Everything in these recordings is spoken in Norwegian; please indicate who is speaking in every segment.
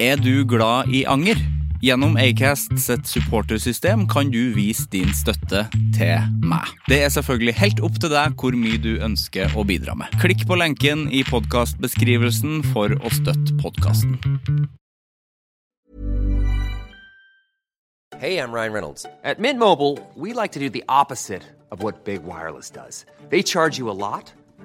Speaker 1: Er du glad i anger? Gjennom Acast sitt supportersystem kan du vise din støtte til meg. Det er selvfølgelig helt opp til deg hvor mye du ønsker å bidra med. Klikk på lenken i podkastbeskrivelsen for å støtte podkasten.
Speaker 2: Hey, I'm Ryan Reynolds. At Mint Mobile, we like to do the opposite of what Big Wireless does. They charge you a lot,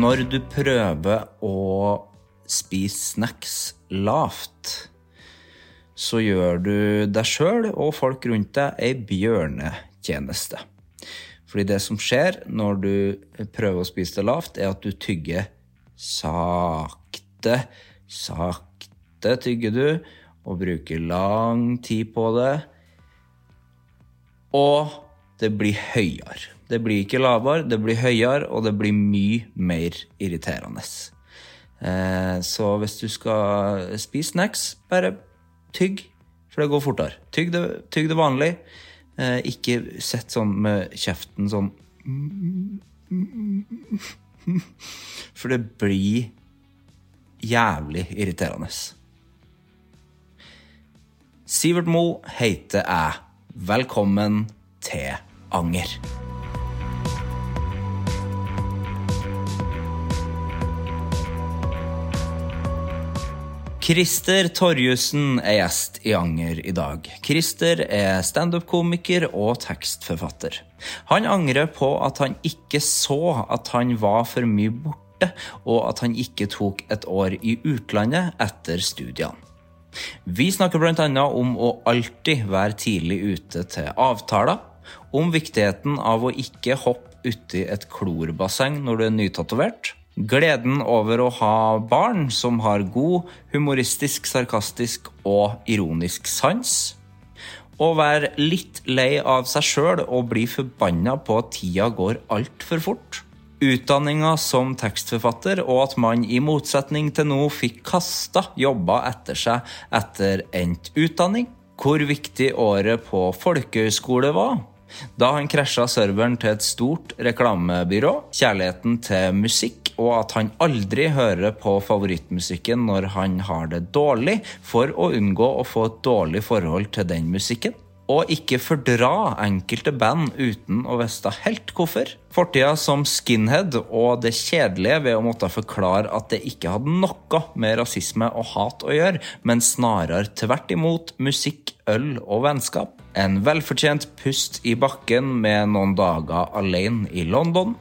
Speaker 1: Når du prøver å spise snacks lavt, så gjør du deg sjøl og folk rundt deg ei bjørnetjeneste. Fordi det som skjer når du prøver å spise det lavt, er at du tygger sakte. Sakte tygger du og bruker lang tid på det. Og det blir høyere. Det blir ikke lavere, det blir høyere, og det blir mye mer irriterende. Eh, Så hvis du skal spise snacks, bare tygg, for det går fortere. Tygg det, tygg det vanlig. Eh, Ikke sett sånn med kjeften sånn For det blir jævlig irriterende. Sivert Mo heter jeg. Velkommen til Anger. Christer Torjussen er gjest i Anger i dag. Christer er standup-komiker og tekstforfatter. Han angrer på at han ikke så at han var for mye borte, og at han ikke tok et år i utlandet etter studiene. Vi snakker bl.a. om å alltid være tidlig ute til avtaler, om viktigheten av å ikke hoppe uti et klorbasseng når du er nytatovert, gleden over å ha barn som har god humoristisk, sarkastisk og ironisk sans, å være litt lei av seg sjøl og bli forbanna på at tida går altfor fort. Utdanninga som tekstforfatter, og at man i motsetning til nå fikk kasta jobber etter seg etter endt utdanning. Hvor viktig året på folkehøyskole var. Da han krasja serveren til et stort reklamebyrå. Kjærligheten til musikk, og at han aldri hører på favorittmusikken når han har det dårlig, for å unngå å få et dårlig forhold til den musikken og ikke fordra enkelte band uten å vite helt hvorfor. Fortida som skinhead og det kjedelige ved å måtte forklare at det ikke hadde noe med rasisme og hat å gjøre, men snarere tvert imot musikk, øl og vennskap. En velfortjent pust i bakken med noen dager alene i London.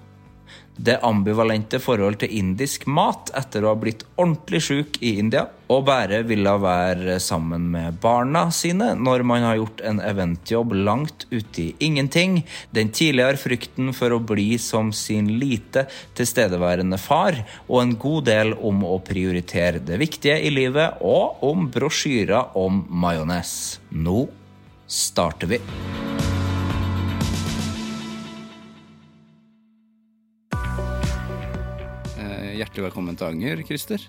Speaker 1: Det ambivalente forhold til indisk mat etter å ha blitt ordentlig sjuk i India, og bare ville være sammen med barna sine når man har gjort en eventjobb langt uti ingenting, den tidligere frykten for å bli som sin lite tilstedeværende far, og en god del om å prioritere det viktige i livet, og om brosjyrer om majones. Nå starter vi. Hjertelig velkommen til Anger, Christer.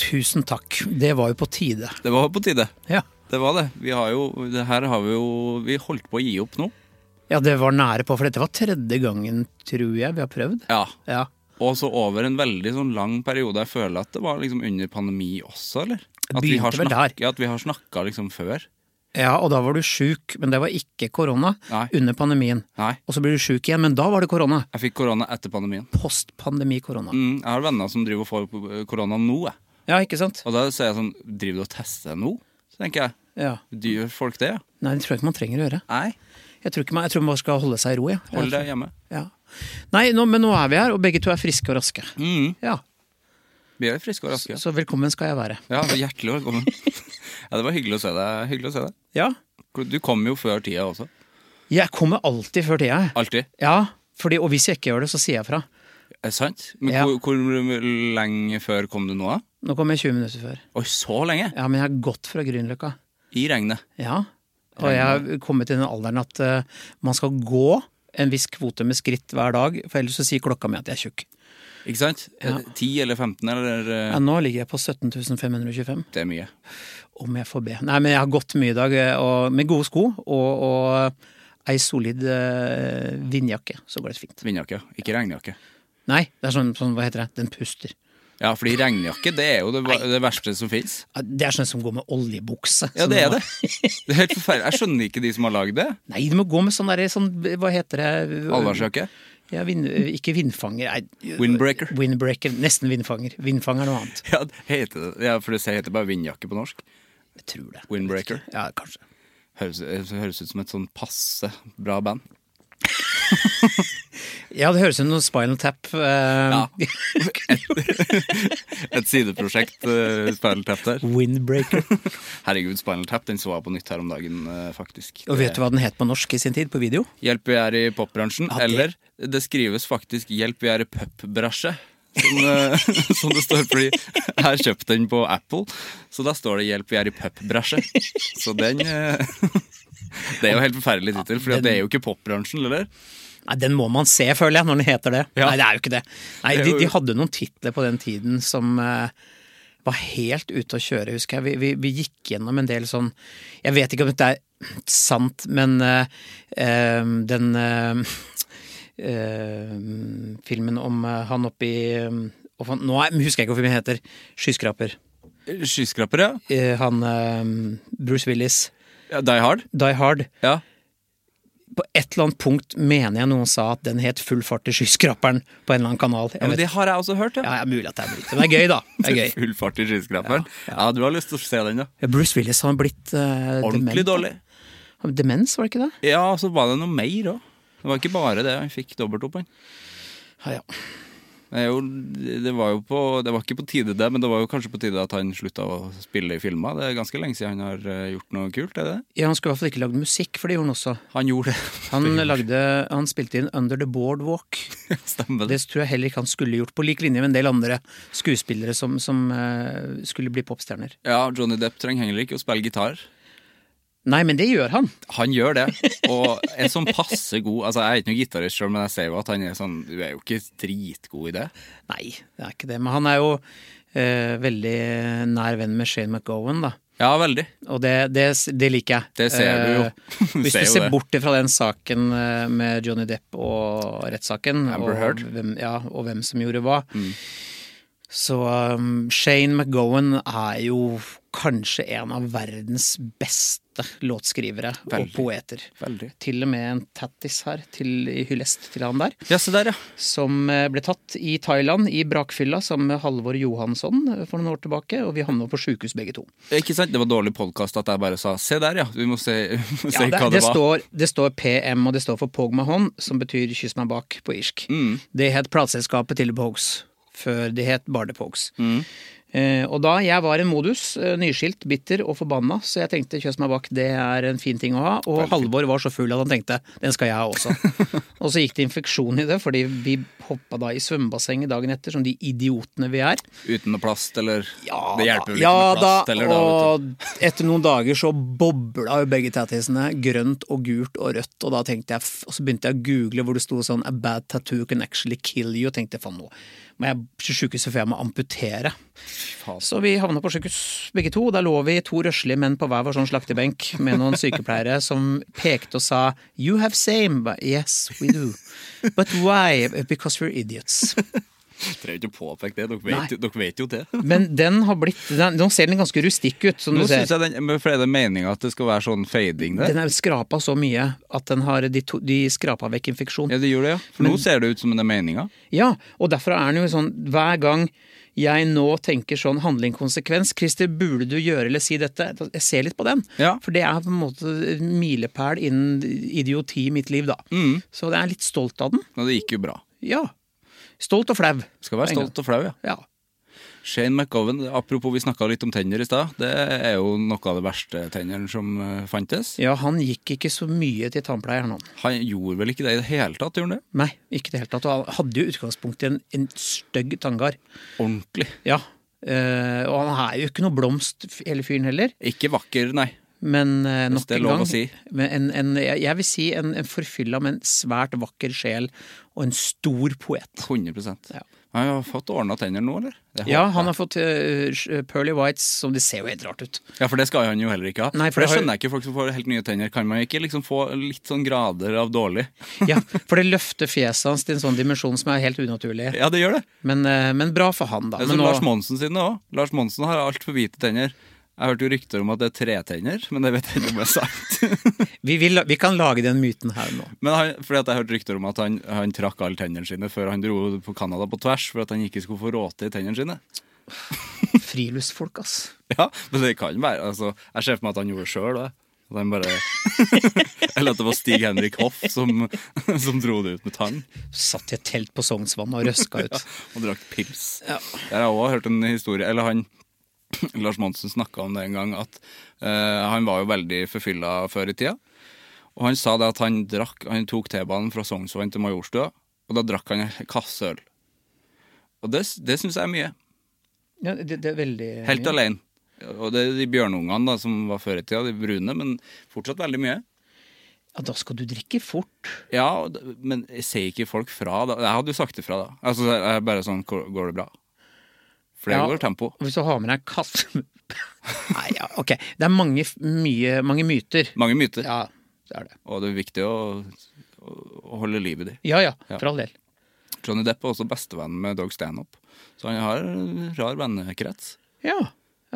Speaker 3: Tusen takk. Det var jo på tide.
Speaker 1: Det var på tide.
Speaker 3: Ja,
Speaker 1: Det var det. Vi har jo, det her har vi jo Vi holdt på å gi opp nå.
Speaker 3: ja det var nære på, for dette var tredje gangen, tror jeg, vi har prøvd.
Speaker 1: Ja.
Speaker 3: Ja.
Speaker 1: Og så over en veldig sånn lang periode. Jeg føler at det var liksom under pandemi også, eller? At vi har
Speaker 3: Begynte vel der.
Speaker 1: snakket- At vi har snakka liksom før.
Speaker 3: Ja, og da var du sjuk, men det var ikke korona
Speaker 1: Nei.
Speaker 3: under pandemien.
Speaker 1: Nei.
Speaker 3: Og så blir du sjuk igjen, men da var det korona.
Speaker 1: Jeg fikk korona etter pandemien.
Speaker 3: Postpandemi-korona.
Speaker 1: Mm, jeg har venner som driver og får korona nå. Jeg.
Speaker 3: Ja, ikke sant?
Speaker 1: Og da sier jeg sånn Driver du og tester nå? Så tenker jeg.
Speaker 3: Ja.
Speaker 1: Gjør folk det? ja?
Speaker 3: Nei, det tror jeg ikke man trenger å gjøre.
Speaker 1: Nei.
Speaker 3: Jeg tror, ikke man, jeg tror man bare skal holde seg i ro. Ja.
Speaker 1: Hold deg hjemme.
Speaker 3: Ja. Nei, nå, men nå er vi her, og begge to er friske og raske.
Speaker 1: Mm,
Speaker 3: Ja,
Speaker 1: vi er friske og raske.
Speaker 3: Så velkommen skal jeg være.
Speaker 1: Ja, Hjertelig velkommen. ja, det var hyggelig å se deg. Hyggelig å se deg.
Speaker 3: Ja.
Speaker 1: Du kom jo før tida også.
Speaker 3: Jeg kommer alltid før tida. jeg.
Speaker 1: Alltid.
Speaker 3: Ja, fordi, og hvis jeg ikke gjør det, så sier jeg fra.
Speaker 1: Er det sant? Men
Speaker 3: Ja.
Speaker 1: hvor, hvor lenge før kom du nå, da?
Speaker 3: Nå kommer jeg 20 minutter før.
Speaker 1: Oi, så lenge?
Speaker 3: Ja, men jeg har gått fra Grünerløkka.
Speaker 1: I regnet.
Speaker 3: Ja. Og jeg har kommet i den alderen at eh, man skal gå en viss kvote med skritt hver dag, for ellers så sier klokka mi at jeg er tjukk.
Speaker 1: Ikke sant?
Speaker 3: Ja.
Speaker 1: 10 eller 15 eller eh,
Speaker 3: Ja, nå ligger jeg på 17.525
Speaker 1: Det er mye.
Speaker 3: om jeg får be. Nei, men jeg har gått mye i dag, eh, og med gode sko og, og ei solid eh, vindjakke, så går det fint.
Speaker 1: Vindjakke, ja. ikke regnjakke.
Speaker 3: Nei, det er sånn, sånn hva heter det, den puster.
Speaker 1: Ja, fordi regnjakke det er jo det, va- det verste som fins.
Speaker 3: Ja, Det er sånn som går med oljebukse.
Speaker 1: Ja,
Speaker 3: Sånn
Speaker 1: det er
Speaker 3: må-
Speaker 1: det. Det er helt forferdelig. Jeg skjønner ikke de som har lagd det.
Speaker 3: Nei, du må gå med sånn derre sånn, hva heter det?
Speaker 1: Allværsjakke.
Speaker 3: Ja, vind, eh, ikke vindfanger. Nei,
Speaker 1: Windbreaker.
Speaker 3: Windbreaker, Nesten vindfanger. Vindfanger er noe annet.
Speaker 1: Ja, det heter det. Ja, for det heter bare vindjakke på norsk.
Speaker 3: Jeg tror det.
Speaker 1: Windbreaker.
Speaker 3: Ja, kanskje.
Speaker 1: Høres, det høres ut som et sånn passe bra band.
Speaker 3: Ja, det høres ut som noe Spinal Tap. eh,
Speaker 1: Et sideprosjekt, uh, Spinal Tap der.
Speaker 3: Windbreaker.
Speaker 1: Herregud, Spinal Tap den så jeg på nytt her om dagen, eh, faktisk.
Speaker 3: Og vet du hva den het på norsk i sin tid, på video?
Speaker 1: Hjelp vi er i popbransjen,
Speaker 3: Ja, det-
Speaker 1: eller det skrives faktisk 'Hjelp vi er i pupbransje'. Som, eh, som det står, fordi jeg har kjøpt den på Apple, så da står det 'Hjelp vi er i pupbransje'. Så den eh, Det er jo helt forferdelig tittel, for det er jo ikke popbransjen, eller?
Speaker 3: Nei, Den må man se, føler jeg, når den heter det.
Speaker 1: Ja.
Speaker 3: Nei, det er jo ikke det. Nei,
Speaker 1: Det er
Speaker 3: de,
Speaker 1: jo-
Speaker 3: de hadde noen titler på den tiden som eh, var helt ute å kjøre, husker jeg. Vi, vi, vi gikk gjennom en del sånn Jeg vet ikke om dette er sant, men eh, eh, den eh, eh, filmen om eh, han oppi og han, Nå er- husker jeg ikke hva filmen heter. 'Skyskraper'.
Speaker 1: Skyskraper, ja.
Speaker 3: Eh, han eh, Bruce Willis.
Speaker 1: ja. Die Hard.
Speaker 3: Die Hard.
Speaker 1: Ja.
Speaker 3: På et eller annet punkt mener jeg noen sa at den het 'Full fart til skyskraperen' på en eller annen kanal. Jeg
Speaker 1: ja. Men
Speaker 3: vet
Speaker 1: det har jeg også hørt, ja.
Speaker 3: Ja, ja, mulig at det er brutt. Men det er gøy, da. Det er gøy.
Speaker 1: Full fart i skyskraperen. Ja, du har lyst til å se den, da.
Speaker 3: Bruce Willis har blitt eh,
Speaker 1: Ordentlig
Speaker 3: dement. da.
Speaker 1: dårlig.
Speaker 3: Han- Demens, var det ikke det?
Speaker 1: Ja, så var det noe mer òg. Det var ikke bare det, han fikk dobbelt opp, han.
Speaker 3: Ja, ja.
Speaker 1: Det, er jo, det var jo på, det var ikke på tide det, men det var jo kanskje på tide at han slutta å spille i filmer. Det er ganske lenge siden han har eh, gjort noe kult, er det det?
Speaker 3: ja, han skulle i hvert fall ikke lagd musikk, for det gjorde han også.
Speaker 1: Han gjorde det.
Speaker 3: Han, lagde, han spilte inn Under the Boardwalk.
Speaker 1: Stemmer
Speaker 3: Det
Speaker 1: det.
Speaker 3: tror jeg heller ikke han skulle gjort, på lik linje med en del andre skuespillere som, som eh, skulle bli popstjerner.
Speaker 1: Ja, Johnny Depp trenger heller ikke å spille gitar.
Speaker 3: Nei, men det gjør han.
Speaker 1: Han gjør det, og er sånn passe god. Altså, Jeg er ikke noen gitarist sjøl, men jeg ser jo at han er sånn Du er jo ikke dritgod i det.
Speaker 3: Nei, det er ikke det. Men han er jo eh, veldig nær venn med Shane McGowan, da.
Speaker 1: Ja, veldig.
Speaker 3: Og det, det, det liker jeg.
Speaker 1: Det ser du jo.
Speaker 3: Eh, Hvis
Speaker 1: Ser
Speaker 3: du
Speaker 1: jo
Speaker 3: ser
Speaker 1: det.
Speaker 3: bort fra den saken eh, med Johnny Depp og rettssaken,
Speaker 1: Amber
Speaker 3: og,
Speaker 1: Heard.
Speaker 3: hvem- ja, og hvem som gjorde hva,
Speaker 1: Mm.
Speaker 3: så um, Shane McGowan er jo kanskje en av verdens beste låtskrivere og
Speaker 1: Veldig.
Speaker 3: poeter.
Speaker 1: Veldig.
Speaker 3: Til og med en tattis her til, i hyllest til han der
Speaker 1: Ja, se der, ja.
Speaker 3: som eh, ble tatt i Thailand i brakfylla sammen med Halvor Johansson eh, for noen år tilbake, og vi havna på sjukehus begge to.
Speaker 1: Ikke sant? Det var dårlig podkast at jeg bare sa 'se der, ja', vi må se, vi må se
Speaker 3: Ja, det,
Speaker 1: hva det,
Speaker 3: det,
Speaker 1: var.
Speaker 3: står, det står PM, og det står for Pog Mahon, som betyr 'kyss meg bak' på irsk. Det het plateselskapet til The Pogues, før det het bare The Pogues. Eh, og da jeg var en modus, eh, nyskilt, bitter og forbanna, så jeg tenkte 'kyss meg bak', det er en fin ting å ha. Og Halvor var så full at han tenkte 'den skal jeg ha også'. og så gikk det infeksjon i det, fordi vi hoppa da i svømmebassenget dagen etter, som de idiotene vi er.
Speaker 1: Uten noe plast, eller Det hjelper vel
Speaker 3: Ah, ja,
Speaker 1: ikke med plast,
Speaker 3: da,
Speaker 1: eller da, vet du.
Speaker 3: og etter noen dager så bobla jo begge tattisene, grønt og gult og rødt, og da tenkte jeg, f- og så begynte jeg å google hvor det sto sånn 'a bad tattoo can actually kill you', og tenkte faen nå må jeg til sjukehuset for jeg må amputere. Så vi havna på sjukehus begge to, og der lå vi to røslige menn på hver vår sånn slaktebenk med noen sykepleiere som pekte og sa 'you have same', But, 'yes we do', 'but why', 'because we're idiots'.
Speaker 1: Trenger ikke å påpeke det, dere vet, dere vet jo det.
Speaker 3: Men den har blitt den, Nå ser den ganske rustikk ut, som
Speaker 1: Nå
Speaker 3: du ser.
Speaker 1: synes jeg den, men for Er det meninga at det skal være sånn fading der?
Speaker 3: Den er skrapa så mye at den har, de, to, de skrapa vekk infeksjon.
Speaker 1: Ja, det gjør det, ja. For nå ser det ut som det er meninga.
Speaker 3: Ja, og derfor er den jo sånn Hver gang jeg nå tenker sånn handling konsekvens Christer, burde du gjøre eller si dette? Jeg ser litt på den.
Speaker 1: Ja.
Speaker 3: For det er på en måte en milepæl innen idioti i mitt liv, da.
Speaker 1: Mm.
Speaker 3: Så jeg er litt stolt av den.
Speaker 1: Og det gikk jo bra.
Speaker 3: Ja. Stolt og flau.
Speaker 1: Skal være stolt og flau, ja.
Speaker 3: Ja.
Speaker 1: Shane McGowan, apropos vi snakka litt om tenner i stad, det er jo noe av det verste tennene som eh, fantes.
Speaker 3: ja, han gikk ikke så mye til tannpleieren, han.
Speaker 1: Han gjorde vel ikke det i det hele tatt, gjorde han det?
Speaker 3: Nei, ikke i det hele tatt. Og han hadde jo i utgangspunktet en, en stygg tanngard.
Speaker 1: Ordentlig.
Speaker 3: Ja. Eh, og han er jo ikke noe blomst, f- hele fyren heller.
Speaker 1: Ikke vakker, nei.
Speaker 3: Men eh, nok
Speaker 1: det er
Speaker 3: en
Speaker 1: lov
Speaker 3: gang
Speaker 1: å si.
Speaker 3: men en, en, Jeg jeg vil si en, en forfylla, men svært vakker sjel. Og en stor poet.
Speaker 1: 100
Speaker 3: Ja.
Speaker 1: Han har fått ordna tenner nå, eller? Det håper
Speaker 3: Ja,
Speaker 1: jeg.
Speaker 3: han har fått eh, sj- Pearly Whites, som det ser jo helt rart ut.
Speaker 1: Ja, for det skal han jo heller ikke ha.
Speaker 3: Nei,
Speaker 1: for
Speaker 3: for
Speaker 1: det
Speaker 3: det har-
Speaker 1: skjønner jeg ikke, folk som får helt nye tenner. Kan man ikke liksom få litt sånn grader av dårlig?
Speaker 3: Ja, For det løfter fjeset hans til en sånn dimensjon som er helt unaturlig.
Speaker 1: Ja, det gjør det.
Speaker 3: Men, eh, men bra for han, da.
Speaker 1: Det er
Speaker 3: Men
Speaker 1: som
Speaker 3: nå-
Speaker 1: Lars Monsen sine òg. Lars Monsen har altfor hvite tenner. Jeg hørte jo rykter om at det er tretenner, men det vet jeg ikke om det er sant.
Speaker 3: vi, vil, vi kan lage den myten her nå.
Speaker 1: men han, fordi at jeg hørte rykter om at han, han trakk alle tennene sine før han dro på Canada på tvers, for at han ikke skulle få råte i tennene sine.
Speaker 3: Friluftsfolk, ass.
Speaker 1: Ja, men det kan være. Altså, jeg ser for meg at han gjorde det sjøl. At han bare Eller at det var Stig Henrik Hoff som, som dro det ut med tang
Speaker 3: Satt i et telt på Sognsvann og røska ut.
Speaker 1: og drakk pils. Der har jeg òg hørt en historie Eller han Lars Monsen snakka om det en gang, at eh, han var jo veldig forfylla før i tida. Og han sa det at han drakk Han tok T-banen fra Sognsvann til Majorstua, og da drakk han en kasse øl. Og det, det syns jeg er mye.
Speaker 3: Ja, det, det er veldig
Speaker 1: Helt alene. Og det er de bjørnungene da, som var før i tida, de brune, men fortsatt veldig mye.
Speaker 3: Ja, da skal du drikke fort.
Speaker 1: Ja, og det- men sier ikke folk fra da? Jeg hadde jo sagt ifra da. Altså, jeg er bare sånn, går går det bra? For det
Speaker 3: Ja.
Speaker 1: går tempo.
Speaker 3: Hvis du har med deg en katt Nei, ja, ok. Det er mange, f- mye, mange myter.
Speaker 1: Mange myter.
Speaker 3: Ja, det er det.
Speaker 1: Og det er viktig å, å- å holde liv i de.
Speaker 3: Ja ja,
Speaker 1: Ja.
Speaker 3: for all del.
Speaker 1: Johnny Depp er også bestevenn med Dog Stanhope, så han har en rar vennekrets.
Speaker 3: Ja.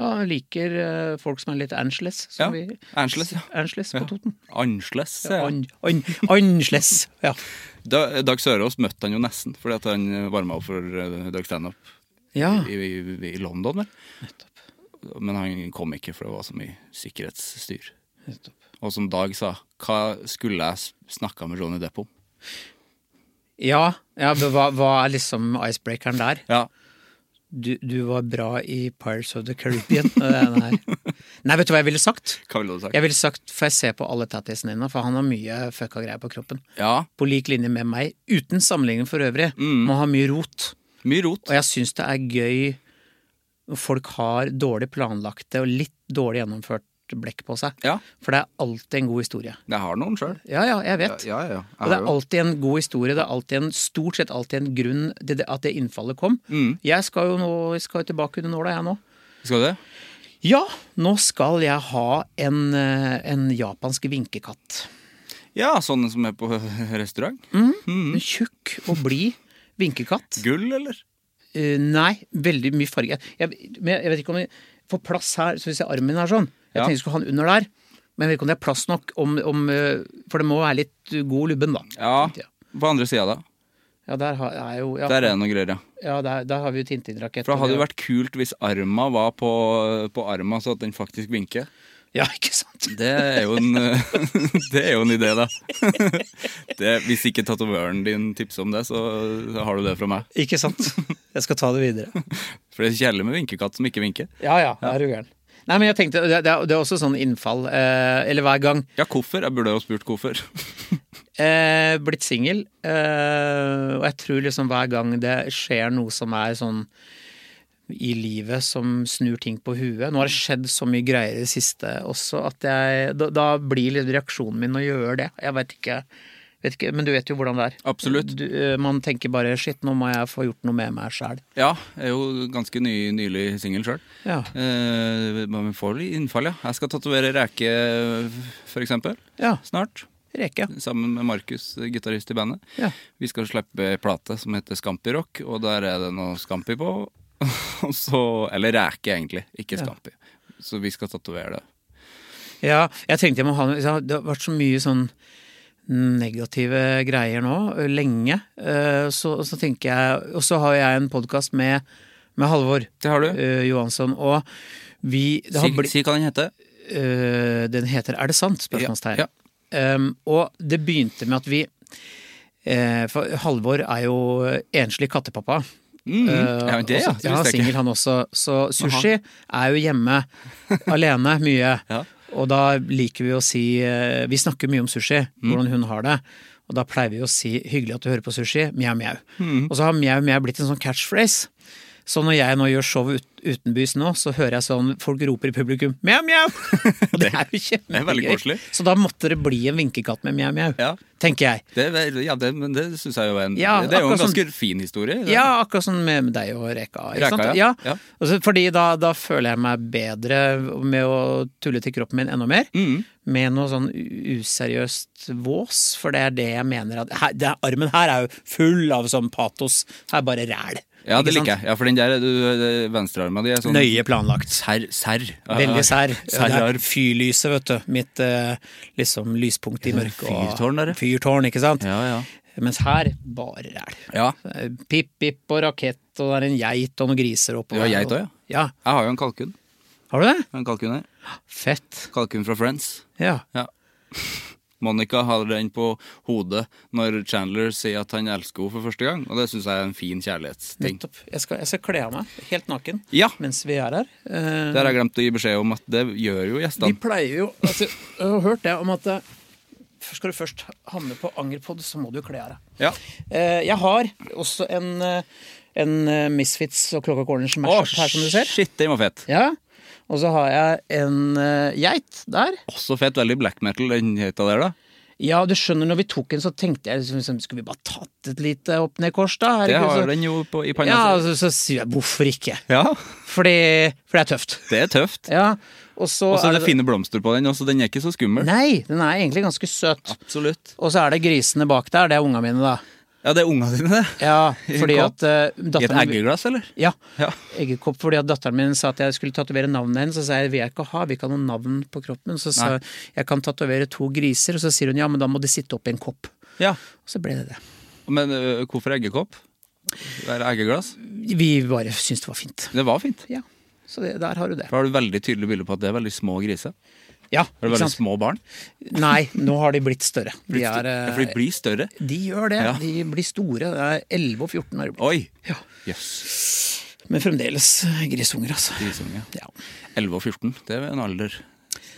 Speaker 3: ja jeg liker eh, folk som er litt angeles.
Speaker 1: Ja,
Speaker 3: Som vi-
Speaker 1: Angeles, ja.
Speaker 3: Angeles på
Speaker 1: Ja.
Speaker 3: Toten.
Speaker 1: Angeles, sier jeg.
Speaker 3: An- an- Angeles. Ja.
Speaker 1: Da- Dag Sørås møtte han jo nesten, fordi at han varma opp for eh, Dog Stanhope.
Speaker 3: ja.
Speaker 1: i, i, i London, vel. Men han kom ikke, for det var så mye sikkerhetsstyr. Og som Dag sa, hva skulle jeg snakka med Johnny Depp om?
Speaker 3: Ja, ja men hva, hva er liksom icebreakeren der?
Speaker 1: Ja,
Speaker 3: Du, du var bra i Pirates of the Caribbean. Nei, nei. nei, vet du hva jeg ville sagt?
Speaker 1: hva ville du sagt?
Speaker 3: Jeg ville sagt, får jeg se på alle tattisene dine, for han har mye fucka greier på kroppen.
Speaker 1: Ja,
Speaker 3: På lik linje med meg, uten sammenligning for øvrig,
Speaker 1: Mm.
Speaker 3: må ha mye rot.
Speaker 1: mye rot.
Speaker 3: Og jeg syns det er gøy når folk har dårlig planlagte og litt dårlig gjennomført blekk på seg.
Speaker 1: Ja.
Speaker 3: For det er alltid en god historie.
Speaker 1: Jeg har noen sjøl.
Speaker 3: Ja, ja, jeg vet.
Speaker 1: Ja, ja, ja. Jeg
Speaker 3: Og det
Speaker 1: har
Speaker 3: er
Speaker 1: jo-
Speaker 3: alltid en god historie. Det er alltid en, stort sett alltid en grunn til det, at det innfallet kom.
Speaker 1: Mm.
Speaker 3: Jeg skal jo nå, jeg skal jo tilbake under nåla, jeg nå.
Speaker 1: Skal du det?
Speaker 3: Ja, nå skal jeg ha en, eh, en japansk vinkekatt.
Speaker 1: Ja, sånne som er på restaurant. Mm.
Speaker 3: En tjukk og blid vinkekatt.
Speaker 1: Gull, eller?
Speaker 3: Eh, nei, veldig mye farge. Jeg, men jeg vet ikke om jeg får plass her, så hvis jeg armen er sånn Jeg
Speaker 1: Ja.
Speaker 3: tenkte jeg skulle ha den under der, men jeg vet ikke om det er plass nok. Om, om, eh, for det må være litt god lubben, da.
Speaker 1: Ja.
Speaker 3: tenkte jeg.
Speaker 1: På andre sida, da.
Speaker 3: Ja, der har er jo ja,
Speaker 1: Der er det noe greier, ja.
Speaker 3: ja, der, der har vi jo Tintin-rakett.
Speaker 1: For det hadde jo vært kult hvis arma var på, på arma, så at den faktisk vinker.
Speaker 3: Ja, ikke sant?
Speaker 1: Det er jo en, det er jo en idé, da. Det, hvis ikke tatovøren din tipser om det, så har du det fra meg.
Speaker 3: Ikke sant? Jeg skal ta det videre.
Speaker 1: For det er kjedelig med vinkekatt som ikke vinker.
Speaker 3: Ja ja, er du gæren. Nei, men jeg tenkte, det, det, er, det er også sånn innfall. Eh, eller hver gang.
Speaker 1: Ja, hvorfor? Jeg burde jo spurt hvorfor.
Speaker 3: Eh, blitt singel, eh, og jeg tror liksom hver gang det skjer noe som er sånn i livet som snur ting på huet. Nå har det skjedd så mye greier i det siste også, at jeg Da, da blir litt reaksjonen min å gjøre det. Jeg veit ikke, vet ikke Men du vet jo hvordan det er.
Speaker 1: Absolutt.
Speaker 3: Du, eh, man tenker bare shit, nå må jeg få gjort noe med meg sjæl.
Speaker 1: Ja, jeg er jo ganske ny, nylig singel sjøl.
Speaker 3: Ja.
Speaker 1: Eh, men får litt innfall, ja. Jeg skal tatovere reke, for eksempel.
Speaker 3: Ja.
Speaker 1: Snart.
Speaker 3: Reke.
Speaker 1: sammen med Markus, gitarist i bandet.
Speaker 3: Ja.
Speaker 1: Vi skal slippe ei plate som heter Scampi Rock, og der er det noe Scampi på. Og så, eller Ræke, egentlig, ikke Scampi. Så vi skal tatovere det.
Speaker 3: Ja, jeg tenkte jeg må ha noe Det har vært så mye sånn negative greier nå, lenge. Eh, Så, så tenker jeg Og så har jeg en podkast med, med Halvor
Speaker 1: Det har du.
Speaker 3: eh, Johansson, og vi det har
Speaker 1: Si,
Speaker 3: blitt-
Speaker 1: si hva den heter.
Speaker 3: Eh, den heter Er det sant? spørsmålstegn.
Speaker 1: Ja,
Speaker 3: Em, og det begynte med at vi eh, For Halvor er jo enslig kattepappa.
Speaker 1: Mm,
Speaker 3: Eh,
Speaker 1: ja, men det, ja.
Speaker 3: også-
Speaker 1: Det
Speaker 3: ja,
Speaker 1: visste jeg
Speaker 3: singel
Speaker 1: ikke.
Speaker 3: han også. Så sushi er jo hjemme alene mye.
Speaker 1: Ja.
Speaker 3: Og da liker vi å si eh, Vi snakker mye om sushi,
Speaker 1: Mm.
Speaker 3: hvordan hun har det. Og da pleier vi å si 'hyggelig at du hører på sushi', mjau, mjau.
Speaker 1: Mm.
Speaker 3: Og så har mjau, mjau blitt en sånn catchphrase. Så når jeg nå gjør show ut, utenbys nå, så hører jeg sånn folk roper i publikum 'mjau, mjau'. Og det er jo
Speaker 1: det er veldig
Speaker 3: kjempegøy.
Speaker 1: koselig.
Speaker 3: Så da måtte det bli en vinkekatt med mjau, mjau,
Speaker 1: Ja.
Speaker 3: tenker jeg.
Speaker 1: Det, er- ja, det, men det syns jeg jo er en
Speaker 3: Ja,
Speaker 1: Det er jo en
Speaker 3: akkurat sånn.
Speaker 1: ganske fin historie. det.
Speaker 3: Ja, akkurat som med med deg og Reka. Ikke
Speaker 1: Reka,
Speaker 3: sant?
Speaker 1: ja.
Speaker 3: Ja.
Speaker 1: Ja.
Speaker 3: Altså, fordi da, da føler jeg meg bedre med å tulle til kroppen min enda mer.
Speaker 1: Mm.
Speaker 3: Med noe sånn u- useriøst vås, for det er det jeg mener at her, det er, Armen her er jo full av sånn patos. Her er bare ræl.
Speaker 1: ja det
Speaker 3: Ikke sant?
Speaker 1: liker jeg. Ja, for den der du- venstrearma di er sånn
Speaker 3: Nøye planlagt.
Speaker 1: Serr. serr.
Speaker 3: Veldig sær. Det er
Speaker 1: Serrar.
Speaker 3: fyrlyset, vet du. Mitt eh, liksom lyspunkt i mørket. og-
Speaker 1: fyrtårn der, ja.
Speaker 3: Fyrtårn, ikke sant.
Speaker 1: Ja, ja.
Speaker 3: Mens her, bare ræl.
Speaker 1: Ja.
Speaker 3: Pip, pip og rakett, og det er en geit og noen griser oppå
Speaker 1: Det var geit også,
Speaker 3: ja.
Speaker 1: Jeg har jo en kalkun.
Speaker 3: Har du det?
Speaker 1: En kalkun her.
Speaker 3: Fett.
Speaker 1: Kalkun fra Friends.
Speaker 3: Ja.
Speaker 1: Ja. Monica har den på hodet når Chandler sier at han elsker henne for første gang, og det syns jeg er en fin kjærlighetsting.
Speaker 3: Nettopp. Jeg skal, jeg skal kle av meg helt naken
Speaker 1: Ja.
Speaker 3: mens vi er her. Eh,
Speaker 1: Det har jeg glemt å gi beskjed om at det gjør jo
Speaker 3: vi
Speaker 1: gjestene.
Speaker 3: pleier jo altså, Jeg har hørt det om at eh, skal du først havne på Angerpod, så må du kle av deg.
Speaker 1: Ja.
Speaker 3: Eh, jeg har også en, eh, en eh, Misfits og Klokka Corners
Speaker 1: Å,
Speaker 3: match her, som du ser.
Speaker 1: shit, den var fet.
Speaker 3: Ja. Og så har jeg en eh, geit der.
Speaker 1: Også fet. Veldig black metal, den heita der, da.
Speaker 3: Ja, du skjønner, når vi tok en, så tenkte jeg liksom, liksom, Skulle vi bare tatt et lite opp ned kors, da? Er
Speaker 1: Det
Speaker 3: ikke
Speaker 1: har
Speaker 3: så-
Speaker 1: den jo på, i
Speaker 3: Ja,
Speaker 1: panna.
Speaker 3: så, så sier jeg hvorfor ikke?
Speaker 1: Ja.
Speaker 3: Fordi, for det er tøft.
Speaker 1: det er tøft.
Speaker 3: Ja, og så
Speaker 1: Og så er det
Speaker 3: det-
Speaker 1: fine blomster på den, og så den er ikke så skummel.
Speaker 3: Nei, den er egentlig ganske søt.
Speaker 1: Absolutt.
Speaker 3: Og så er det grisene bak der, det er unga mine, da.
Speaker 1: Ja, det er unga dine, det.
Speaker 3: Ja,
Speaker 1: I en
Speaker 3: fordi
Speaker 1: kopp?
Speaker 3: at
Speaker 1: I
Speaker 3: uh,
Speaker 1: et
Speaker 3: datteren min-
Speaker 1: eggeglass, eller?
Speaker 3: Ja,
Speaker 1: Ja.
Speaker 3: eggekopp, fordi at datteren min sa at jeg skulle tatovere navnet hennes, og så sa jeg vil jeg ikke ha, vi ikke ha noe navn på kroppen. Så sa
Speaker 1: Nei.
Speaker 3: jeg jeg kan tatovere to griser, og så sier hun ja, men da må de sitte opp i en kopp.
Speaker 1: ja.
Speaker 3: Og så ble det det.
Speaker 1: Men ø, hvorfor eggekopp? Være eggeglass?
Speaker 3: Vi bare syntes det var fint.
Speaker 1: Det var fint.
Speaker 3: Ja, så det, der har du det.
Speaker 1: For har du veldig tydelig bilde på at det er veldig små griser.
Speaker 3: Ja,
Speaker 1: Er det
Speaker 3: ikke
Speaker 1: veldig
Speaker 3: sant?
Speaker 1: små barn?
Speaker 3: Nei, nå har de blitt større. De,
Speaker 1: Blitt
Speaker 3: er,
Speaker 1: større? Ja,
Speaker 3: eh,
Speaker 1: for de blir større?
Speaker 3: de gjør det.
Speaker 1: Ja.
Speaker 3: De blir store. Det er 11 og 14 har de blitt.
Speaker 1: Oi!
Speaker 3: Ja.
Speaker 1: Jøss.
Speaker 3: Men fremdeles grisunger, altså.
Speaker 1: Grisunge.
Speaker 3: Ja.
Speaker 1: 11 og 14, det er en alder.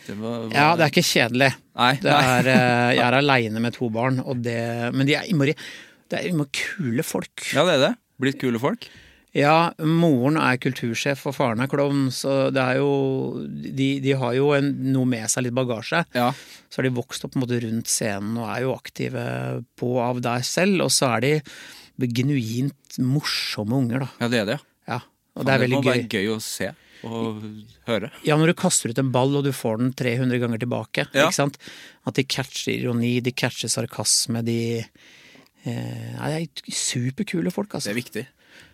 Speaker 1: Det var,
Speaker 3: ja, det er ikke kjedelig.
Speaker 1: Nei,
Speaker 3: Det
Speaker 1: nei.
Speaker 3: er, eh, jeg er aleine med to barn, og det, men de er innmari det er innmari kule folk.
Speaker 1: Ja, det er det. Blitt kule folk.
Speaker 3: Ja, moren er kultursjef, og faren er klovn, så det er jo De, de har jo en, noe med seg, litt bagasje.
Speaker 1: Ja.
Speaker 3: Så har de vokst opp på en måte rundt scenen og er jo aktive på og av der selv, og så er de genuint morsomme unger, da.
Speaker 1: ja, det er det. ja.
Speaker 3: Ja, og
Speaker 1: Faen,
Speaker 3: det er veldig
Speaker 1: må
Speaker 3: gøy.
Speaker 1: være gøy å se og høre.
Speaker 3: Ja, når du kaster ut en ball og du får den 300 ganger tilbake.
Speaker 1: Ja.
Speaker 3: Ikke sant? At de catcher ironi, de catcher sarkasme, de eh, Nei, det er superkule folk, altså.
Speaker 1: Det er viktig.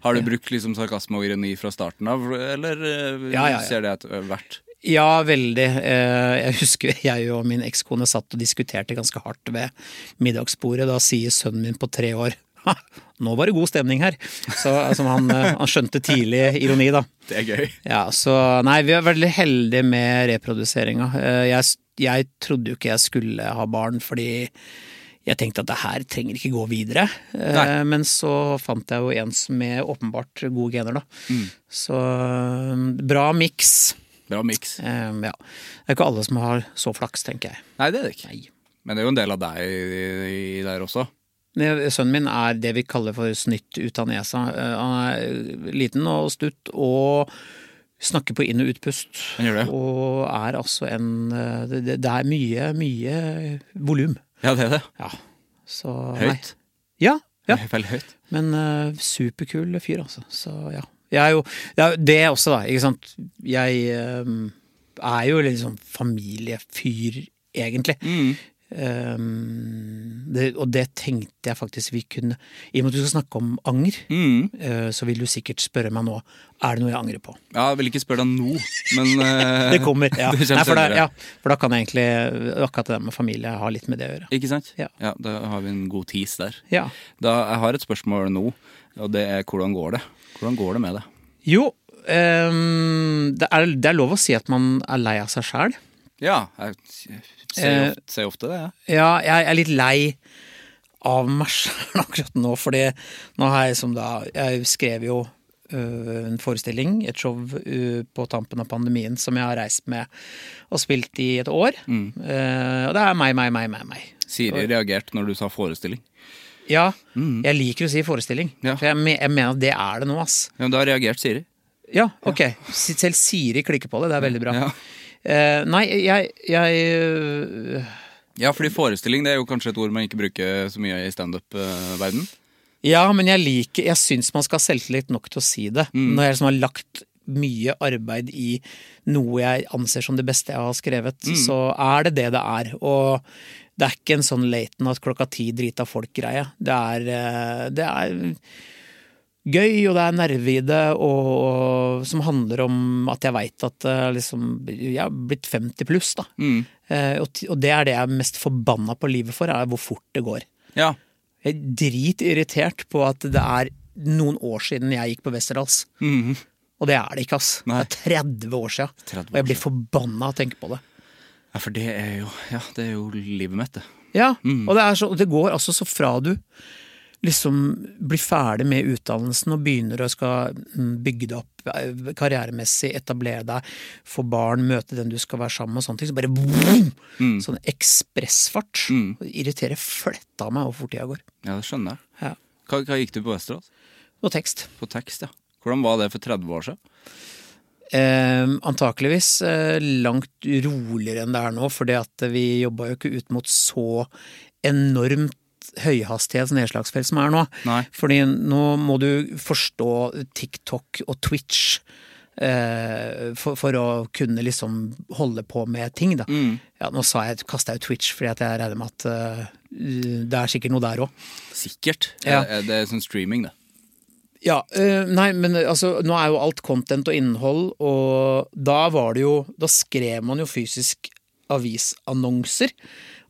Speaker 1: Har du brukt liksom sarkasme og ironi fra starten av, eller ø,
Speaker 3: Ja, ja, ja.
Speaker 1: ser det eh, etter hvert?
Speaker 3: Ja, veldig. Eh, Jeg husker jeg og min ekskone satt og diskuterte ganske hardt ved middagsbordet. Da sier sønnen min på tre år «Ha, nå var det god stemning her. Så altså, han, eh, han skjønte tidlig ironi, da.
Speaker 1: Det er gøy.
Speaker 3: Ja, så Nei, vi er veldig heldige med reproduseringa. Eh, Jeg, s- jeg trodde jo ikke jeg skulle ha barn, fordi jeg tenkte at det her trenger ikke gå videre. Eh,
Speaker 1: Nei.
Speaker 3: Men så fant jeg jo en som med åpenbart gode gener, da. Så eh, bra miks.
Speaker 1: Bra miks.
Speaker 3: Eh, ja. Det er ikke alle som har så flaks, tenker jeg.
Speaker 1: Nei, det er det ikke. Men det er jo en del av deg i, i der også.
Speaker 3: Men Sønnen min er det vi kaller for snytt ut av nesa. Eh, Han er liten og stutt og snakker på inn- og utpust.
Speaker 1: Han gjør det.
Speaker 3: Og er altså en eh, Det, det- det er mye, mye volum.
Speaker 1: Ja, det er det.
Speaker 3: Ja. Så nei.
Speaker 1: Høyt.
Speaker 3: Ja. ja.
Speaker 1: Veldig høyt.
Speaker 3: Men eh, superkul fyr, altså. Så ja. Jeg er jo Det, er jo det også, da. Ikke sant.
Speaker 1: Mm.
Speaker 3: Jeg eh, er jo liksom familiefyr, sånn egentlig. Ehm, det, og det tenkte jeg faktisk vi kunne I og med at du skal snakke om anger,
Speaker 1: Mm.
Speaker 3: eh, så vil du sikkert spørre meg nå Er det noe jeg angrer på.
Speaker 1: Ja, jeg vil ikke spørre deg nå, men eh,
Speaker 3: Det kommer. ja.
Speaker 1: det kommer
Speaker 3: Nei, for, da,
Speaker 1: senere.
Speaker 3: ja, for da kan jeg egentlig akkurat det med familie ha litt med det å gjøre.
Speaker 1: Ikke sant?
Speaker 3: Ja.
Speaker 1: Da har vi en god tis der.
Speaker 3: Ja.
Speaker 1: Da, jeg har et spørsmål nå, og det er hvordan går det? Hvordan går det med det?
Speaker 3: Jo, ehm, det, er, det er lov å si at man er lei av seg sjæl.
Speaker 1: Ja, jeg ser
Speaker 3: Eh,
Speaker 1: ofte, ser ofte det, jeg.
Speaker 3: Ja, jeg er litt lei av meg sjæl akkurat nå, fordi nå har jeg som da Jeg skrev jo ø, en forestilling, et show ø, på tampen av pandemien som jeg har reist med og spilt i et år.
Speaker 1: Mm.
Speaker 3: Eh, og det er meg, meg, meg, meg. meg.
Speaker 1: Siri reagerte når du sa forestilling.
Speaker 3: Ja, jeg liker å si forestilling,
Speaker 1: Mm. Ja.
Speaker 3: for jeg, me jeg mener at det er det nå, ass.
Speaker 1: Ja, men da reagerte Siri.
Speaker 3: Ja, ok. Selv Siri klikker på det, det er veldig bra.
Speaker 1: Ja.
Speaker 3: Eh, nei, jeg, jeg øh,
Speaker 1: Ja, fordi forestilling det er jo kanskje et ord man ikke bruker så mye i standup-verden.
Speaker 3: Ja, men jeg liker Jeg syns man skal ha selvtillit nok til å si det. Når jeg liksom har lagt mye arbeid i noe jeg anser som det beste jeg har skrevet, så er det det det er. Og det er ikke en sånn late at klokka ti drita folk-greie. Det er, eh, det er gøy, og det er nerve i det, og, og som handler om at jeg veit at eh, liksom, jeg er blitt 50 pluss, da. Eh, og, t- og det er det jeg er mest forbanna på livet for, er hvor fort det går.
Speaker 1: Ja.
Speaker 3: Jeg er dritirritert på at det er noen år siden jeg gikk på Westerdals. Og det er det ikke, ass.
Speaker 1: Nei.
Speaker 3: Det er 30 år sia.
Speaker 1: 30
Speaker 3: Og jeg blir forbanna av å tenke på det.
Speaker 1: ja, for det er jo, ja, det er jo livet mitt, det.
Speaker 3: Ja, og det, er så, og det går altså så fra du liksom blir ferdig med utdannelsen og begynner å skal mm, bygge det opp eh, karrieremessig, etablere deg, få barn, møte den du skal være sammen med og sånne ting, så bare vroom! Sånn ekspressfart. Og Det irriterer fletta av meg hvor fort tida går.
Speaker 1: Ja, det skjønner jeg.
Speaker 3: Ja.
Speaker 1: Hva, hva gikk du på Westerås?
Speaker 3: Og tekst.
Speaker 1: På tekst, ja. Hvordan var det for 30 år siden?
Speaker 3: Eh, antakeligvis eh, langt roligere enn det er nå, fordi at vi jobba jo ikke ut mot så enormt høyhastighets nedslagsfelt som er nå.
Speaker 1: Nei.
Speaker 3: Fordi nå må du forstå TikTok og Twitch. eh, For, for å kunne liksom holde på med ting, da. Ja, nå sa jeg, kasta jeg ut Twitch, fordi at jeg regner med at eh, det er sikkert noe der òg.
Speaker 1: Sikkert.
Speaker 3: Ja.
Speaker 1: Eh, Det er sånn streaming, det.
Speaker 3: Ja, eh, nei, men altså, nå er jo alt content og innhold, og da var det jo Da skrev man jo fysisk avisannonser,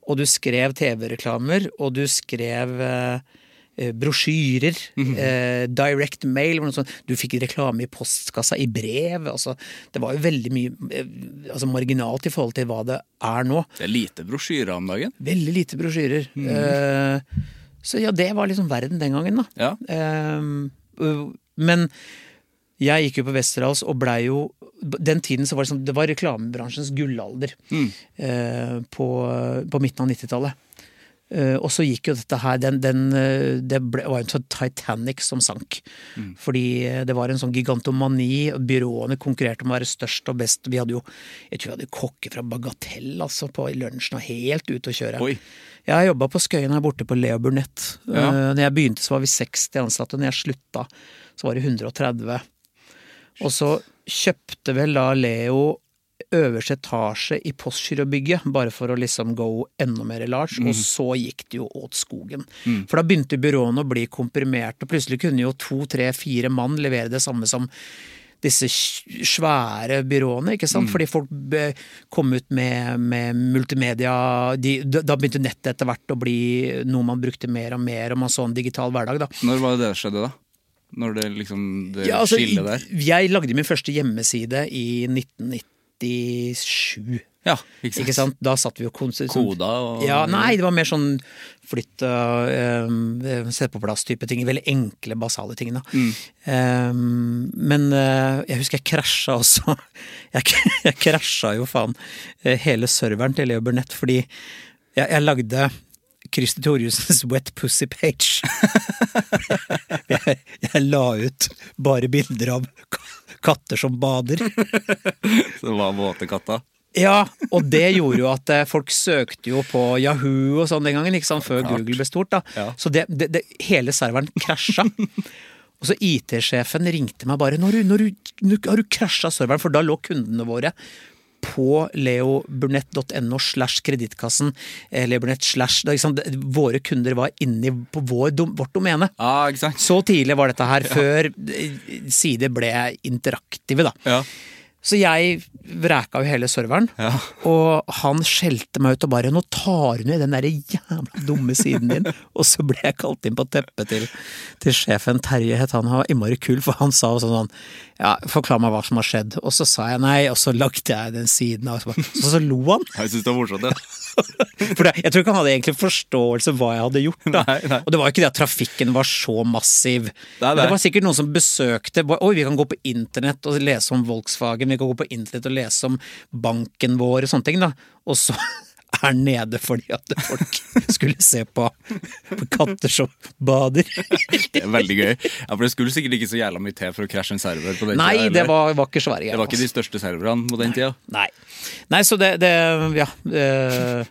Speaker 3: og du skrev TV-reklamer, og du skrev eh, eh, brosjyrer, eh, direct mail var noe sånt. Du fikk reklame i postkassa, i brev. Altså, det var jo veldig mye eh, altså, marginalt i forhold til hva det er nå.
Speaker 1: Det er lite brosjyrer om dagen.
Speaker 3: Veldig lite brosjyrer. Eh, så ja, det var liksom verden den gangen, da.
Speaker 1: Ja.
Speaker 3: Ehm, øh, men jeg gikk jo på Westerdals og blei jo Den tiden så var det sånn Det var reklamebransjens gullalder eh, på, på midten av 90-tallet. Eh, og så gikk jo dette her den, den, eh, Det ble, var jo en sånn Titanic som sank. Fordi eh, det var en sånn gigantomani. og Byråene konkurrerte om å være størst og best. Vi hadde jo jeg tror vi hadde kokker fra Bagatell altså, på i lunsjen og helt ute å kjøre.
Speaker 1: Oi.
Speaker 3: Jeg har jobba på Skøyen her borte på Leo Burnett.
Speaker 1: Ja.
Speaker 3: Eh, Når jeg begynte så var vi 60 ansatte, når jeg slutta så var det 130. Og så kjøpte vel da Leo øverste etasje i Postgirobygget, bare for å liksom go enda mer large, og så gikk det jo åt skogen. For da begynte byråene å bli komprimerte, og plutselig kunne jo to, tre, fire mann levere det samme som disse sj- svære byråene, ikke sant? Fordi folk be- kom ut med, med multimedia de, Da da begynte nettet etter hvert å bli noe man brukte mer og mer, og man så en digital hverdag, da.
Speaker 1: Når var det det skjedde, da? Når det liksom det
Speaker 3: Ja, altså,
Speaker 1: skillet der?
Speaker 3: Jeg lagde min første hjemmeside i 1997.
Speaker 1: Ja, ikke sant?
Speaker 3: Ikke sant? Da satt vi jo konsert...
Speaker 1: Koda og
Speaker 3: Ja, nei, det var mer sånn flytt og eh, sette på plass-type ting. Veldig enkle, basale ting. Da.
Speaker 1: Mm.
Speaker 3: Eh, men eh, jeg husker jeg krasja også. Jeg, k- jeg krasja jo faen eh, hele serveren til Leo Burnett fordi jeg, jeg lagde Christer Thoriussens Wet Pussy Page. jeg, jeg la ut bare bilder av k- katter som bader.
Speaker 1: Det var våte katta.
Speaker 3: Ja, og det gjorde jo at eh, folk søkte jo på Yahoo og sånn den gangen, ikke sant, før Google ble stort. da.
Speaker 1: Ja.
Speaker 3: Så det, det, det, hele serveren krasja. Og så IT-sjefen ringte meg bare når, du- når, du- når, du- Har du krasja serveren? For da lå kundene våre på leoburnett.no slash kredittkassen. eh, Leoburnett slash det er ikke sant, det- Våre kunder var inni på vår, dom- vårt domene.
Speaker 1: Ah, ikke sant?
Speaker 3: Så tidlig var dette her, før eh, sider ble interaktive, da.
Speaker 1: Ja.
Speaker 3: Så jeg vreka jo hele serveren, og han skjelte meg ut og bare 'nå tar du ned den der jævla dumme siden din', og så ble jeg kalt inn på teppet til, til sjefen. Terje het han, han var innmari kul, for han sa jo sånn sånn 'ja, forklar meg hva som har skjedd', og så sa jeg nei, og så lagde jeg den siden av, og så, bare, så, så lo han.
Speaker 1: Jeg syns det var morsomt, det.
Speaker 3: For det, jeg tror ikke han hadde egentlig forståelse hva jeg hadde gjort. Da.
Speaker 1: Nei, nei.
Speaker 3: Og det var jo ikke det at trafikken var så massiv.
Speaker 1: Nei, nei.
Speaker 3: Men Det var sikkert noen som besøkte bare, Oi, vi kan gå på internett og lese om Volkswagen, vi kan gå på internett og lese om banken vår og sånne ting, da. Og så er nede fordi at folk skulle se på, på katter som bader.
Speaker 1: det er veldig gøy. Ja, for Det skulle sikkert ikke så jævla mye til for å krasje en server på den
Speaker 3: Nei,
Speaker 1: tiden,
Speaker 3: det
Speaker 1: eller?
Speaker 3: var, var ikke svære
Speaker 1: det
Speaker 3: greier.
Speaker 1: var ikke de
Speaker 3: altså.
Speaker 1: største serverne på den tida.
Speaker 3: Nei. Nei, så det, det Ja. eh,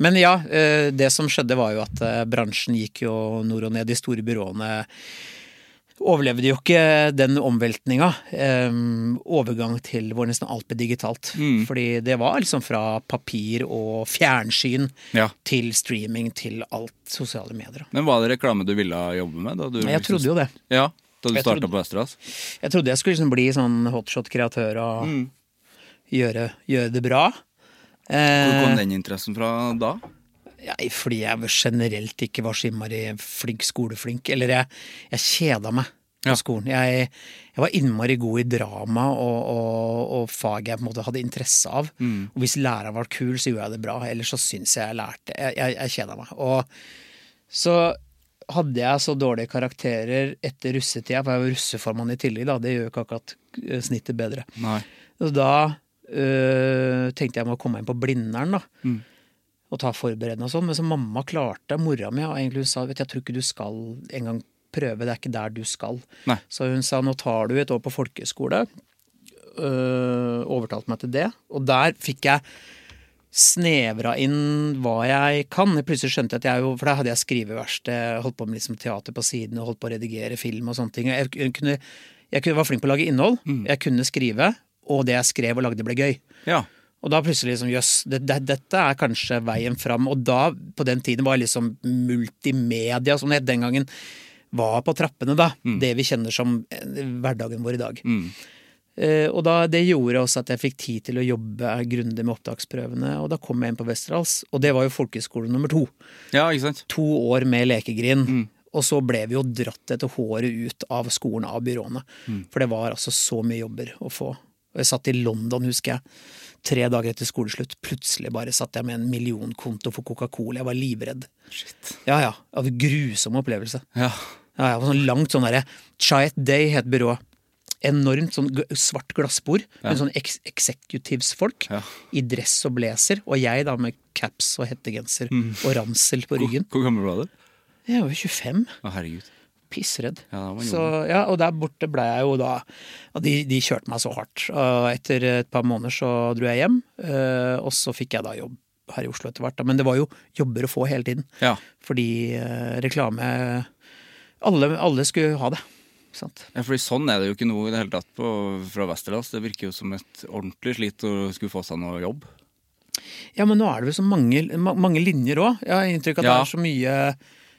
Speaker 3: men ja, eh, det som skjedde var jo at eh, bransjen gikk jo nord og ned. De store byråene overlevde jo ikke den omveltninga. eh, overgang til hvor nesten alt ble digitalt. Fordi det var liksom fra papir og fjernsyn
Speaker 1: Ja.
Speaker 3: til streaming til alt sosiale medier. da.
Speaker 1: Men var det reklame du ville jobbe med? da du liksom-
Speaker 3: Jeg trodde jo det.
Speaker 1: Ja, Da du
Speaker 3: Jeg
Speaker 1: starta
Speaker 3: trodde-
Speaker 1: på Vesterålen?
Speaker 3: Jeg trodde jeg skulle liksom bli sånn hotshot-kreatør og gjøre, gjøre det bra.
Speaker 1: Hvor
Speaker 3: Eh,
Speaker 1: kom den interessen fra da?
Speaker 3: Nei, fordi jeg generelt ikke var så innmari flink skoleflink. Eller jeg, jeg kjeda meg på
Speaker 1: Ja.
Speaker 3: skolen. Jeg, jeg var innmari god i drama og, og, og fag jeg på en måte hadde interesse av.
Speaker 1: Mm.
Speaker 3: Og hvis læreren var kul, så gjorde jeg det bra. Ellers så syns jeg jeg lærte Jeg, jeg, jeg kjeda meg. Og så hadde jeg så dårlige karakterer etter russetida, for jeg var russeformann i tillegg, da. Det gjør jo ikke akkurat eh, snittet bedre.
Speaker 1: Nei.
Speaker 3: Og da øh, tenkte jeg må komme inn på Blindern da, og ta forberedende og sånn. Men så mamma klarte, mora mi, og egentlig hun sa vet du, jeg tror ikke du skal engang prøve, det er ikke der du skal.
Speaker 1: Nei.
Speaker 3: Så hun sa nå tar du et år på folkehøyskole. Øh, overtalte meg til det. Og der fikk jeg snevra inn hva jeg kan. Jeg plutselig skjønte jeg at jeg jo For da hadde jeg skriveverksted, holdt på med liksom teater på siden og holdt på å redigere film og sånne ting. Jeg, kunne, jeg kunne, var flink på å lage innhold. Jeg kunne skrive, og det jeg skrev og lagde, ble gøy.
Speaker 1: Ja.
Speaker 3: Og da plutselig liksom, jøss, det, det, dette er kanskje veien fram. Og da, på den tiden, var liksom multimedia, som det het den gangen, var på trappene, da. Det vi kjenner som eh, hverdagen vår i dag. Eh, og da, det gjorde også at jeg fikk tid til å jobbe grundig med opptaksprøvene. Og da kom jeg inn på Westerdals, og det var jo folkehøyskole nummer to.
Speaker 1: ja, ikke sant?
Speaker 3: To år med lekegrind. Og så ble vi jo dratt etter håret ut av skolen, av byråene. For det var altså så mye jobber å få. Og jeg satt i London, husker jeg. Tre dager etter skoleslutt. Plutselig bare satt jeg med en millionkonto for Coca-Cola. Jeg var livredd. Ja, ja. Det var en grusom opplevelse.
Speaker 1: Ja.
Speaker 3: Ja, jeg var sånn langt sånn derre Chiat Day het byrået. Enormt sånn g- svart glassbord med sånn ex executivesfolk
Speaker 1: Ja.
Speaker 3: i dress og blazer, og jeg da med caps og hettegenser og ransel på ryggen.
Speaker 1: Hvor gammel var du?
Speaker 3: Jeg var jo 25.
Speaker 1: Å, herregud.
Speaker 3: Pissredd.
Speaker 1: Ja, da var
Speaker 3: så, ja, og der borte ble jeg jo da og de, de kjørte meg så hardt. Og etter et par måneder så dro jeg hjem, eh, og så fikk jeg da jobb her i Oslo etter hvert. da. Men det var jo jobber å få hele tiden.
Speaker 1: Ja.
Speaker 3: Fordi eh, reklame alle, alle skulle ha det. ikke Sant?
Speaker 1: Ja, fordi Sånn er det jo ikke noe i det hele tatt på, fra Westerdals. Det virker jo som et ordentlig slit å skulle få seg noe jobb.
Speaker 3: Ja, men nå er det vel så mange, ma mange linjer òg. Jeg har inntrykk av at
Speaker 1: Ja.
Speaker 3: det er så mye,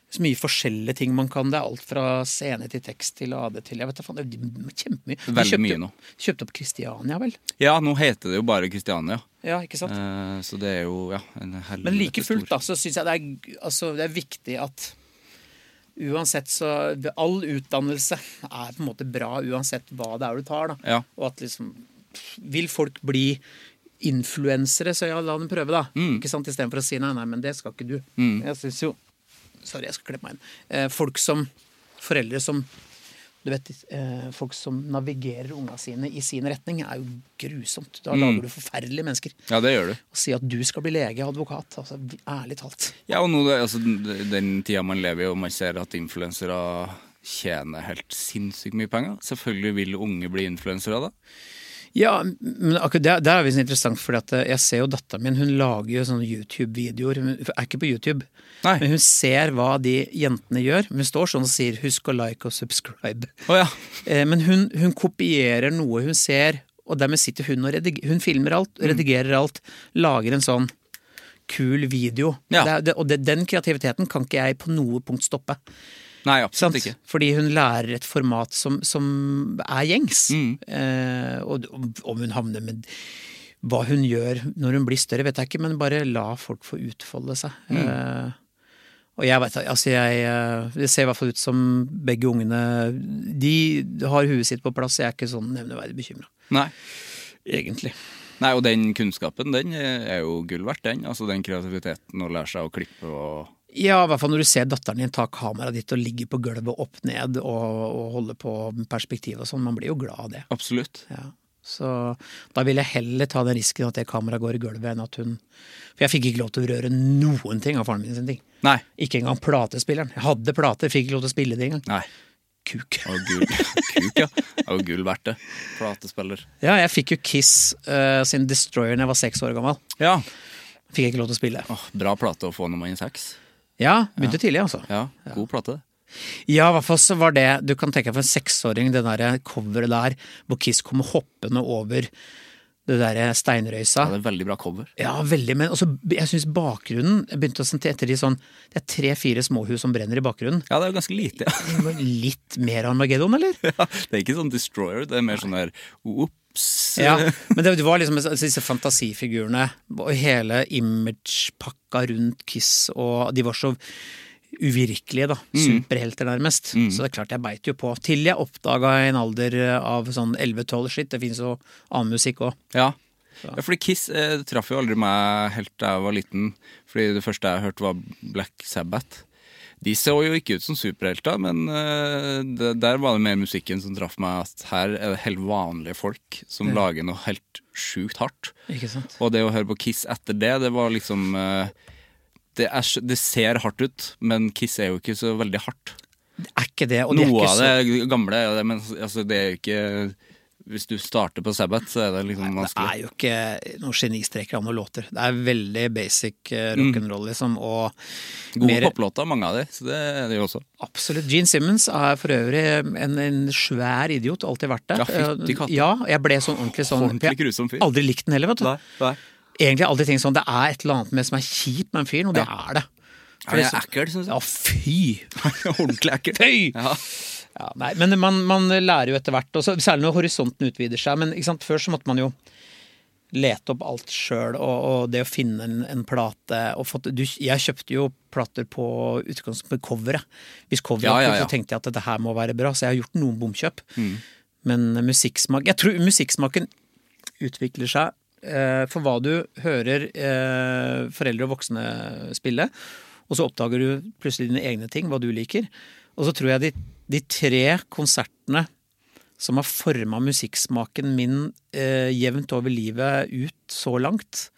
Speaker 3: så mye forskjellige ting man kan. Det er alt fra scene til tekst til AD til Jeg vet da faen, det er kjempemye. De
Speaker 1: Veldig
Speaker 3: kjøpte-
Speaker 1: mye nå.
Speaker 3: Kjøpte opp Kristiania, vel?
Speaker 1: Ja, nå heter det jo bare Kristiania.
Speaker 3: Ja, ikke sant?
Speaker 1: Eh, så det er jo ja, en helvete
Speaker 3: Men like fullt
Speaker 1: stor-
Speaker 3: da, så syns jeg det er, altså, det er viktig at uansett så All utdannelse er på en måte bra uansett hva det er du tar. da.
Speaker 1: Ja.
Speaker 3: Og at liksom Vil folk bli influensere, så ja, la dem prøve, da.
Speaker 1: Mm.
Speaker 3: Ikke sant? Istedenfor å si nei, nei, men det skal ikke du. Jeg syns jo Sorry, jeg skal klippe meg inn. Eh, folk som Foreldre som du vet, eh, Folk som navigerer unga sine i sin retning, er jo grusomt.
Speaker 1: Mm.
Speaker 3: Da lager du forferdelige mennesker
Speaker 1: Ja, det gjør du.
Speaker 3: å si at du skal bli lege og advokat. Altså, vi- ærlig talt.
Speaker 1: Ja, og nå, det- altså, den- Den tida man lever i og man ser at influensere tjener helt sinnssykt mye penger Selvfølgelig vil unge bli influensere da.
Speaker 3: Ja, men akkurat det, det er visst interessant, for jeg ser jo datteren min. Hun lager jo sånne YouTube-videoer. Hun er ikke på YouTube,
Speaker 1: Nei.
Speaker 3: men hun ser hva de jentene gjør. Hun står sånn og sier 'husk å like og subscribe'.
Speaker 1: Å ja.
Speaker 3: Eh, Men hun, hun kopierer noe hun ser, Og dermed sitter hun og rediger, hun filmer alt,
Speaker 1: Mm.
Speaker 3: redigerer alt, lager en sånn kul video.
Speaker 1: Ja.
Speaker 3: Det er, det, og det, den kreativiteten kan ikke jeg på noe punkt stoppe.
Speaker 1: Nei, absolutt
Speaker 3: Sant?
Speaker 1: ikke.
Speaker 3: Fordi hun lærer et format som, som er gjengs. Eh, og d- om hun havner med hva hun gjør når hun blir større, vet jeg ikke, men bare la folk få utfolde seg. Eh, og jeg vet, altså jeg, eh, Det ser i hvert fall ut som begge ungene De har huet sitt på plass, jeg er ikke sånn nevneverdig bekymra,
Speaker 1: Nei.
Speaker 3: egentlig.
Speaker 1: Nei, og den kunnskapen, den er jo gull verdt, den. Altså den kreativiteten å lære seg å klippe og
Speaker 3: Ja, i hvert fall når du ser datteren din ta kameraet ditt og ligge på gulvet opp ned og, og holde på med perspektiv og sånn. Man blir jo glad av det.
Speaker 1: Absolutt.
Speaker 3: Ja. Så da vil jeg heller ta den risken at det kameraet går i gulvet, enn at hun For jeg fikk ikke lov til å røre noen ting av faren min sin ting.
Speaker 1: Nei.
Speaker 3: Ikke engang platespilleren. Jeg hadde plater, fikk ikke lov til å spille det engang.
Speaker 1: Nei.
Speaker 3: Kuk.
Speaker 1: Det var gull. Kuk, ja. Det var gull verdt det. Platespiller.
Speaker 3: Ja, jeg fikk jo Kiss eh, sin Destroyer da jeg var seks år gammel.
Speaker 1: Ja.
Speaker 3: Fikk jeg ikke lov til å spille.
Speaker 1: Åh, bra plate å få når man er seks.
Speaker 3: Ja, begynte tidlig, altså.
Speaker 1: Ja, god plate.
Speaker 3: Ja, i hvert fall så var det Du kan tenke deg for en seksåring, det der coveret der hvor Kiss kommer hoppende over det derre steinrøysa.
Speaker 1: Ja, det er veldig bra cover.
Speaker 3: Ja, veldig, men også, jeg syns bakgrunnen Jeg begynte å sende etter de sånn Det er tre-fire småhus som brenner i bakgrunnen.
Speaker 1: Ja, det er jo ganske lite. ja.
Speaker 3: Det var Litt mer Armageddon, eller?
Speaker 1: Ja, det er ikke sånn Destroyer, det er mer sånn der ops.
Speaker 3: Ja, Men det var liksom altså, disse fantasifigurene og hele imagepakka rundt Kiss, og de var så uvirkelige, da.
Speaker 1: Mm.
Speaker 3: Superhelter, nærmest. Så det er klart jeg beit jo på. Til jeg oppdaga i en alder av sånn 11-12 shit. Det fins jo annen musikk òg.
Speaker 1: Ja. ja, fordi Kiss eh, det traff jo aldri meg helt da jeg var liten. Fordi det første jeg hørte, var Black Sabbath. De så jo ikke ut som superhelter, men eh, det, der var det mer musikken som traff meg. At her er det helt vanlige folk som lager noe helt sjukt hardt.
Speaker 3: Ikke sant?
Speaker 1: Og det å høre på Kiss etter det, det var liksom eh, det, er, så- det ser hardt ut, men Kiss er jo ikke så veldig hardt.
Speaker 3: Er ikke det. Og de er
Speaker 1: Noe
Speaker 3: ikke
Speaker 1: av
Speaker 3: så
Speaker 1: det gamle er jo det, men altså, det er jo ikke Hvis du starter på Sabbath, så er det liksom
Speaker 3: Det
Speaker 1: vanskelig.
Speaker 3: er jo ikke noen genistreker av noen låter. Det er veldig basic eh,
Speaker 1: Mm.
Speaker 3: rock'n'roll, liksom. Og
Speaker 1: Gode
Speaker 3: mer-
Speaker 1: poplåter, mange av de, så det er det jo også.
Speaker 3: Absolutt. Gene Simmons er for øvrig en, en svær idiot, alltid vært det.
Speaker 1: Ja, fytti katta.
Speaker 3: Eh, Ja, jeg ble sånn ordentlig sånn
Speaker 1: Ordentlig grusom fyr.
Speaker 3: Aldri likt den heller, vet du. Egentlig aldri tenkt sånn Det er et eller annet med som er kjipt med en fyren, og det er det. For
Speaker 1: Han er
Speaker 3: så-
Speaker 1: ekkel, synes jeg.
Speaker 3: Ja, fy!
Speaker 1: Ordentlig ekkel.
Speaker 3: Fy!
Speaker 1: Ja.
Speaker 3: Ja, nei, men man, man lærer jo etter hvert, og så- særlig når horisonten utvider seg. Men ikke sant, før så måtte man jo lete opp alt sjøl, og, og det å finne en, en plate og fått, du, Jeg kjøpte jo plater på utgangspunkt med coveret. Hvis coveret
Speaker 1: Ja,
Speaker 3: ja,
Speaker 1: ja, Mm. ja.
Speaker 3: så tenkte jeg at dette her må være bra, så jeg har gjort noen bomkjøp. Men musikksmak Jeg tror musikksmaken utvikler seg eh, for hva du hører eh, foreldre og voksne spille, og så oppdager du plutselig dine egne ting, hva du liker. Og så tror jeg de, de tre konsertene som har forma musikksmaken min eh, jevnt over livet ut så langt,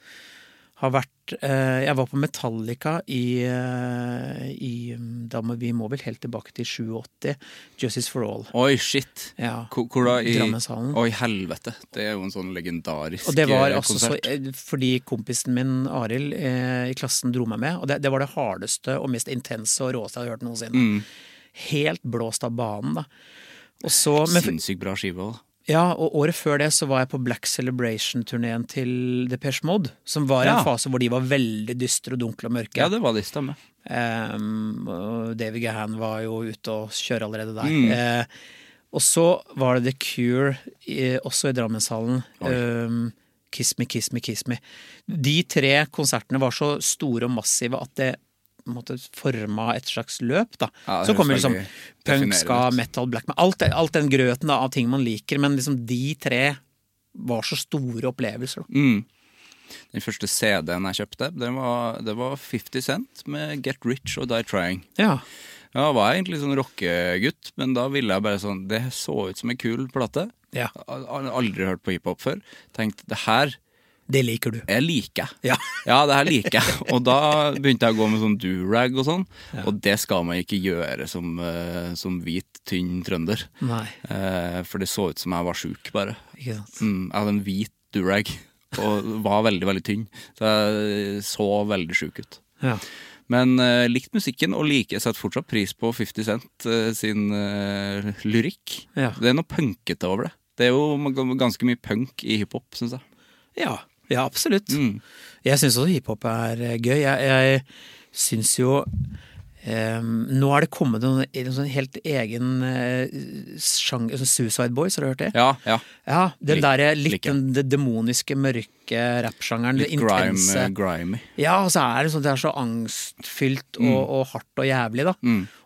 Speaker 3: har vært eh, Jeg var på Metallica i, eh, i mm, da må, Vi må vel helt tilbake til 87. Justice for All.
Speaker 1: Oi, shit.
Speaker 3: Ja,
Speaker 1: Hvor, hvor da? I
Speaker 3: Drammenshallen.
Speaker 1: Oi, helvete. Det er jo en sånn legendarisk
Speaker 3: Og det var
Speaker 1: eh,
Speaker 3: altså så,
Speaker 1: konsert.
Speaker 3: eh, fordi kompisen min Arild eh, i klassen dro meg med, og det, det var det hardeste og mest intense og råeste jeg hadde hørt noensinne.
Speaker 1: Mm.
Speaker 3: Helt blåst av banen, da. Og så, men,
Speaker 1: Sinnssykt bra skive òg.
Speaker 3: ja, og året før det så var jeg på Black Celebration-turneen til Depeche Mode, som var i
Speaker 1: Ja.
Speaker 3: en fase hvor de var veldig dystre og dunkle og mørke.
Speaker 1: Ja, det var de stemmer.
Speaker 3: Ehm, og David Gahan var jo ute og kjører allerede der.
Speaker 1: Mm.
Speaker 3: Eh, og så var det The Cure, eh, også i Drammenshallen. Ehm, Kiss Me, Kiss Me, Kiss Me. De tre konsertene var så store og massive at det på en måte, forma et slags løp. da.
Speaker 1: Ja, det
Speaker 3: så kommer
Speaker 1: høres
Speaker 3: liksom
Speaker 1: veldig
Speaker 3: punk,
Speaker 1: definerende
Speaker 3: ska,
Speaker 1: ut.
Speaker 3: metal, black metal. Alt, det- alt den grøten da, av ting man liker. Men liksom de tre var så store opplevelser.
Speaker 1: Mm.
Speaker 3: Da.
Speaker 1: Den første CD-en jeg kjøpte, den var, det var 50 Cent med Get Rich og Die Trying.
Speaker 3: Ja.
Speaker 1: Ja, jeg var egentlig sånn rockegutt, men da ville jeg bare sånn Det så ut som en kul plate.
Speaker 3: Ja.
Speaker 1: Jeg har Aldri hørt på hiphop før. Tenkte det her
Speaker 3: Det liker du.
Speaker 1: jeg liker jeg.
Speaker 3: Ja.
Speaker 1: det her liker jeg. Og da begynte jeg å gå med sånn do-rag og sånn. Og det skal man ikke gjøre som, eh, som hvit, tynn trønder.
Speaker 3: Nei,
Speaker 1: Eh, for det så ut som jeg var sjuk, bare.
Speaker 3: Mm. ikke sant.
Speaker 1: Mm, jeg hadde en hvit do-rag og var veldig, veldig tynn. Så jeg så veldig sjuk ut.
Speaker 3: Ja.
Speaker 1: Men eh, likt musikken, og like setter fortsatt pris på 50 Cent eh, sin eh, lyrikk.
Speaker 3: Ja.
Speaker 1: Det er noe punkete over det. Det er jo g- ganske mye punk i hiphop, syns jeg.
Speaker 3: Ja, ja absolutt.
Speaker 1: Mm.
Speaker 3: Jeg syns også hiphop er eh, gøy. Jeg, jeg syns jo eh, Nå er det kommet en, en sånn helt egen eh, sjanger sånn Suicide Boys, har du hørt det?
Speaker 1: Ja, ja.
Speaker 3: Ja, den
Speaker 1: Lik-
Speaker 3: der er litt
Speaker 1: liker.
Speaker 3: den de- demoniske, mørke rappsjangeren. det
Speaker 1: Litt grime,
Speaker 3: intense.
Speaker 1: eh, grimy.
Speaker 3: Ja, og så er det sånn det er så angstfylt og,
Speaker 1: Mm.
Speaker 3: og hardt og jævlig, da.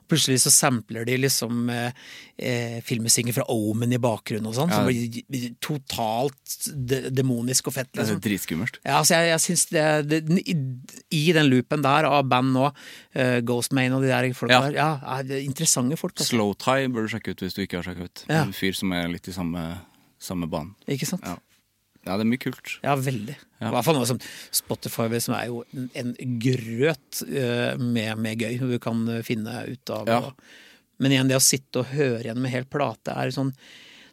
Speaker 3: Plutselig så sampler de liksom eh, eh, filmmusikken fra Omen i bakgrunnen og sånn. Som blir totalt de demonisk og fett,
Speaker 1: Det er
Speaker 3: liksom.
Speaker 1: dritskummelt.
Speaker 3: Ja, altså jeg, jeg synes det, det den- i, I den loopen der av band nå, uh, Ghostman og de der folka
Speaker 1: Ja.
Speaker 3: der, ja, er det interessante folk. Altså.
Speaker 1: Slowtie bør du sjekke ut hvis du ikke har sjekka ut.
Speaker 3: Ja.
Speaker 1: En fyr som er litt i samme, samme banen.
Speaker 3: Ikke sant? Ja,
Speaker 1: Ja, det er mye kult.
Speaker 3: veldig. I hvert fall noe som Spotify, som er jo en, en grøt eh, med, med gøy du kan eh, finne ut av.
Speaker 1: Ja.
Speaker 3: og- Men igjen, det å sitte og høre igjen med hel plate er sånn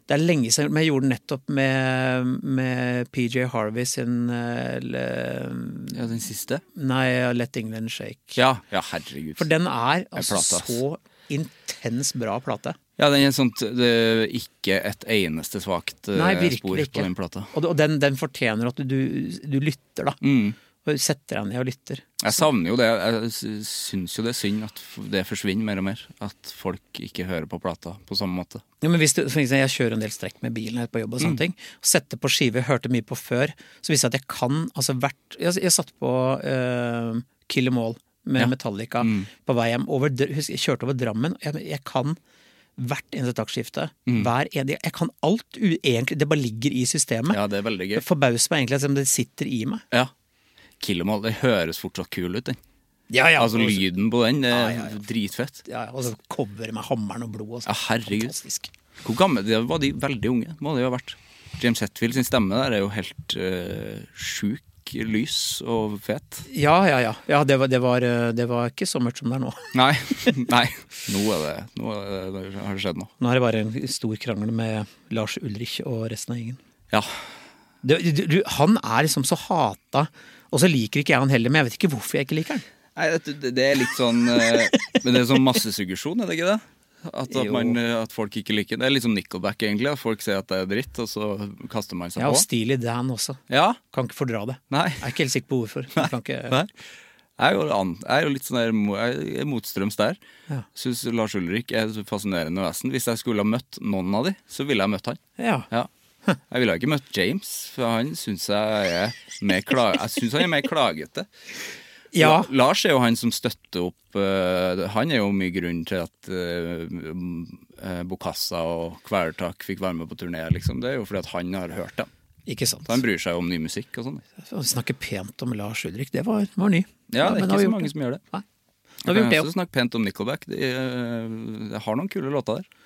Speaker 3: det er lenge siden, men jeg gjorde det nettopp med, med PJ Harvey sin eh, le-
Speaker 1: Ja, den siste?
Speaker 3: Nei, Let England Shake.
Speaker 1: Ja, ja herregud.
Speaker 3: For den er altså
Speaker 1: plate, ass.
Speaker 3: så intens bra plate.
Speaker 1: Ja, den er sånt, det er ikke et eneste svakt eh,
Speaker 3: Nei,
Speaker 1: spor
Speaker 3: virkelig
Speaker 1: på
Speaker 3: ikke.
Speaker 1: den plata.
Speaker 3: Og, og den, den fortjener at du, du lytter,
Speaker 1: Mm.
Speaker 3: da. Og setter deg ned og lytter.
Speaker 1: Jeg savner jo det. Jeg sy- syns jo det er synd at f- det forsvinner mer og mer. At folk ikke hører på plata på samme måte.
Speaker 3: Ja, men hvis du, for eksempel, jeg kjører en del strekk med bilen her på jobb og
Speaker 1: Mm.
Speaker 3: sånne ting. Og setter på skive jeg hørte mye på før. Så visste jeg at jeg kan altså hvert Jeg, jeg satte på eh, Kill Em All med Metallica
Speaker 1: Mm.
Speaker 3: på vei hjem. Over, Dr- husk, jeg kjørte over Drammen. og Jeg, jeg kan hvert eneste taktskifte.
Speaker 1: Mm.
Speaker 3: Hver en, jeg kan alt, u, egentlig. Det bare ligger i systemet.
Speaker 1: Ja, det er veldig gøy.
Speaker 3: Det forbauser meg egentlig at det sitter i meg.
Speaker 1: Ja. Killemall, det høres fortsatt kul ut, den.
Speaker 3: Ja, ja,
Speaker 1: Altså
Speaker 3: og-
Speaker 1: lyden på den, det er dritfett.
Speaker 3: Ja, og så coveret med hammeren og blod. Og sånn.
Speaker 1: Ja, herregud.
Speaker 3: Fantastisk.
Speaker 1: Hvor gamle de var? de Veldig unge må de jo ha vært. James Hetfield sin stemme der er jo helt uh, sjuk, lys og fet.
Speaker 3: Ja, ja, ja. ja det, var, det, var, eh, det var ikke så mørkt som det er nå.
Speaker 1: Nei, nei. Nå er det Nå er det, det har det skjedd noe.
Speaker 3: Nå er det bare en stor krangel med Lars Ulrich og resten av gjengen.
Speaker 1: Ja.
Speaker 3: Du, du, du, han er liksom så hata, og så liker ikke jeg han heller, men jeg vet ikke hvorfor jeg ikke liker han.
Speaker 1: Nei, det, det- det er litt sånn eh, Men det er sånn massesuggesjon, er det ikke det? At, at,
Speaker 3: Jo.
Speaker 1: man, eh, at folk ikke liker det. Det er litt som Nickelback, egentlig. At folk sier at det er dritt, og så kaster man seg
Speaker 3: Ja, og
Speaker 1: på.
Speaker 3: Steely Dan også.
Speaker 1: Ja.
Speaker 3: Kan ikke fordra det.
Speaker 1: Nei.
Speaker 3: Jeg er ikke helt sikker på hvorfor. Jeg Kan ikke,
Speaker 1: Nei. Jeg er jo, an- jeg er jo litt sånn der, mo- jeg er motstrøms der. Syns Lars Ulrik er et fascinerende vesen. Hvis jeg skulle ha møtt noen av de, så ville jeg møtt han.
Speaker 3: Ja.
Speaker 1: Ja. Jeg ville ikke møtt James, for han syns jeg er mer, kla jeg synes han er mer klagete.
Speaker 3: ja.
Speaker 1: La- Lars er jo han som støtter opp eh, Han er jo mye grunnen til at eh, eh, Bokassa og Kvelertak fikk være med på turné. Liksom. Det er jo fordi at han har hørt dem.
Speaker 3: Ikke sant.
Speaker 1: Så han bryr seg om ny musikk og sånn.
Speaker 3: Å snakke pent om Lars Ulrich, det var, var ny.
Speaker 1: Ja, det er
Speaker 3: men
Speaker 1: ikke
Speaker 3: nå har vi
Speaker 1: så
Speaker 3: gjort
Speaker 1: mange som gjør det.
Speaker 3: Nei. Nå har vi gjort det
Speaker 1: Jeg kan også
Speaker 3: jo.
Speaker 1: snakke pent om Nickelback. De, eh, jeg har noen kule låter der.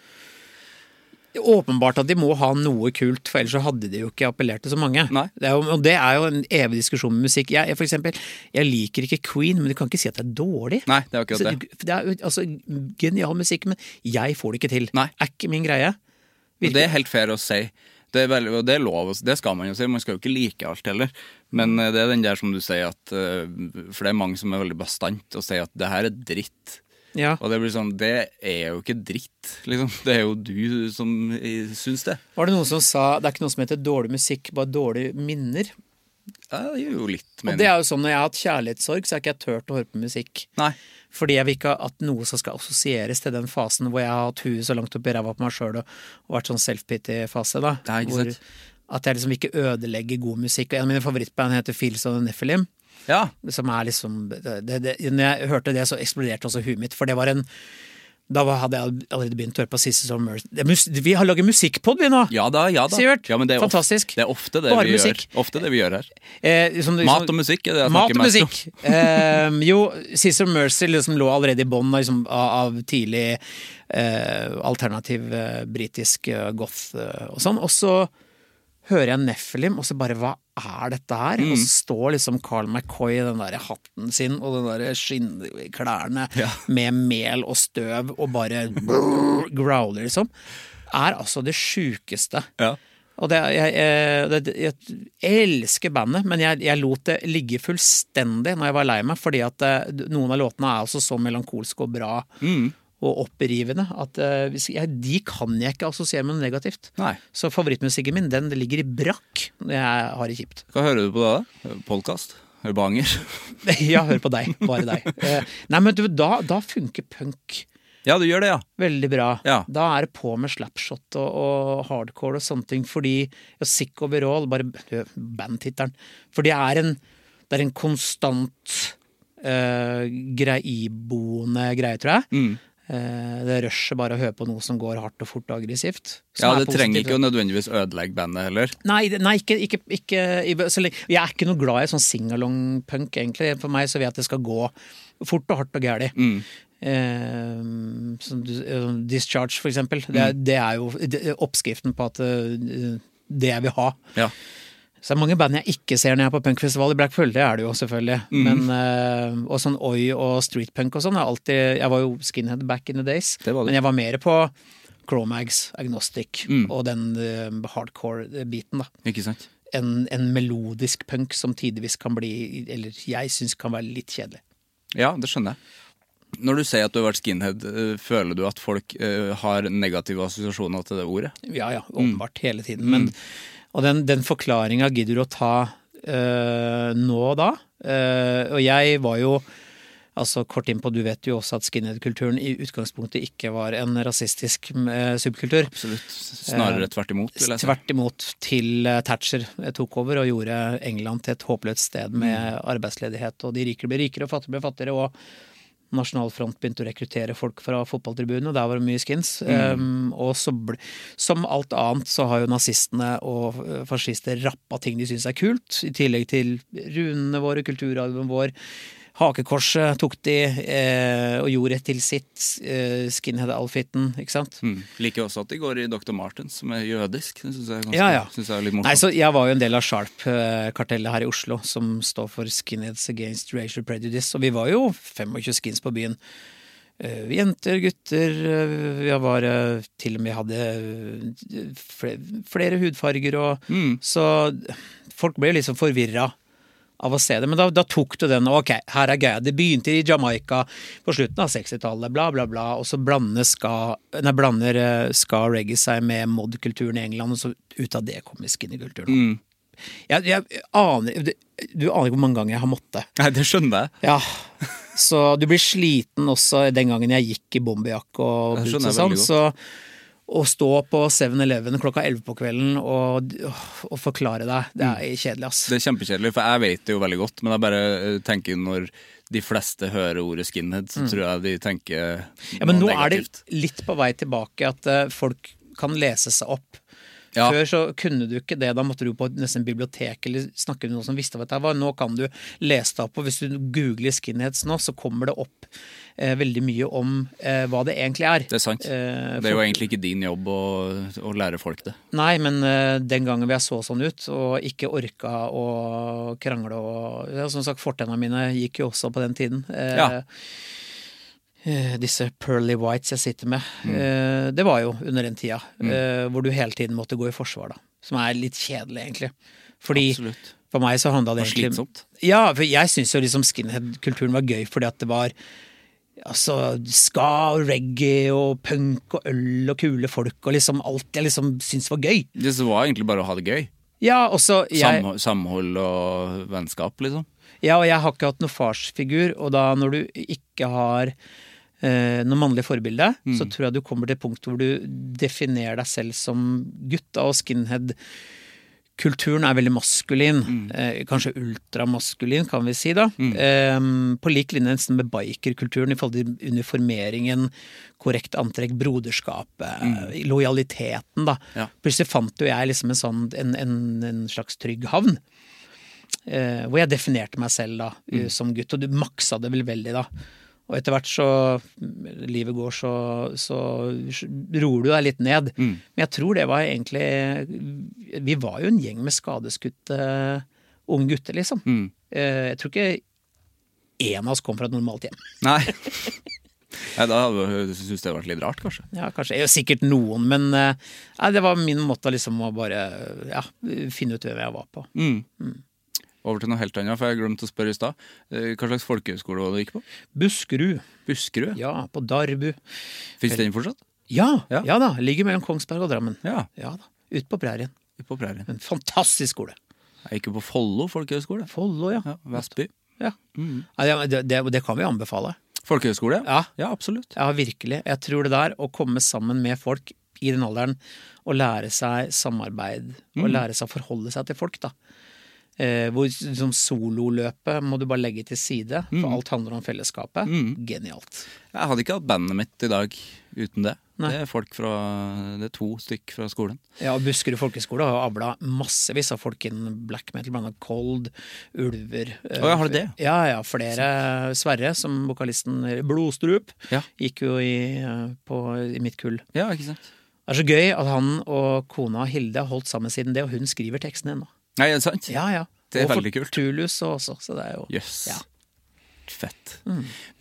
Speaker 3: Åpenbart at de må ha noe kult, for ellers så hadde de jo ikke appellert til så mange.
Speaker 1: Nei.
Speaker 3: Det er jo, og det er jo en evig diskusjon med musikk. Jeg, jeg, for eksempel, jeg liker ikke Queen, men du kan ikke si at det er dårlig.
Speaker 1: Nei, det er akkurat
Speaker 3: Så
Speaker 1: det.
Speaker 3: Det er jo altså, genial musikk, men jeg får det ikke til.
Speaker 1: Nei.
Speaker 3: Er ikke min greie.
Speaker 1: Og det er helt fair å si. Det er, veldig, og det er lov, å si. det skal man jo si. Man skal jo ikke like alt heller. Men eh, det er den der som du sier at eh, For det er mange som er veldig bastant og sier at det her er dritt.
Speaker 3: Ja.
Speaker 1: Og det blir sånn Det er jo ikke dritt, liksom. Det er jo du som eh, syns det.
Speaker 3: Var det noen som sa det er ikke noe som heter dårlig musikk, bare dårlige minner?
Speaker 1: Ja, det gir jo litt
Speaker 3: Og
Speaker 1: mening.
Speaker 3: det er jo sånn når jeg har hatt kjærlighetssorg, så har ikke jeg turt å høre på musikk.
Speaker 1: Nei.
Speaker 3: Fordi jeg vil ikke at noe som skal assosieres til den fasen hvor jeg har hatt huet så langt opp i ræva på meg sjøl og, og vært sånn self-pity-fase, da.
Speaker 1: Nei, ikke
Speaker 3: hvor,
Speaker 1: sant.
Speaker 3: at jeg liksom ikke ødelegger god musikk. Og en av mine favorittband heter Fils og Nephilim.
Speaker 1: Ja.
Speaker 3: Som er liksom det, det, Når jeg hørte det, så eksploderte også huet mitt, for det var en da var, hadde jeg allerede begynt å høre på Sisters of Mercy. Det er mus- Vi har laget musikkpod, vi nå!
Speaker 1: Ja da, ja da.
Speaker 3: Sivert,
Speaker 1: ja, men det er ofte-
Speaker 3: fantastisk.
Speaker 1: det er ofte det,
Speaker 3: Bare
Speaker 1: vi gjør,
Speaker 3: musikk.
Speaker 1: ofte det vi gjør her.
Speaker 3: Eh, som-
Speaker 1: Mat
Speaker 3: som-
Speaker 1: og musikk er det jeg
Speaker 3: Mat
Speaker 1: snakker
Speaker 3: og
Speaker 1: mest om.
Speaker 3: musikk. Eh, jo, Sister of Mercy liksom lå allerede i bånn liksom, av, av tidlig eh, alternativ eh, britisk eh, goth eh, og sånn. Og så hører jeg Nephilim, og så bare hva er dette her? Og så
Speaker 1: Mm.
Speaker 3: står liksom Carl McCoy i den der hatten sin og den der skinnklærne med mel og støv og bare growler, liksom. Er altså det sjukeste.
Speaker 1: Ja.
Speaker 3: Og det, jeg, jeg, det, jeg elsker bandet, men jeg, jeg lot det ligge fullstendig når jeg var lei meg, fordi at eh, noen av låtene er altså så melankolske og bra og opprivende at eh, hvis- jeg, de kan jeg ikke assosiere med noe negativt.
Speaker 1: Nei.
Speaker 3: Så favorittmusikken min den ligger i brakk når jeg har det kjipt.
Speaker 1: Hva hører du på da? Podkast? Hører på anger?
Speaker 3: ja, hør på deg. Bare deg. Eh, Nei, men du, da, da funker punk
Speaker 1: Ja, du gjør det, ja.
Speaker 3: veldig bra.
Speaker 1: Ja.
Speaker 3: Da er det på med slapshot og, og hardcore og sånne ting, fordi ja, Sick Overall, bare du, bandtittelen For det er en, det er en konstant uh, greiboende greie, tror jeg.
Speaker 1: Mm.
Speaker 3: Eh, det rushet bare å høre på noe som går hardt og fort og aggressivt. som
Speaker 1: Ja,
Speaker 3: er
Speaker 1: Det trenger
Speaker 3: positivt.
Speaker 1: ikke å nødvendigvis ødelegge bandet heller.
Speaker 3: Nei, det- nei ikke, ikke, ikke i- så lenge- Jeg er ikke noe glad i sånn singalong-punk, egentlig. For meg så vil jeg at det skal gå fort og hardt og gæli.
Speaker 1: Mm.
Speaker 3: Eh, sånn, du- eh, discharge, for eksempel. Det,
Speaker 1: Mm.
Speaker 3: er- det er jo det, er oppskriften på at eh, det jeg vil ha.
Speaker 1: Ja.
Speaker 3: Så det er mange band jeg ikke ser når jeg er på punkfestival. I Black Pearl, det er det jo selvfølgelig.
Speaker 1: Mm.
Speaker 3: Men, eh, og sånn Oi og streetpunk og sånn. Jeg, har alltid, jeg var jo skinhead back in the days.
Speaker 1: Det var du. Mm.
Speaker 3: Men jeg var mer på Cromags, Agnostic og den eh, hardcore-biten, da
Speaker 1: Ikke sant?
Speaker 3: en, en melodisk punk som tidvis kan bli, eller jeg syns kan være litt kjedelig.
Speaker 1: Ja, det skjønner jeg. Når du sier at du har vært skinhead, øh, føler du at folk øh, har negative assosiasjoner til det ordet?
Speaker 3: Ja ja, åpenbart, hele tiden. Men, og den, den forklaringa gidder du å ta eh, nå og da. Eh, og jeg var jo Altså Kort innpå, du vet jo også at skinhead-kulturen i utgangspunktet ikke var en rasistisk eh, subkultur.
Speaker 1: Absolutt. Snarere tvert imot. vil jeg si.
Speaker 3: Tvert imot til eh, Thatcher eh, tok over og gjorde England til et håpløst sted
Speaker 1: Mm.
Speaker 3: med arbeidsledighet, og de rike ble rikere og fattige ble fattigere, og Nasjonalfront begynte å rekruttere folk fra fotballtribunene, der var det mye skins.
Speaker 1: Mm.
Speaker 3: Um, og så ble, som alt annet så har jo nazistene og eh, fascister rappa ting de syns er kult, i tillegg til runene våre, kulturarven vår. Hakekorset tok de eh, og gjorde til sitt eh, skinhead-outfiten, ikke sant.
Speaker 1: Mm. Liker også at de går i Dr. Martens, som er jødisk. Det syns jeg, er ganske-
Speaker 3: Ja, ja.
Speaker 1: synes jeg er litt morsomt.
Speaker 3: Nei, så Jeg var jo en del av Sharp-kartellet her i Oslo, som står for Skinheads Against Racial Prejudice. Og vi var jo 25 skins på byen. Eh, jenter, gutter eh, Jeg var eh, til og med hadde eh, fle- flere hudfarger og Så folk ble jo liksom forvirra av å se det. Men da, da tok du den, og ok, her er greia. Det begynte i Jamaica på slutten av 60-tallet, bla, bla, bla. Og så blander ska, nei, blander eh, ska og reggae seg med mod-kulturen i England, og så ut av det kommer skinny-kulturen. Jeg, jeg aner Du du aner ikke hvor mange ganger jeg har måttet.
Speaker 1: Nei, det skjønner jeg.
Speaker 3: Ja, så du blir sliten også den gangen jeg gikk i bomberjakke og
Speaker 1: Det
Speaker 3: boots
Speaker 1: skjønner
Speaker 3: og
Speaker 1: jeg
Speaker 3: sånn.
Speaker 1: veldig
Speaker 3: Så å stå på 7-Eleven klokka 11 på kvelden og, og forklare deg, det er kjedelig, ass.
Speaker 1: Mm. Det er kjempekjedelig, for jeg vet det jo veldig godt, men jeg bare eh, tenker når de fleste hører ordet skinhead, så tror jeg de tenker
Speaker 3: Mm. Ja, men nå
Speaker 1: noe
Speaker 3: er det
Speaker 1: negativt.
Speaker 3: litt på vei tilbake at eh, folk kan lese seg opp.
Speaker 1: Ja.
Speaker 3: Før så kunne du ikke det, da måtte du på et- nesten bibliotek eller snakke med noen som visste hva dette var. Nå kan du lese deg opp, og hvis du googler skinheads nå, så kommer det opp eh, veldig mye om eh, hva det egentlig er.
Speaker 1: Det er sant.
Speaker 3: Eh,
Speaker 1: det er jo
Speaker 3: folk-
Speaker 1: egentlig ikke din jobb å, å lære folk det.
Speaker 3: Nei, men eh, den gangen hvor jeg så sånn ut og ikke orka å krangle og ja, Som sagt, fortenna mine gikk jo også på den tiden. Eh,
Speaker 1: Ja.
Speaker 3: eh, Disse pearly whites jeg sitter med.
Speaker 1: Mm.
Speaker 3: eh, Det var jo under den tida eh, hvor du hele tiden måtte gå i forsvar, da. Som er litt kjedelig, egentlig. Fordi
Speaker 1: Absolutt.
Speaker 3: for meg så handla det
Speaker 1: Og
Speaker 3: egentlig
Speaker 1: slitsomt.
Speaker 3: Ja, for jeg syns jo liksom skinhead-kulturen var gøy fordi at det var altså, ska og reggae og punk og øl og kule folk og liksom alt jeg liksom syntes var gøy.
Speaker 1: Det var egentlig bare å ha det gøy.
Speaker 3: Ja, og så jeg,
Speaker 1: Samhold, samhold og vennskap, liksom.
Speaker 3: ja, og jeg har ikke hatt noen farsfigur, og da når du ikke har eh, noe mannlig forbilde, så tror jeg du kommer til et punkt hvor du definerer deg selv som gutt, da, og skinhead. Kulturen er veldig maskulin, eh, kanskje ultramaskulin, kan vi si da. Eh, på lik linje nesten med bikerkulturen i forhold til uniformeringen, korrekt antrekk, broderskapet, lojaliteten, da.
Speaker 1: Ja.
Speaker 3: Plutselig fant jo jeg liksom en, sånn, en, en, en slags trygg havn. Eh, hvor jeg definerte meg selv da, eh, som gutt, og du maksa det vel veldig da. Og etter hvert så Livet går, så, så roer du deg litt ned. Men jeg tror det var egentlig Vi var jo en gjeng med skadeskutte eh, unge gutter, liksom. Eh, jeg tror ikke én av oss kom fra et normalt hjem.
Speaker 1: Nei. Nei, da hadde du syntes det hadde vært litt rart, kanskje.
Speaker 3: Ja, kanskje, ja, Sikkert noen, men eh, nei, det var min måte liksom å bare ja, finne ut hvem jeg var på.
Speaker 1: Over til noe helt annet, for jeg glemte å spørre i stad. Eh, Hva slags folkehøyskole var det du gikk på?
Speaker 3: Buskerud.
Speaker 1: Buskerud?
Speaker 3: Ja, på Darbu.
Speaker 1: Fins den fortsatt?
Speaker 3: Ja,
Speaker 1: Ja.
Speaker 3: ja. da. Ligger mellom Kongsberg og Drammen.
Speaker 1: Ja.
Speaker 3: Ja da. Ute på prærien.
Speaker 1: På prærien.
Speaker 3: En fantastisk skole.
Speaker 1: Jeg gikk jo på Follo folkehøgskole.
Speaker 3: Follo, ja. Mm.
Speaker 1: Ja, Vestby.
Speaker 3: ja. Nei, det- det, det, det kan vi anbefale.
Speaker 1: Folkehøgskole?
Speaker 3: Ja.
Speaker 1: ja, absolutt.
Speaker 3: Ja, virkelig. Jeg tror det der, å komme sammen med folk i den alderen, og lære seg samarbeid, og lære seg å forholde seg til folk, da. Eh, hvor liksom, sololøpet må du bare legge til side, for alt handler om fellesskapet. Genialt.
Speaker 1: Jeg hadde ikke hatt bandet mitt i dag uten det.
Speaker 3: Nei.
Speaker 1: Det er folk fra, det er to stykk fra skolen.
Speaker 3: Ja, og Buskerud folkehøgskole har avla massevis av folk innen black metal, blant annet Cold, Ulver eh,
Speaker 1: Å, ja, har de det?
Speaker 3: Ja, ja, flere. Sverre, som vokalisten Blodstrup,
Speaker 1: Ja.
Speaker 3: gikk jo i, eh, på, i mitt kull.
Speaker 1: Ja, ikke sant?
Speaker 3: Det er så gøy at han og kona Hilde har holdt sammen siden det, og hun skriver tekstene ennå.
Speaker 1: Nei, er det sant?
Speaker 3: Ja, ja.
Speaker 1: Det er
Speaker 3: og
Speaker 1: veldig kult.
Speaker 3: for Tulus og også, så det er jo
Speaker 1: Jøss.
Speaker 3: Ja. Mm.
Speaker 1: Fett.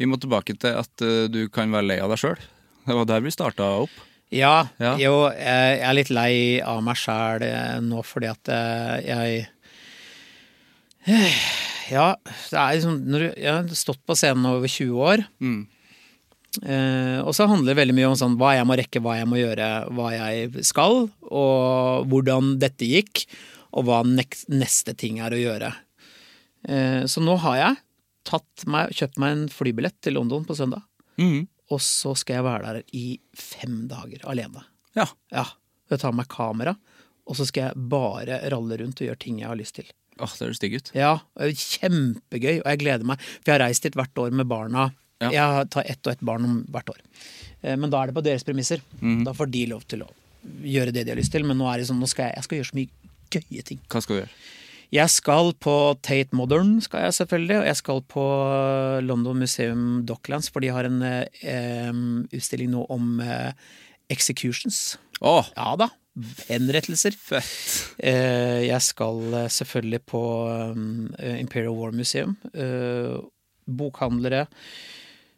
Speaker 1: Vi må tilbake til at eh, du kan være lei av deg sjøl. Det var der vi starta opp.
Speaker 3: Ja,
Speaker 1: Ja.
Speaker 3: jo, jeg er litt lei av meg sjæl eh, nå fordi at eh, jeg Ja, det er liksom når du, Jeg har stått på scenen over 20 år. Eh, og så handler det veldig mye om sånn, hva jeg må rekke, hva jeg må gjøre, hva jeg skal, og hvordan dette gikk, og hva nek neste ting er å gjøre. Eh, så nå har jeg tatt meg, kjøpt meg en flybillett til London på søndag, og så skal jeg være der i fem dager alene.
Speaker 1: Ja.
Speaker 3: Ja, Jeg tar meg kamera, og så skal jeg bare ralle rundt og gjøre ting jeg har lyst til.
Speaker 1: Åh, det høres digg ut.
Speaker 3: Ja, og kjempegøy, og jeg gleder meg. For jeg har reist dit hvert år med barna.
Speaker 1: Ja.
Speaker 3: Jeg tar ett og ett barn om hvert år. Eh, Men da er det på deres premisser. Da får de lov til å gjøre det de har lyst til. Men nå er det sånn, nå skal jeg, jeg skal gjøre så mye gøye ting.
Speaker 1: Hva skal du gjøre?
Speaker 3: Jeg skal på Tate Modern, skal jeg selvfølgelig, og jeg skal på eh, London Museum Docklands, for de har en eh, em, utstilling nå om eh, executions.
Speaker 1: Åh,
Speaker 3: Ja da. Henrettelser.
Speaker 1: fett.
Speaker 3: Eh, Jeg skal eh, selvfølgelig på um, eh, Imperial War Museum. Eh, Bokhandlere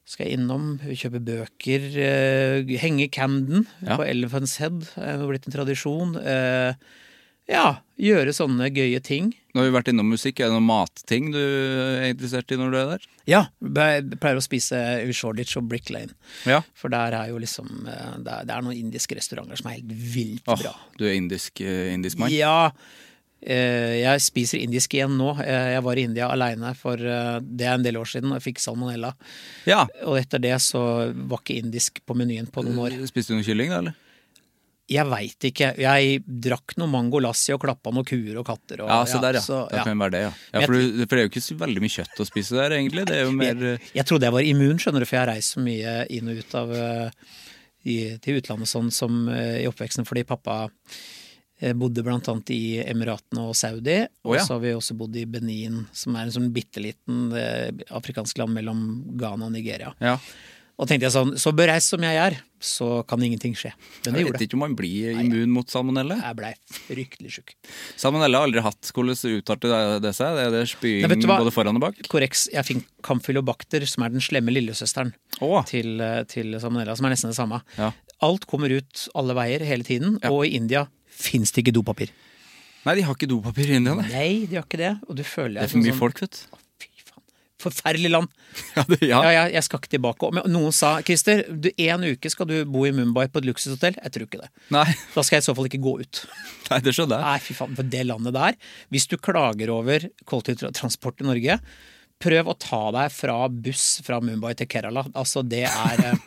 Speaker 3: skal jeg innom, kjøpe bøker. eh, Henge Camden
Speaker 1: Ja.
Speaker 3: på Elephants Head. Det er jo blitt en tradisjon. Eh, Ja, gjøre sånne gøye ting.
Speaker 1: Nå har vi vært innom musikk. Er det noen matting du er interessert i når du er der?
Speaker 3: Ja, jeg pleier å spise i Shoreditch og Brick Lane.
Speaker 1: Ja.
Speaker 3: For der er jo liksom eh, Det er, det er noen indiske restauranter som er helt vilt
Speaker 1: Åh,
Speaker 3: bra.
Speaker 1: du er indisk, eh, indisk mann?
Speaker 3: Ja. eh, Jeg spiser indisk igjen nå. Eh, Jeg var i India aleine for eh, det er en del år siden og jeg fikk salmonella.
Speaker 1: Ja.
Speaker 3: Og etter det så var ikke indisk på menyen på noen år.
Speaker 1: Spiste du noe kylling, da, eller?
Speaker 3: Jeg veit ikke. Jeg drakk noe mango lassi og klappa noen kuer og katter. Og,
Speaker 1: Ja, se der, ja.
Speaker 3: så,
Speaker 1: Det
Speaker 3: ja.
Speaker 1: kan være det, ja. ja
Speaker 3: Men
Speaker 1: for,
Speaker 3: jeg-
Speaker 1: du, for det er jo ikke så veldig mye kjøtt å spise der, egentlig. Det er jo mer eh,
Speaker 3: Jeg trodde jeg var immun, skjønner du, for jeg har reist så mye inn og ut av eh, i, til utlandet sånn som eh, i oppveksten, fordi pappa eh, bodde blant annet i Emiratene og Saudi.
Speaker 1: Å, ja.
Speaker 3: Og så har vi også bodd i Benin, som er en sånn bitte liten eh, afrikansk land mellom Ghana og Nigeria.
Speaker 1: Ja.
Speaker 3: Og tenkte jeg sånn, så bereist som jeg er, så kan ingenting skje. Men det
Speaker 1: Jeg
Speaker 3: gjorde
Speaker 1: vet
Speaker 3: det.
Speaker 1: ikke om man blir immun mot salmonella.
Speaker 3: Jeg blei fryktelig sjuk.
Speaker 1: Salmonella har aldri hatt hvordan uttalte det- det seg. Det er det spying
Speaker 3: Nei, vet du hva?
Speaker 1: både foran og bak.
Speaker 3: Korreks, jeg fikk kamfylobakter, som er den slemme lillesøsteren
Speaker 1: Å.
Speaker 3: til, eh, til salmonella, som er nesten det samme.
Speaker 1: Ja.
Speaker 3: Alt kommer ut alle veier hele tiden, og i India fins det ikke dopapir.
Speaker 1: Nei, de har ikke dopapir i India, nei.
Speaker 3: Nei, de har ikke det, og du føler
Speaker 1: Det er
Speaker 3: deg
Speaker 1: for mye
Speaker 3: som
Speaker 1: folk, vet du.
Speaker 3: sånn, Fy faen. Forferdelig land.
Speaker 1: Ja, det, ja.
Speaker 3: Ja, jeg, jeg skal ikke tilbake. Men noen sa Christer, du, en uke skal du bo i Mumbai på et luksushotell. Jeg tror ikke det.
Speaker 1: Nei,
Speaker 3: Da skal jeg i så fall ikke gå ut.
Speaker 1: nei, det skjønner jeg.
Speaker 3: Nei, fy faen, for det landet der. Hvis du klager over kollektivtransport i Norge, prøv å ta deg fra buss fra Mumbai til Kerala. Altså, det er eh,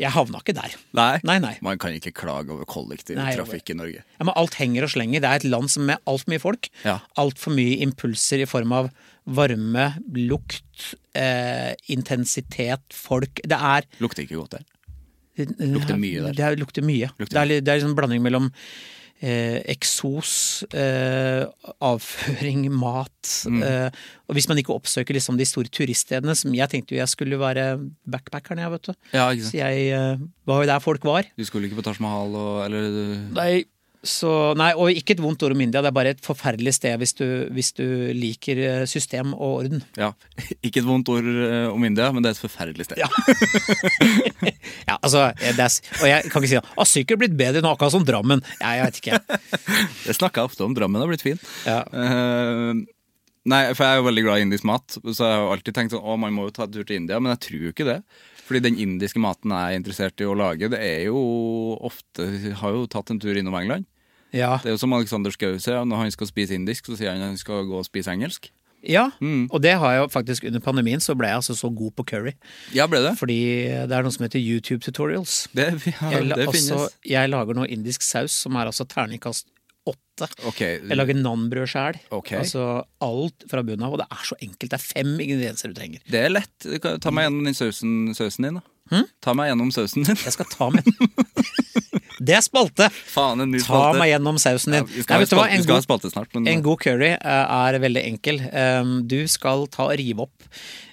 Speaker 3: Jeg havna ikke der.
Speaker 1: Nei.
Speaker 3: Nei, nei.
Speaker 1: Man kan ikke klage over
Speaker 3: Nei,
Speaker 1: kollektivtrafikk i Norge.
Speaker 3: Ja, men alt henger og slenger. Det er et land som med altfor mye folk.
Speaker 1: Ja.
Speaker 3: Altfor mye impulser i form av varme, lukt, eh, intensitet, folk Det er
Speaker 1: Lukter ikke godt der. Lukter mye der.
Speaker 3: Det er, lukter mye.
Speaker 1: Lukter
Speaker 3: det er, litt- det er liksom en blanding mellom eh, eksos, eh, avføring, mat
Speaker 1: Mm.
Speaker 3: eh, Og hvis man ikke oppsøker liksom de store turiststedene, som jeg tenkte jo jeg skulle være backpackeren, jeg, vet du.
Speaker 1: Ja, ikke sant.
Speaker 3: Så jeg eh, var jo der folk var.
Speaker 1: Du skulle ikke på Taj Mahal og eller du-
Speaker 3: Nei, så, nei, og ikke et vondt ord om India, det er bare et forferdelig sted hvis du, hvis du liker eh, system og orden.
Speaker 1: Ja. Ikke et vondt ord eh, om India, men det er et forferdelig sted. Ja.
Speaker 3: Ja, altså, eh, det er, s- Og jeg kan ikke si at har sikkert blitt bedre nå, akkurat som Drammen. Nei, jeg vet ikke.
Speaker 1: Jeg snakka ofte om Drammen har blitt fin.
Speaker 3: Ja.
Speaker 1: Eh, Nei, for jeg er jo veldig glad i indisk mat, så jeg har jo alltid tenkt sånn, å, man må jo ta en tur til India, men jeg tror jo ikke det. Fordi den indiske maten jeg er interessert i å lage, det er jo ofte Har jo tatt en tur innom England.
Speaker 3: Ja.
Speaker 1: Det er jo som Alexander Schou sier, når han skal spise indisk, så sier han han skal gå og spise engelsk.
Speaker 3: ja. Og det har jeg jo faktisk under pandemien, så ble jeg altså så god på curry.
Speaker 1: Ja, ble det?
Speaker 3: Fordi det er noe som heter YouTube tutorials.
Speaker 1: Det, ja,
Speaker 3: Jeg, la-
Speaker 1: det finnes.
Speaker 3: altså, jeg lager nå indisk saus, som er altså terningkast åtte.
Speaker 1: Ok.
Speaker 3: Jeg lager nanbrød sjæl.
Speaker 1: Ok.
Speaker 3: Altså alt fra bunnen av. Og det er så enkelt. Det er fem ingredienser du trenger.
Speaker 1: Det er lett. Du kan- Ta meg gjennom den sausen, sausen din, da. Ta meg gjennom sausen din.
Speaker 3: Hm? Jeg skal ta med Det er spalte!
Speaker 1: Faen, en ny
Speaker 3: Ta
Speaker 1: spalte.
Speaker 3: meg gjennom sausen din.
Speaker 1: Ja, vi skal,
Speaker 3: Nei,
Speaker 1: ha
Speaker 3: vet du hva?
Speaker 1: spalte- vi
Speaker 3: En
Speaker 1: skal ha
Speaker 3: god,
Speaker 1: spalte snart, men
Speaker 3: en god curry eh, er veldig enkel. Um, Du skal ta og rive opp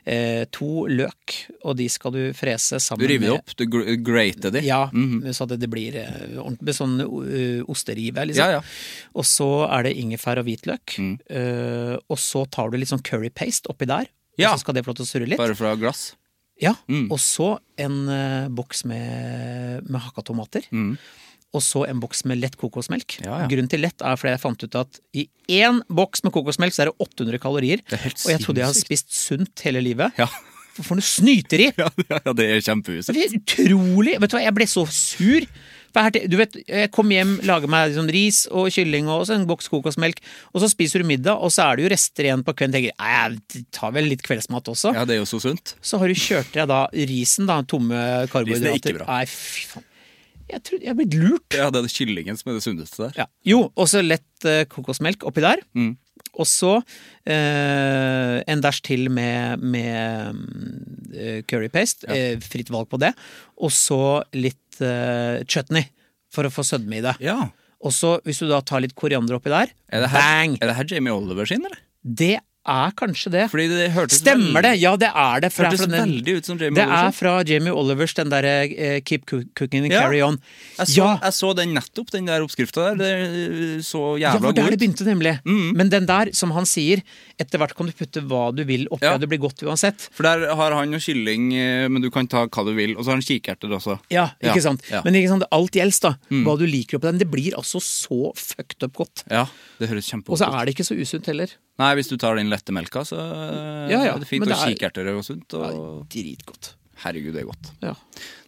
Speaker 3: eh, to løk, og de skal du frese sammen
Speaker 1: du river det opp. Mhm. Du gr- grater det.
Speaker 3: Ja, så at det blir eh, ordentlig sånn eh, osterive, liksom.
Speaker 1: Ja, Mm. ja.
Speaker 3: Og så er det ingefær og hvitløk. Eh, og så tar du litt sånn curry paste oppi der,
Speaker 1: Ja.
Speaker 3: og så skal det få lov til å surre litt.
Speaker 1: Bare fra glass.
Speaker 3: Ja,
Speaker 1: Mm.
Speaker 3: Og så en eh, boks med, med hakka tomater. Og så en boks med lett kokosmelk.
Speaker 1: Mm. Ja, ja.
Speaker 3: Grunnen til lett er fordi jeg fant ut at i én boks med kokosmelk så er det 800 kalorier.
Speaker 1: er helt
Speaker 3: og jeg trodde jeg hadde
Speaker 1: sinnssykt.
Speaker 3: spist sunt hele livet.
Speaker 1: Ja.
Speaker 3: For for noe snyteri!
Speaker 1: Ja, ja, det er kjempehuset.
Speaker 3: Det er utrolig! Vet du hva, jeg ble så sur. For her til- Du vet, jeg kom hjem, lager meg liksom ris og kylling og så en boks kokosmelk, og så spiser du middag, og så er det jo rester igjen på kvelden. Tenker jeg, «Nei, jeg tar vel litt kveldsmat også.
Speaker 1: Ja, det er jo så sunt.
Speaker 3: Så har du kjørt deg da risen, da, tomme karbohydrater.
Speaker 1: ikke bra.
Speaker 3: Nei, fy faen. Jeg, tror, jeg er blitt lurt.
Speaker 1: Ja, det er kyllingen som er det sunneste der.
Speaker 3: Ja. Jo, og så lett eh, kokosmelk oppi der.
Speaker 1: Mm.
Speaker 3: Og så eh, en dæsj til med, med mm, eh, curry paste. Eh, fritt valg på det. Og så litt eh, chutney for å få sødme i det.
Speaker 1: Ja.
Speaker 3: Og så hvis du da tar litt koriander oppi der,
Speaker 1: Er det her,
Speaker 3: bang!
Speaker 1: Er det her Jamie Oliver sin, eller?
Speaker 3: Det er kanskje det.
Speaker 1: Fordi det hørtes
Speaker 3: Stemmer det!
Speaker 1: veldig-
Speaker 3: Ja, det er det. for det er
Speaker 1: Hørtes
Speaker 3: fra den-
Speaker 1: veldig ut som Jamie
Speaker 3: Det
Speaker 1: Oliver
Speaker 3: er fra Jamie Olivers, den derre eh, 'Keep coo- Cooking and
Speaker 1: Ja.
Speaker 3: Carry On'.
Speaker 1: Jeg så, jeg så den nettopp, den der oppskrifta der. Det så
Speaker 3: Ja,
Speaker 1: jævla Mm.
Speaker 3: for der
Speaker 1: god
Speaker 3: det
Speaker 1: ut.
Speaker 3: begynte, nemlig. Men den der, som han sier, etter hvert kan du putte hva du vil oppi,
Speaker 1: Ja.
Speaker 3: og det blir godt uansett.
Speaker 1: For der har han jo kylling, eh, men du kan ta hva du vil. Og så har han kikerter også.
Speaker 3: Ja, ikke sant?
Speaker 1: Ja. Mm.
Speaker 3: Men ikke sant, alt gjelder, da. Hva du liker oppi den. Det blir altså så fucked up godt.
Speaker 1: ja, det høres
Speaker 3: Og så
Speaker 1: kjempegodt ut.
Speaker 3: er det ikke så usunt heller.
Speaker 1: Nei, hvis du tar den lette melka, så eh,
Speaker 3: Ja, ja,
Speaker 1: er det fint.
Speaker 3: men
Speaker 1: Og
Speaker 3: det er-
Speaker 1: kikerter er jo sunt. Og...
Speaker 3: Dritgodt.
Speaker 1: Herregud, det er godt.
Speaker 3: Ja.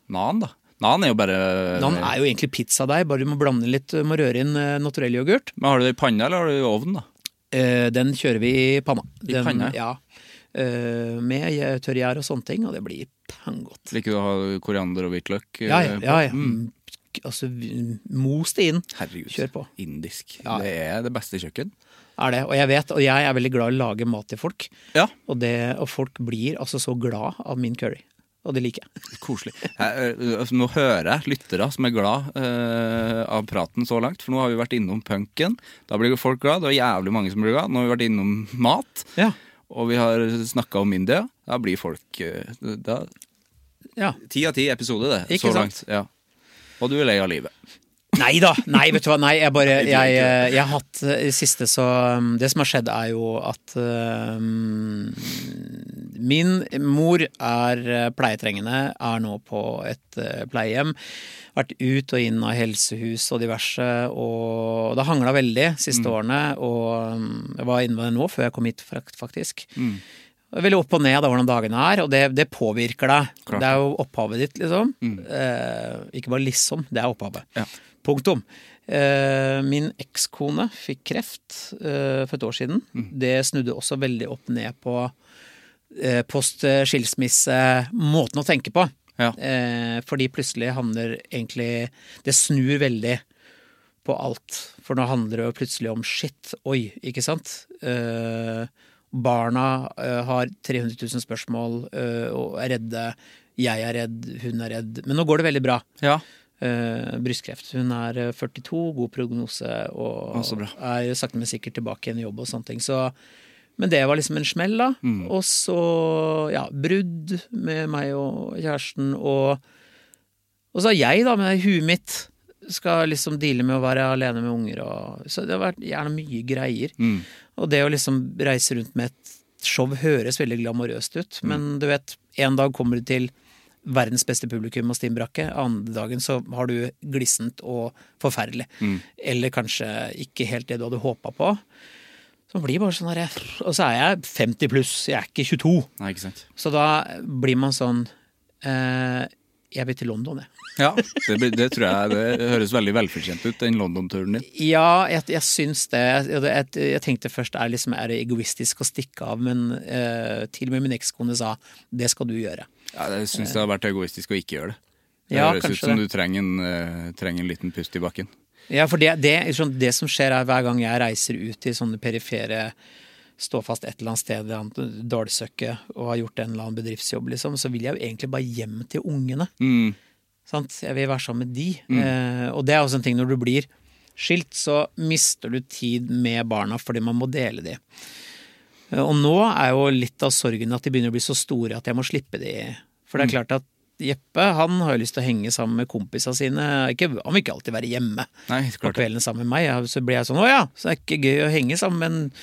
Speaker 1: Nan, da. Nan er jo bare
Speaker 3: Nan er jo egentlig pizzadeig, bare du må blande litt, du må røre inn eh, naturellyoghurt.
Speaker 1: Men Har du det i panna, eller har du det i ovnen, da?
Speaker 3: Eh, Den kjører vi i panna. Den,
Speaker 1: panna,
Speaker 3: Ja. Eh, Med eh, tørrgjær og sånne ting, og det blir panngodt.
Speaker 1: Liker du å ha koriander og hvitløk? eh,
Speaker 3: Ja, ja,
Speaker 1: på?
Speaker 3: ja. ja. Altså, vi- mos det inn.
Speaker 1: Herregud.
Speaker 3: Kjør på.
Speaker 1: Indisk.
Speaker 3: Ja.
Speaker 1: Det er det beste kjøkken.
Speaker 3: Er det. Og jeg vet, og jeg er veldig glad i å lage mat til folk.
Speaker 1: Ja.
Speaker 3: Og, det, og folk blir altså så glad av min curry. Og det liker jeg.
Speaker 1: Koselig. Jeg, ø, ø, nå hører jeg lyttere som er glad ø, av praten så langt, for nå har vi vært innom punken. Da blir jo folk glad. Det er jævlig mange som blir glad. Nå har vi vært innom mat,
Speaker 3: Ja.
Speaker 1: og vi har snakka om India. Da blir folk ø, da,
Speaker 3: ja.
Speaker 1: Ti av ti episoder, det.
Speaker 3: Ikke
Speaker 1: så
Speaker 3: sant?
Speaker 1: langt. Ja. Og du er lei av livet.
Speaker 3: Nei da! Nei, vet du hva. Nei, jeg bare Jeg, eh, jeg har hatt eh, i det siste så um, Det som har skjedd, er jo at um, Min mor er eh, pleietrengende, er nå på et eh, pleiehjem. Vært ut og inn av helsehus og diverse, og det hangla veldig siste årene. Og um, jeg var inne med det nå, før jeg kom hit, fakt- faktisk. Det er Veldig opp og ned da, hvordan dagene er, og det, det påvirker deg.
Speaker 1: Klart. Mm.
Speaker 3: Det er jo opphavet ditt, liksom. Eh, ikke bare liksom, det er opphavet. Punktum. Eh, min ekskone fikk kreft eh, for et år siden.
Speaker 1: Mm.
Speaker 3: Det snudde også veldig opp ned på eh, post eh, skilsmisse-måten å tenke på.
Speaker 1: Ja.
Speaker 3: Eh, fordi plutselig handler egentlig Det snur veldig på alt. For nå handler det jo plutselig om shit. Oi, ikke sant? Eh, barna eh, har 300 000 spørsmål eh, og er redde. Jeg er redd, hun er redd. Men nå går det veldig bra.
Speaker 1: Ja.
Speaker 3: Eh, brystkreft. Hun er eh, 42, god prognose og
Speaker 1: Å, Ah, så bra.
Speaker 3: er sakte, men sikkert tilbake igjen i jobb og sånne ting. Så, men det var liksom en smell, da.
Speaker 1: Mm.
Speaker 3: Og så, ja, brudd med meg og kjæresten, og Og så har jeg, da, med huet mitt, skal liksom deale med å være alene med unger og Så det har vært gjerne mye greier. Og det å liksom reise rundt med et show høres veldig glamorøst ut, men du vet, en dag kommer du til verdens beste publikum og stimbrakke. Andre dagen så har du glissent og forferdelig. Eller kanskje ikke helt det du hadde håpa på. Så man blir bare sånn der, Og så er jeg 50 pluss, jeg er ikke 22.
Speaker 1: Nei, ikke sant.
Speaker 3: Så da blir man sånn eh, Jeg vil til London, jeg.
Speaker 1: Ja, det, blir, det tror jeg det høres veldig velfortjent ut, den London-turen din.
Speaker 3: Ja, jeg, jeg syns det. Jeg, jeg, jeg tenkte først er, liksom, er det egoistisk å stikke av, men eh, til og med min ekskone sa det skal du gjøre.
Speaker 1: Ja, jeg syns det har vært egoistisk å ikke gjøre det. Det
Speaker 3: Ja,
Speaker 1: høres ut
Speaker 3: kanskje
Speaker 1: som
Speaker 3: det.
Speaker 1: du trenger en, eh, trenger en liten pust i bakken.
Speaker 3: Ja, for det, det, sånn, det som skjer er hver gang jeg reiser ut til sånne perifere Stå fast et eller annet sted, et eller annet dalsøkke, og har gjort en eller annen bedriftsjobb, liksom, så vil jeg jo egentlig bare hjem til ungene. Sant? Jeg vil være sammen med de.
Speaker 1: Mm.
Speaker 3: Eh, og det er også en ting når du blir skilt, så mister du tid med barna fordi man må dele de. Eh, Og nå er jo litt av sorgen at de begynner å bli så store at jeg må slippe de.
Speaker 1: Mm.
Speaker 3: For det er klart at Jeppe han har jo lyst til å henge sammen med kompisa sine. Ikke, han vil ikke alltid være hjemme
Speaker 1: Nei,
Speaker 3: på
Speaker 1: klart det.
Speaker 3: kvelden sammen med meg. Ja, Så blir jeg sånn å ja, så er det ikke gøy å henge sammen med en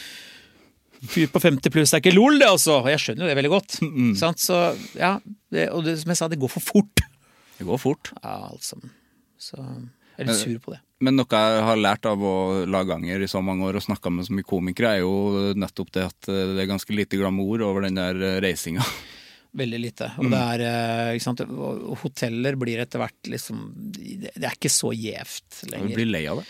Speaker 3: fyr på 50 pluss. Det er ikke lol, det altså! Og jeg skjønner jo det veldig godt.
Speaker 1: Mm.
Speaker 3: Sant? Så ja, det, og det, som jeg sa, det går for fort.
Speaker 1: Det går fort.
Speaker 3: Ja, alt sammen. Så jeg er litt sur på det.
Speaker 1: Men noe jeg har lært av å lage ganger i så mange år og snakka med så mye komikere, er jo nettopp det at eh, det er ganske lite glamour over den der eh, reisinga.
Speaker 3: Veldig lite.
Speaker 1: Mm.
Speaker 3: Og det er eh, ikke sant? og Hoteller blir etter hvert liksom Det det er ikke så gjevt
Speaker 1: Du
Speaker 3: lenger.
Speaker 1: blir lei av det.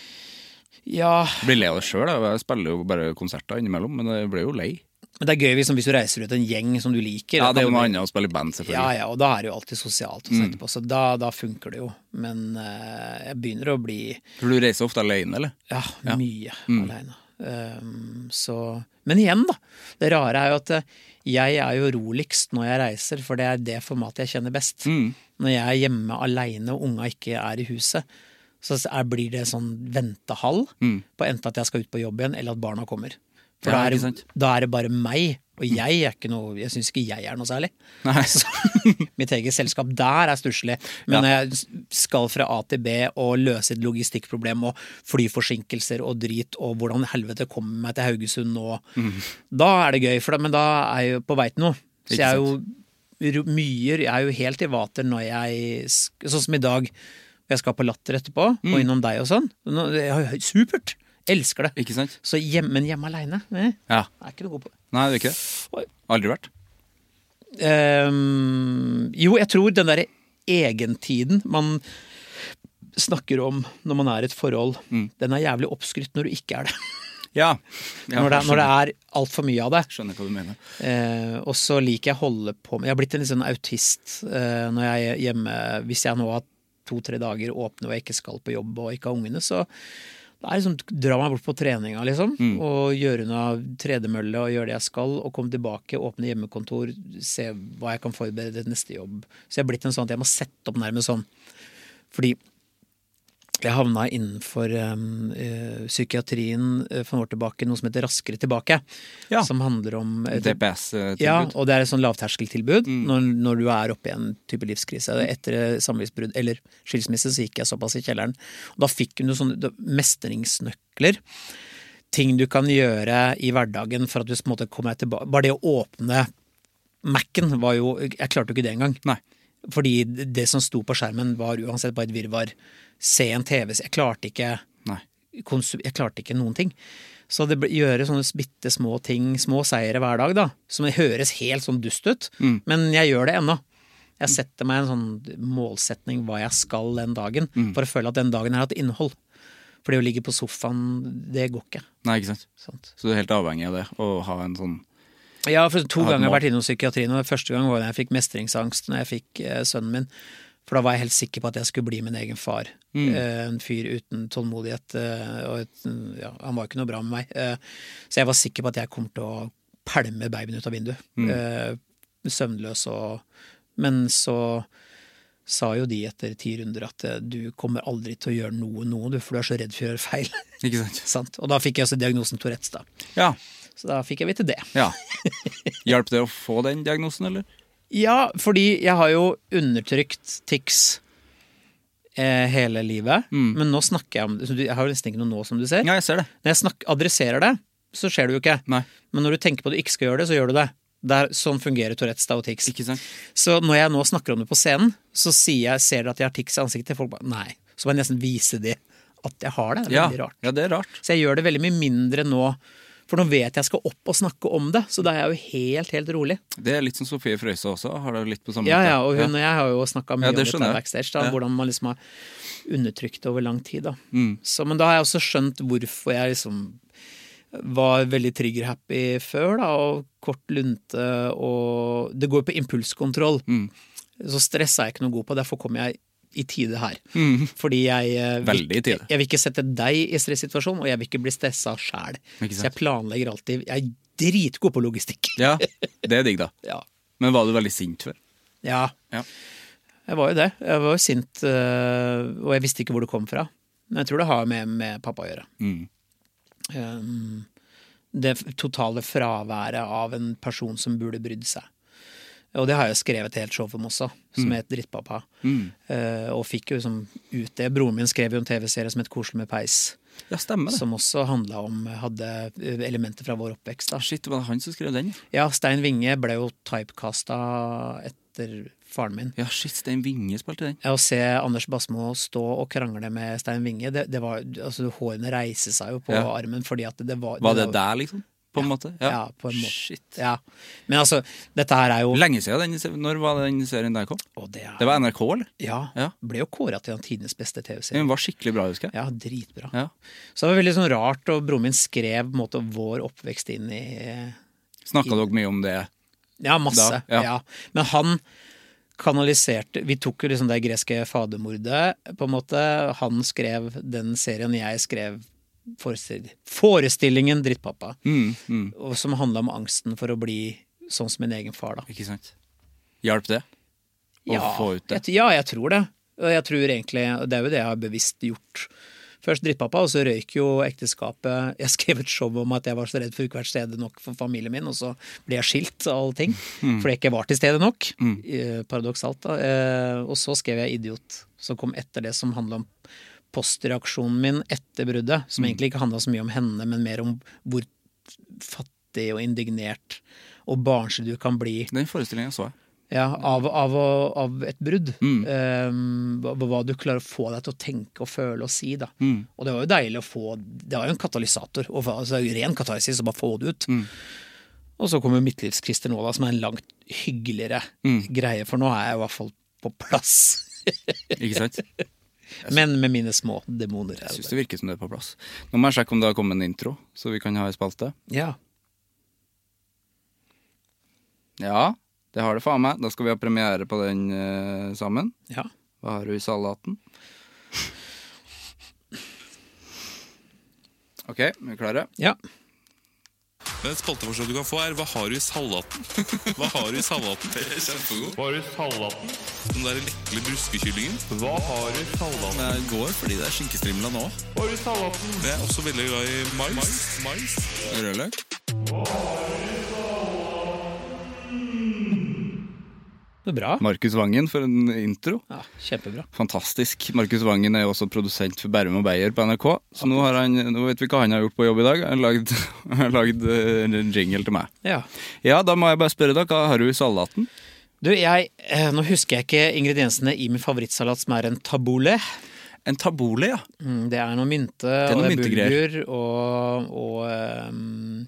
Speaker 3: Ja,
Speaker 1: Jeg blir lei av det sjøl. Jeg spiller jo bare konserter innimellom, men jeg blir jo lei.
Speaker 3: men det er gøy hvis, hvis du reiser ut en gjeng som du liker.
Speaker 1: Ja,
Speaker 3: da
Speaker 1: Det er
Speaker 3: kan
Speaker 1: jo
Speaker 3: du
Speaker 1: noe
Speaker 3: bli-
Speaker 1: annet å spille i band,
Speaker 3: Ja,
Speaker 1: selvfølgelig. Mm.
Speaker 3: ja, og da er det jo alltid sosialt, og sånn etterpå, så da, da funker det jo. Men eh, jeg begynner å bli
Speaker 1: For du reiser ofte alene, eller?
Speaker 3: ja, mye
Speaker 1: Mm.
Speaker 3: aleine. Um, så Men igjen, da. Det rare er jo at eh, jeg er jo roligst når jeg reiser, for det er det formatet jeg kjenner best.
Speaker 1: Mm.
Speaker 3: Når jeg er hjemme aleine og unga ikke er i huset, så er, blir det sånn ventehall på enten at jeg skal ut på jobb igjen, eller at barna kommer. For
Speaker 1: Mm. Ja,
Speaker 3: da,
Speaker 1: ikke sant. Mm.
Speaker 3: er, da er det bare meg, og jeg er ikke noe Jeg syns ikke jeg er noe særlig. Så, mitt eget selskap der er stusslig, men når jeg s- skal fra A til B og løse et logistikkproblem og flyforsinkelser og drit og hvordan helvete kommer meg til Haugesund nå, da er det gøy, for da, men da er jeg jo på vei til noe.
Speaker 1: Mhm. Ikke
Speaker 3: Så jeg er jo ro- mye Jeg er jo helt i vater når jeg sk- Sånn som i dag. Jeg skal på Latter etterpå,
Speaker 1: Mm.
Speaker 3: og innom deg og sånn. Nå- det er jo Supert! Elsker det.
Speaker 1: Ikke sant?
Speaker 3: Så hjemme, men hjemme aleine eh,
Speaker 1: Ja.
Speaker 3: er ikke noe god på det.
Speaker 1: Nei, det er ikke det. Aldri vært.
Speaker 3: Ehm, jo, jeg tror den derre egentiden man snakker om når man er i et forhold, den er jævlig oppskrytt når du ikke er det.
Speaker 1: Ja.
Speaker 3: når, det er- når det er altfor mye av det.
Speaker 1: Skjønner hva du mener.
Speaker 3: Eh, og så liker jeg å holde på med Jeg har blitt en litt sånn autist eh, når jeg er hjemme Hvis jeg nå har to-tre dager åpne og jeg ikke skal på jobb og ikke har ungene, så det er liksom dra meg bort på treninga, liksom. Og gjøre unna tredemølle og gjøre det jeg skal. Og komme tilbake, åpne hjemmekontor, se hva jeg kan forberede til neste jobb. Så jeg er blitt en sånn at jeg må sette opp nærmest sånn. Fordi jeg havna innenfor um, eh, psykiatrien eh, for noen år tilbake, noe som heter Raskere tilbake.
Speaker 1: Ja.
Speaker 3: Som handler om eh, et ja,
Speaker 1: DPS-tilbud.
Speaker 3: og det er et sånn lavterskeltilbud når, når du er oppe i en type livskrise. Etter samlivsbrudd eller skilsmisse så gikk jeg såpass i kjelleren. Og da fikk hun jo sånne da- mestringsnøkler. Ting du kan gjøre i hverdagen for at du på en måte kommer deg tilbake. Bare det å åpne Mac-en var jo Jeg klarte jo ikke det engang.
Speaker 1: Nei.
Speaker 3: Fordi det som sto på skjermen var uansett bare et virvar. Se en TV Jeg klarte ikke
Speaker 1: Nei.
Speaker 3: konsum jeg klarte ikke noen ting. Så det ble, gjøre sånne bitte små ting, små seire hver dag, da, som høres helt sånn dust ut, men jeg gjør det ennå. Jeg setter meg en sånn målsetning hva jeg skal den dagen, for å føle at den dagen har hatt innhold. For det å ligge på sofaen, det går ikke.
Speaker 1: Nei, ikke sant.
Speaker 3: Sant?
Speaker 1: Så du er helt avhengig av det, å ha en sånn
Speaker 3: Ja, for to
Speaker 1: Jeg har et
Speaker 3: ganger har jeg
Speaker 1: mål.
Speaker 3: vært innom psykiatrien, og den første gang var da jeg fikk mestringsangst når jeg fikk eh, sønnen min. For da var jeg helt sikker på at jeg skulle bli min egen far. Eh, en fyr uten tålmodighet. Eh, og et, ja, han var jo ikke noe bra med meg. Eh, så jeg var sikker på at jeg kom til å pælme babyen ut av vinduet. Eh, søvnløs og Men så sa jo de etter ti runder at eh, du kommer aldri til å gjøre noe nå, du, for du er så redd for å gjøre feil.
Speaker 1: Ikke sant.
Speaker 3: Sant? Og da fikk jeg også diagnosen Tourettes, da.
Speaker 1: Ja.
Speaker 3: Så da fikk jeg vite det.
Speaker 1: ja. Hjalp det å få den diagnosen, eller?
Speaker 3: Ja, fordi jeg har jo undertrykt tics eh, hele livet.
Speaker 1: Mm.
Speaker 3: Men nå snakker jeg om det. så du- Jeg har jo nesten ikke noe nå, som du ser.
Speaker 1: Ja, jeg ser det.
Speaker 3: Når jeg snakk- adresserer det, så skjer det jo ikke.
Speaker 1: Nei.
Speaker 3: Men når du tenker på at du ikke skal gjøre det, så gjør du det. Der, sånn fungerer Tourettes da og tics.
Speaker 1: Ikke sant.
Speaker 3: Så når jeg nå snakker om det på scenen, så sier jeg, ser dere at jeg har tics i ansiktet. Folk bare nei. Så må jeg nesten vise de at jeg har det. Det er
Speaker 1: Ja.
Speaker 3: veldig rart.
Speaker 1: ja, det er rart.
Speaker 3: Så jeg gjør det veldig mye mindre nå For nå vet jeg jeg skal opp og snakke om det, så da er jeg jo helt, helt rolig.
Speaker 1: Det er litt som Sofie Frøysa også. Har det litt på samme
Speaker 3: Ja,
Speaker 1: måte.
Speaker 3: ja, og hun og jeg har jo snakka mye
Speaker 1: Ja,
Speaker 3: om
Speaker 1: det
Speaker 3: dette
Speaker 1: skjønner jeg.
Speaker 3: backstage. Da,
Speaker 1: Ja.
Speaker 3: Hvordan man liksom har undertrykt det over lang tid. Da.
Speaker 1: Mm.
Speaker 3: Så, men da har jeg også skjønt hvorfor jeg liksom var veldig trigger-happy før, da, og kort lunte og Det går på impulskontroll.
Speaker 1: Mm.
Speaker 3: Så stress er jeg ikke noe god på, derfor kom jeg i tide her. Fordi jeg eh, vil,
Speaker 1: Mm. Veldig i tide.
Speaker 3: jeg vil ikke sette deg i stressituasjon, og jeg vil ikke bli stressa sjæl.
Speaker 1: Ikke
Speaker 3: Så jeg
Speaker 1: sant.
Speaker 3: planlegger alltid. Jeg er dritgod på logistikk.
Speaker 1: Ja, det er digg, da.
Speaker 3: Ja.
Speaker 1: Men var du veldig sint før?
Speaker 3: Ja.
Speaker 1: Ja.
Speaker 3: Jeg var jo det. Jeg var jo sint, øh, og jeg visste ikke hvor det kom fra. Men jeg tror det har med, med pappa å gjøre.
Speaker 1: Mm.
Speaker 3: Um, det f- totale fraværet av en person som burde brydd seg. Og det har jeg skrevet et helt show om også,
Speaker 1: Mm.
Speaker 3: som het Drittpappa. Eh, og fikk jo liksom ut det. Broren min skrev jo en TV-serie som het Koselig med peis,
Speaker 1: Ja, stemmer det.
Speaker 3: som også handla om Hadde eh, elementer fra vår oppvekst. da.
Speaker 1: Shit, var det han som skrev den? ja?
Speaker 3: Ja, Stein Winge ble jo typecasta etter faren min.
Speaker 1: Ja, shit, Stein Winge spilte den.
Speaker 3: Ja, Å se Anders Basmo stå og krangle med Stein Winge det, det var, altså, Hårene reiste seg jo på
Speaker 1: Ja.
Speaker 3: armen fordi at det var
Speaker 1: Var det der, liksom? På en måte?
Speaker 3: Ja, på en måte.
Speaker 1: Shit.
Speaker 3: Ja. Men altså, dette her er jo
Speaker 1: Lenge siden den serien. Når var den serien der kom?
Speaker 3: Å, det, er,
Speaker 1: Det var NRK, eller?
Speaker 3: Ja.
Speaker 1: Ja.
Speaker 3: Ble jo kåra til en tidenes beste
Speaker 1: Den
Speaker 3: TV-serie.
Speaker 1: var skikkelig bra, husker jeg.
Speaker 3: Ja, dritbra.
Speaker 1: Ja.
Speaker 3: Så det var veldig sånn rart, og broren min skrev på en måte, vår oppvekst inn i eh,
Speaker 1: Snakka dere mye om det?
Speaker 3: Ja, masse.
Speaker 1: Da,
Speaker 3: ja.
Speaker 1: ja.
Speaker 3: Men han kanaliserte Vi tok jo liksom det greske fadermordet, på en måte. Han skrev den serien jeg skrev forestil- forestillingen Drittpappa, og som handla om angsten for å bli sånn som min egen far, da.
Speaker 1: Ikke sant? Hjalp det? Å få ut det?
Speaker 3: Jeg, ja, jeg tror det. Og jeg tror egentlig, og det er jo det jeg har bevisst gjort. Først drittpappa, og så røyk jo ekteskapet. Jeg skrev et show om at jeg var så redd for ikke å være til stede nok for familien min, og så ble jeg skilt av alle ting.
Speaker 1: Mm.
Speaker 3: Fordi jeg ikke var til stede nok. Eh, Paradoksalt, da. Eh, og så skrev jeg 'Idiot', som kom etter det som handla om postreaksjonen min etter bruddet.
Speaker 1: Mm.
Speaker 3: Som egentlig ikke handla så mye om henne, men mer om hvor fattig og indignert og barnslig du kan bli
Speaker 1: Den forestillinga så jeg.
Speaker 3: ja, av, av, å- av et brudd. Eh, hva, hva du klarer å få deg til å tenke og føle og si. Da. Og det var jo deilig å få Det var jo en katalysator. Og, fa- altså, ren katarsis, å bare få det ut. Og så kommer Midtlivs-Christer nå, da, som er en langt hyggeligere greie. For nå er jeg i hvert fall på plass.
Speaker 1: Ikke sant? Jeg
Speaker 3: Men med mine små demoner. er jo
Speaker 1: syns
Speaker 3: det.
Speaker 1: det virker som det er på plass. Nå må jeg sjekke om det har kommet en intro, så vi kan ha en spalte.
Speaker 3: Ja.
Speaker 1: Ja, det har det faen meg. Da skal vi ha premiere på den eh, sammen.
Speaker 3: ja.
Speaker 1: Hva har du i salaten? OK, er vi klare?
Speaker 3: ja.
Speaker 4: Men Et spalteforslag du kan få, er 'Hva har du i salaten?' Hva har du i salaten? Det er kjempegod. Hva har du i salaten? Den der lekle bruskekyllingen. Hva har du i salaten? Jeg går fordi det er skinkestrimla nå. Hva har du i salaten? Jeg er også veldig glad i mais. mais. mais.
Speaker 1: Rødløk?
Speaker 3: Det er bra.
Speaker 1: Markus Vangen for en intro.
Speaker 3: Ja, kjempebra.
Speaker 1: Fantastisk. Markus Vangen er jo også produsent for Bærum og Beyer på NRK. Så nå, har han, nå vet vi hva han har gjort på jobb i dag. Han har lagd, han har lagd eh, en jingle til meg.
Speaker 3: Ja.
Speaker 1: Ja, da må jeg bare spørre deg, hva har du i salaten?
Speaker 3: Du, jeg, eh, nå husker jeg ikke ingrediensene i min favorittsalat, som er en tabouleh.
Speaker 1: En tabole, ja.
Speaker 3: Mm, Det er noe mynte,
Speaker 1: er noe
Speaker 3: og det er
Speaker 1: myntegreier.
Speaker 3: bulgur og, og ehm,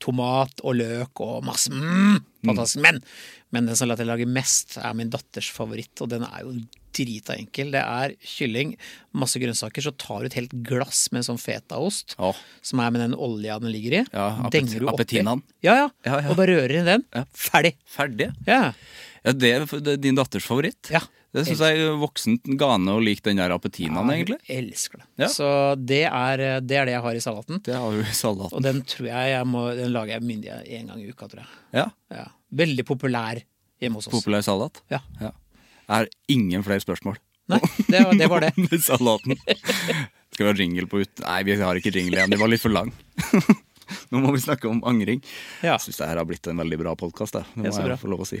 Speaker 3: tomat og løk og masse mm, Fantastisk. Men, men den salaten jeg lager mest, er min datters favoritt, og den er jo drita enkel. Det er kylling, masse grønnsaker, så tar du et helt glass med en sånn fetaost,
Speaker 1: Ja.
Speaker 3: som er med den olja den ligger i.
Speaker 1: Ja, appet-
Speaker 3: denger du oppi.
Speaker 1: appetinaen.
Speaker 3: Ja, ja,
Speaker 1: Ja, ja.
Speaker 3: Og bare rører i den.
Speaker 1: Ja.
Speaker 3: Ferdig.
Speaker 1: Ferdig.
Speaker 3: Ja.
Speaker 1: Ja, det, er- det er din datters favoritt.
Speaker 3: Ja.
Speaker 1: Det syns jeg er voksent gane å like den der appetinaen,
Speaker 3: Jeg
Speaker 1: egentlig.
Speaker 3: elsker det.
Speaker 1: Ja.
Speaker 3: Så det er, eh, det er det jeg har i salaten.
Speaker 1: Det har du i
Speaker 3: Og
Speaker 1: salaten.
Speaker 3: den tror jeg jeg må Den lager jeg myndig en gang i uka, tror jeg.
Speaker 1: Ja,
Speaker 3: Ja. Veldig populær hjemme hos oss.
Speaker 1: Populær salat.
Speaker 3: Ja.
Speaker 1: Ja. Jeg har ingen flere spørsmål.
Speaker 3: Nei, det var det. Var det.
Speaker 1: Med salaten. Skal vi ha jingle på ut... Nei, vi har ikke jingle igjen. Det var litt for lang. Nå må vi snakke om angring.
Speaker 3: Ja.
Speaker 1: Jeg syns det her har blitt en veldig bra podkast. Det må
Speaker 3: Ja, så bra.
Speaker 1: jeg få lov å si.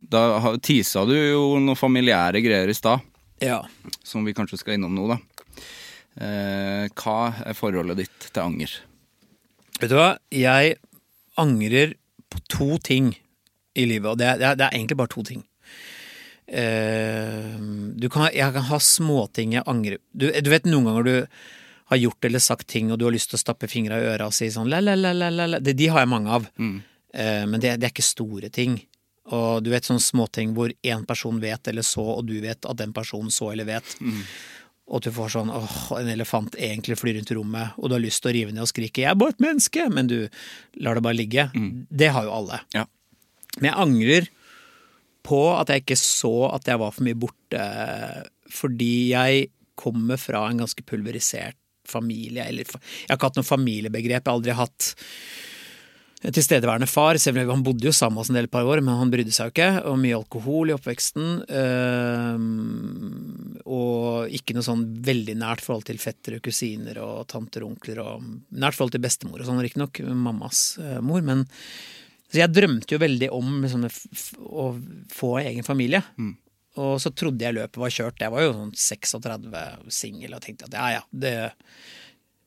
Speaker 1: Da ha- tisa du jo noen familiære greier i stad,
Speaker 3: Ja.
Speaker 1: som vi kanskje skal innom nå, da. Eh, hva er forholdet ditt til anger?
Speaker 3: Vet du hva, jeg angrer på to ting i livet, og det er, det er, det er egentlig bare to ting. Eh, du kan, ha- jeg kan ha småting jeg angrer du, du vet noen ganger du har gjort eller sagt ting, og du har lyst til å stappe fingra i øra og si sånn la-la-la-la De, de har jeg mange av, Eh, men det, det er ikke store ting. Og du vet sånne småting hvor én person vet eller så, og du vet at den personen så eller vet. Og at du får sånn åh, en elefant egentlig flyr rundt i rommet, og du har lyst til å rive ned og skrike 'jeg er bare et menneske', men du lar det bare ligge. Det har jo alle.
Speaker 1: Ja.
Speaker 3: Men jeg angrer på at jeg ikke så at jeg var for mye borte, fordi jeg kommer fra en ganske pulverisert familie. Eller, fa- jeg har ikke hatt noe familiebegrep. Jeg har aldri hatt en tilstedeværende far, selv om han bodde jo sammen med oss en del par år, men han brydde seg jo ikke. Og mye alkohol i oppveksten. øhm, og ikke noe sånn veldig nært forhold til fettere og kusiner og tanter og onkler. Og nært forhold til bestemor og sånn, riktignok. Mammas eh, mor. men så jeg drømte jo veldig om liksom, f- f- å få egen familie. Og så trodde jeg løpet var kjørt. Jeg var jo sånn 36 singel og tenkte at ja, ja, det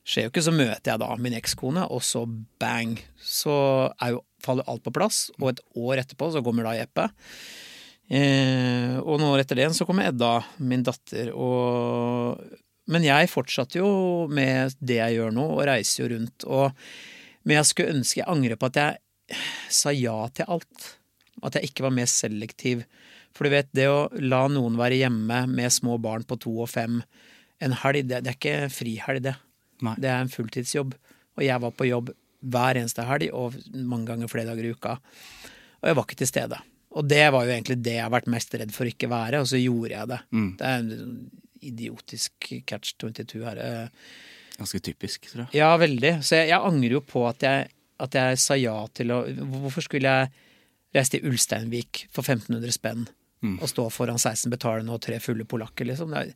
Speaker 3: skjer jo ikke. Så møter jeg da min ekskone, og så bang, så er jo, faller alt på plass. Og et år etterpå så kommer da Jeppe. Eh, og noen år etter det igjen så kommer Edda, min datter. Og... Men jeg fortsatte jo med det jeg gjør nå, og reiser jo rundt. Og... Men jeg skulle ønske jeg angrer på at jeg sa ja til alt. At jeg ikke var mer selektiv. For du vet, det å la noen være hjemme med små barn på to og fem en helg, det, det er ikke frihelg, det.
Speaker 1: Nei.
Speaker 3: Det er en fulltidsjobb. Og jeg var på jobb hver eneste helg, og mange ganger flere dager i uka. Og jeg var ikke til stede. Og det var jo egentlig det jeg har vært mest redd for å ikke være, og så gjorde jeg det. Det er en idiotisk catch 22 her. eh.
Speaker 1: Ganske typisk, tror jeg.
Speaker 3: Ja, veldig. Så jeg, jeg angrer jo på at jeg, at jeg sa ja til å Hvorfor skulle jeg reise til Ulsteinvik for 1500 spenn og stå foran 16 betalende og tre fulle polakker, liksom? Det er,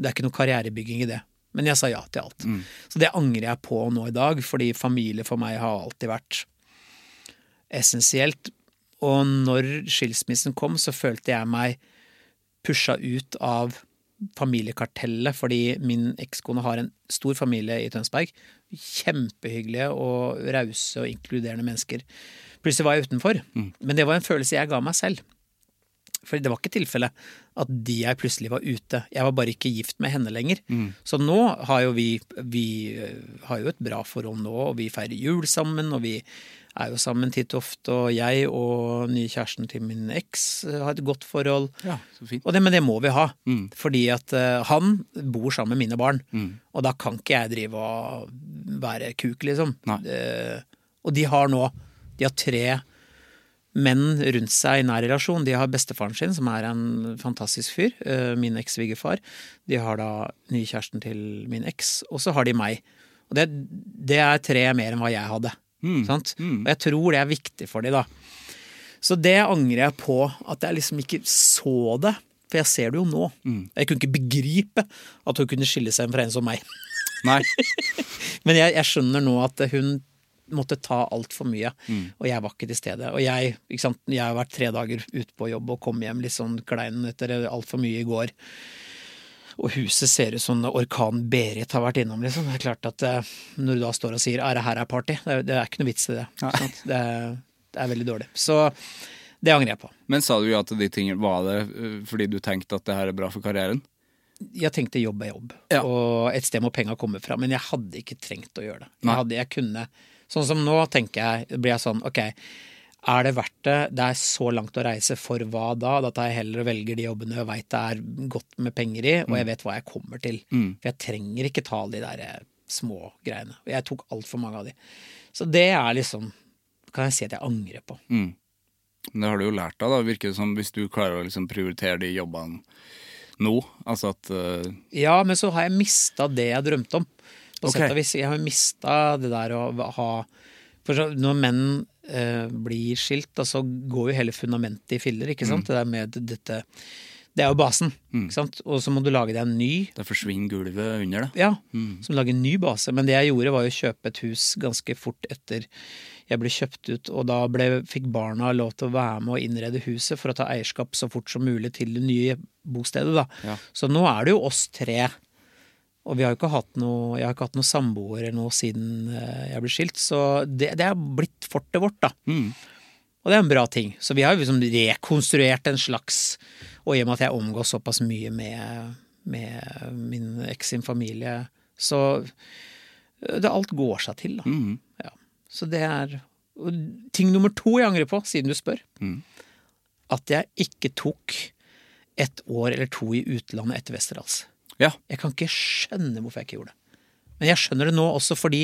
Speaker 3: det er ikke noe karrierebygging i det. Men jeg sa ja til alt. Så det angrer jeg på nå i dag, fordi familie for meg har alltid vært essensielt. Og når skilsmissen kom, så følte jeg meg pusha ut av familiekartellet, fordi min ekskone har en stor familie i Tønsberg. Kjempehyggelige og rause og inkluderende mennesker. Plutselig var jeg utenfor. Men det var en følelse jeg ga meg selv. For det var ikke tilfellet at de jeg plutselig var ute. Jeg var bare ikke gift med henne lenger. Så nå har jo vi Vi eh, har jo et bra forhold nå, og vi feirer jul sammen, og vi er jo sammen titt og ofte, og jeg og nye kjæresten til min eks eh, har et godt forhold.
Speaker 1: Ja, så fint. Mm.
Speaker 3: Og det, men det må vi ha, fordi at eh, han bor sammen med mine barn. Og da kan ikke jeg drive og være kuk, liksom.
Speaker 1: Nei.
Speaker 3: Eh, og de har nå De har tre menn rundt seg i nær relasjon. De har bestefaren sin, som er en fantastisk fyr. eh, Min eks-svigerfar. De har da nye kjæresten til min eks, og så har de meg. Og det, det er tre mer enn hva jeg hadde. Sant? Og jeg tror det er viktig for de da. Så det angrer jeg på, at jeg liksom ikke så det. For jeg ser det jo nå. Jeg kunne ikke begripe at hun kunne skille seg fra en som meg.
Speaker 1: Nei.
Speaker 3: Men jeg, jeg skjønner nå at hun måtte ta altfor mye, og jeg var ikke til stede. Og jeg, ikke sant? jeg har vært tre dager ute på jobb og kom hjem litt sånn klein etter altfor mye i går. Og huset ser ut som orkan Berit har vært innom, liksom. Det er klart at eh, når du da står og sier 'er det her er party', det er, det er ikke noe vits i det. ikke Sant? Det, er, det er veldig dårlig. Så Det angrer jeg på.
Speaker 1: Men sa du ja til de tingene? Var det eh, fordi du tenkte at det her er bra for karrieren?
Speaker 3: Jeg tenkte jobb er jobb,
Speaker 1: Ja.
Speaker 3: og et sted må penga komme fra. Men jeg hadde ikke trengt å gjøre det. Jeg
Speaker 1: Nei.
Speaker 3: hadde, jeg kunne, sånn som nå tenker jeg, blir jeg sånn ok, er det verdt det? Det er så langt å reise, for hva da? Da tar jeg heller og velger de jobbene jeg veit det er godt med penger i,
Speaker 1: Mm.
Speaker 3: og jeg vet hva jeg kommer til. For jeg trenger ikke ta alle de der eh, små greiene. Og Jeg tok altfor mange av de. Så det er liksom Kan jeg si at jeg angrer på.
Speaker 1: Men det har du jo lært av, da. Virker det som hvis du klarer å liksom prioritere de jobbene nå. Altså at eh,
Speaker 3: Ja, men så har jeg mista det jeg drømte om. På
Speaker 1: Ok.
Speaker 3: sett og vis. Jeg har mista det der å ha For så, når menn eh, blir skilt, da, så går jo hele fundamentet i filler, ikke sant? Det der med dette Det er jo basen, ikke sant? Og så må du lage deg en ny.
Speaker 1: det forsvinner gulvet under det. Mm.
Speaker 3: Ja, som lager en ny base. Men det jeg gjorde, var jo å kjøpe et hus ganske fort etter jeg ble kjøpt ut, og da ble, fikk barna lov til å være med og innrede huset for å ta eierskap så fort som mulig til det nye bostedet. Da.
Speaker 1: Ja.
Speaker 3: Så nå er det jo oss tre. Og vi har jo ikke hatt noe, jeg har ikke hatt noen samboere nå siden eh, jeg ble skilt, så det, det er blitt fortet vårt, da. Og det er en bra ting. Så vi har jo liksom rekonstruert en slags Og i og med at jeg omgås såpass mye med, med min eks sin familie, så eh, det, Alt går seg til, da. Ja. Så det er og Ting nummer to jeg angrer på, siden du spør. At jeg ikke tok et år eller to i utlandet etter Westerdals.
Speaker 1: Ja.
Speaker 3: Jeg kan ikke skjønne hvorfor jeg ikke gjorde det. Men jeg skjønner det nå også fordi,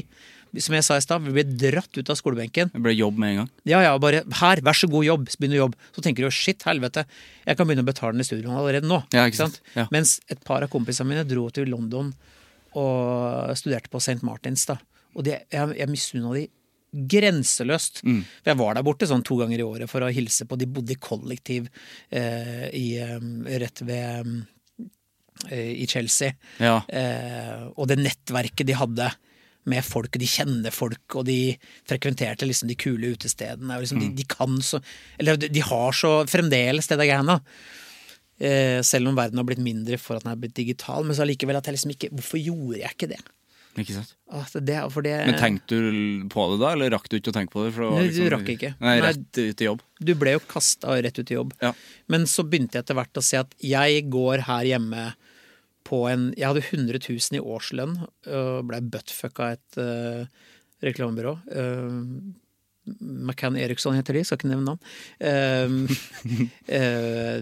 Speaker 3: som jeg sa i stad, vi ble dratt ut av skolebenken.
Speaker 1: Det ble jobb med en gang.
Speaker 3: Ja, ja, bare her, vær så god jobb, begynn å jobbe. Så tenker du shit, helvete, jeg kan begynne å betale ned studielånet allerede nå.
Speaker 1: Ja, ikke sant? Ja.
Speaker 3: Mens et par av kompisene mine dro til London og studerte på St. Martins, da. Og det, jeg, jeg misunna de grenseløst.
Speaker 1: Mm.
Speaker 3: For jeg var der borte sånn to ganger i året for å hilse på. De bodde i kollektiv eh, i, eh, rett ved eh, i Chelsea.
Speaker 1: Ja.
Speaker 3: Eh, og det nettverket de hadde med folk, og de kjenner folk, og de frekventerte liksom de kule utestedene. Og liksom de, de kan så Eller de- de har så fremdeles det der greiene. Eh, selv om verden har blitt mindre for at den er blitt digital. Men så allikevel at jeg liksom ikke Hvorfor gjorde jeg ikke det?
Speaker 1: Ikke sant?
Speaker 3: At det, for det
Speaker 1: Men tenkte du på det da, eller rakk du ikke å tenke på det? For det var
Speaker 3: Eh.
Speaker 1: liksom-
Speaker 3: Nei, du rakk ikke.
Speaker 1: Nei,
Speaker 3: Nei.
Speaker 1: rett ut i jobb.
Speaker 3: Du ble jo kasta rett ut i jobb.
Speaker 1: Ja.
Speaker 3: Men så begynte jeg etter hvert å se at jeg går her hjemme på en Jeg hadde 100 000 i årslønn og blei buttfucka av et eh, reklamebyrå. Uh, McCann Eriksson heter de, skal ikke nevne navn. Eh, eh,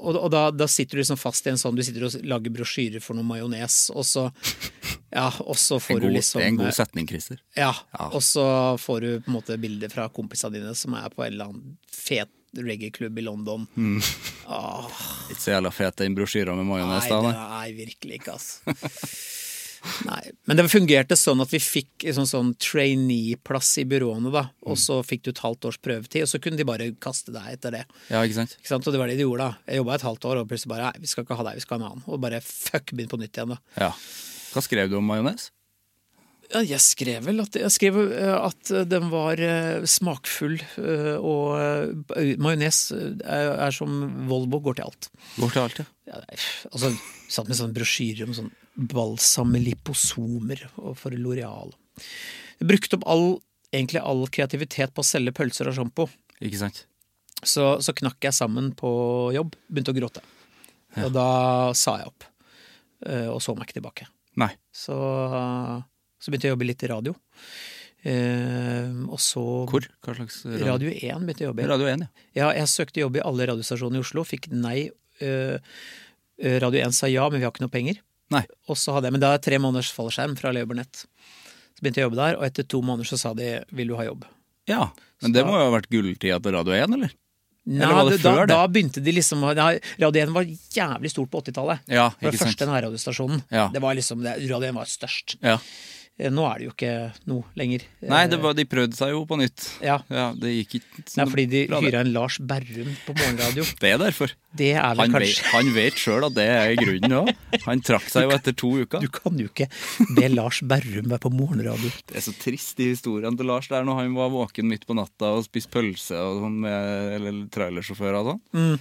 Speaker 3: og og da, da sitter du liksom fast i en sånn Du sitter og lager brosjyrer for noe majones, og så Ja, og så
Speaker 1: En
Speaker 3: får
Speaker 1: god,
Speaker 3: du liksom
Speaker 1: det er en god setning, Christer.
Speaker 3: ja,
Speaker 1: Ja.
Speaker 3: og så får du på en måte bilder fra kompisene dine som er på en eller annen fet reggae-klubb i London. Åh,
Speaker 1: Ikke så jævla fet den brosjyra med
Speaker 3: nei,
Speaker 1: majones
Speaker 3: det
Speaker 1: da. nei.
Speaker 3: er virkelig ikke, altså. Nei. Men det fungerte sånn at vi fikk en sånn, sånn trainee-plass i byråene, da. Og så fikk du et halvt års prøvetid, og så kunne de bare kaste deg etter det.
Speaker 1: Ja, ikke sant?
Speaker 3: Ikke sant? Og det var det de gjorde, da. Jeg jobba et halvt år, og plutselig bare Nei, vi skal ikke ha deg, vi skal ha en annen. Og bare fuck, begynn på nytt igjen, da.
Speaker 1: Ja. Hva skrev du om majones?
Speaker 3: Ja, jeg skrev vel at, jeg skrev eh, at den var eh, smakfull, eh, og eh, majones er, er som Volvo, går til alt.
Speaker 1: Går til alt, ja.
Speaker 3: Ja, det er- altså, jeg satt med sånne brosjyrer om sånn balsam med liposomer og for Loreal. Jeg brukte opp all, egentlig all kreativitet på å selge pølser og sjampo.
Speaker 1: Ikke sant?
Speaker 3: Så, så knakk jeg sammen på jobb, begynte å gråte. Og da sa jeg opp, eh, og så meg ikke tilbake.
Speaker 1: Nei.
Speaker 3: Så, så begynte jeg å jobbe litt i radio. Eh, og så
Speaker 1: Hvor? Hva slags radio?
Speaker 3: Radio 1 begynte jeg å jobbe i.
Speaker 1: Radio 1, ja.
Speaker 3: Ja, jeg søkte jobb i alle radiostasjonene i Oslo, fikk nei. Eh, eh, radio 1 sa ja, men vi har ikke noe penger.
Speaker 1: Nei.
Speaker 3: Og så hadde jeg, Men da er jeg tre måneders fallskjerm fra Leobernett. Så begynte jeg å jobbe der, og etter to måneder så sa de 'vil du ha jobb'?
Speaker 1: Ja, men det må jo ha vært gulltida til Radio 1, eller?
Speaker 3: Nei,
Speaker 1: Eller var det
Speaker 3: da,
Speaker 1: før det?
Speaker 3: da begynte de liksom å- nei, Radio 1 var jævlig stort på 80-tallet.
Speaker 1: Ja,
Speaker 3: det var
Speaker 1: ikke sant.
Speaker 3: første nærradiostasjonen.
Speaker 1: Ja.
Speaker 3: Det var liksom, det, Radio 1 var størst.
Speaker 1: Ja.
Speaker 3: Eh, Nå er det jo ikke noe lenger.
Speaker 1: Nei,
Speaker 3: Eh,
Speaker 1: det var, de prøvde seg jo på nytt.
Speaker 3: Ja.
Speaker 1: Det gikk ikke
Speaker 3: Nei, fordi de
Speaker 1: bra, det.
Speaker 3: hyra en Lars Berrum på morgenradio.
Speaker 1: Det er derfor.
Speaker 3: Det er vel
Speaker 1: Han vet,
Speaker 3: kanskje
Speaker 1: han vet sjøl at det er grunnen òg. Han trakk seg jo etter to uker.
Speaker 3: Du kan jo ikke be Lars Berrum være på morgenradio.
Speaker 1: Det er så trist i historien til Lars der når han var våken midt på natta og spiste pølse og sånn med eller trailersjåfører og sånn.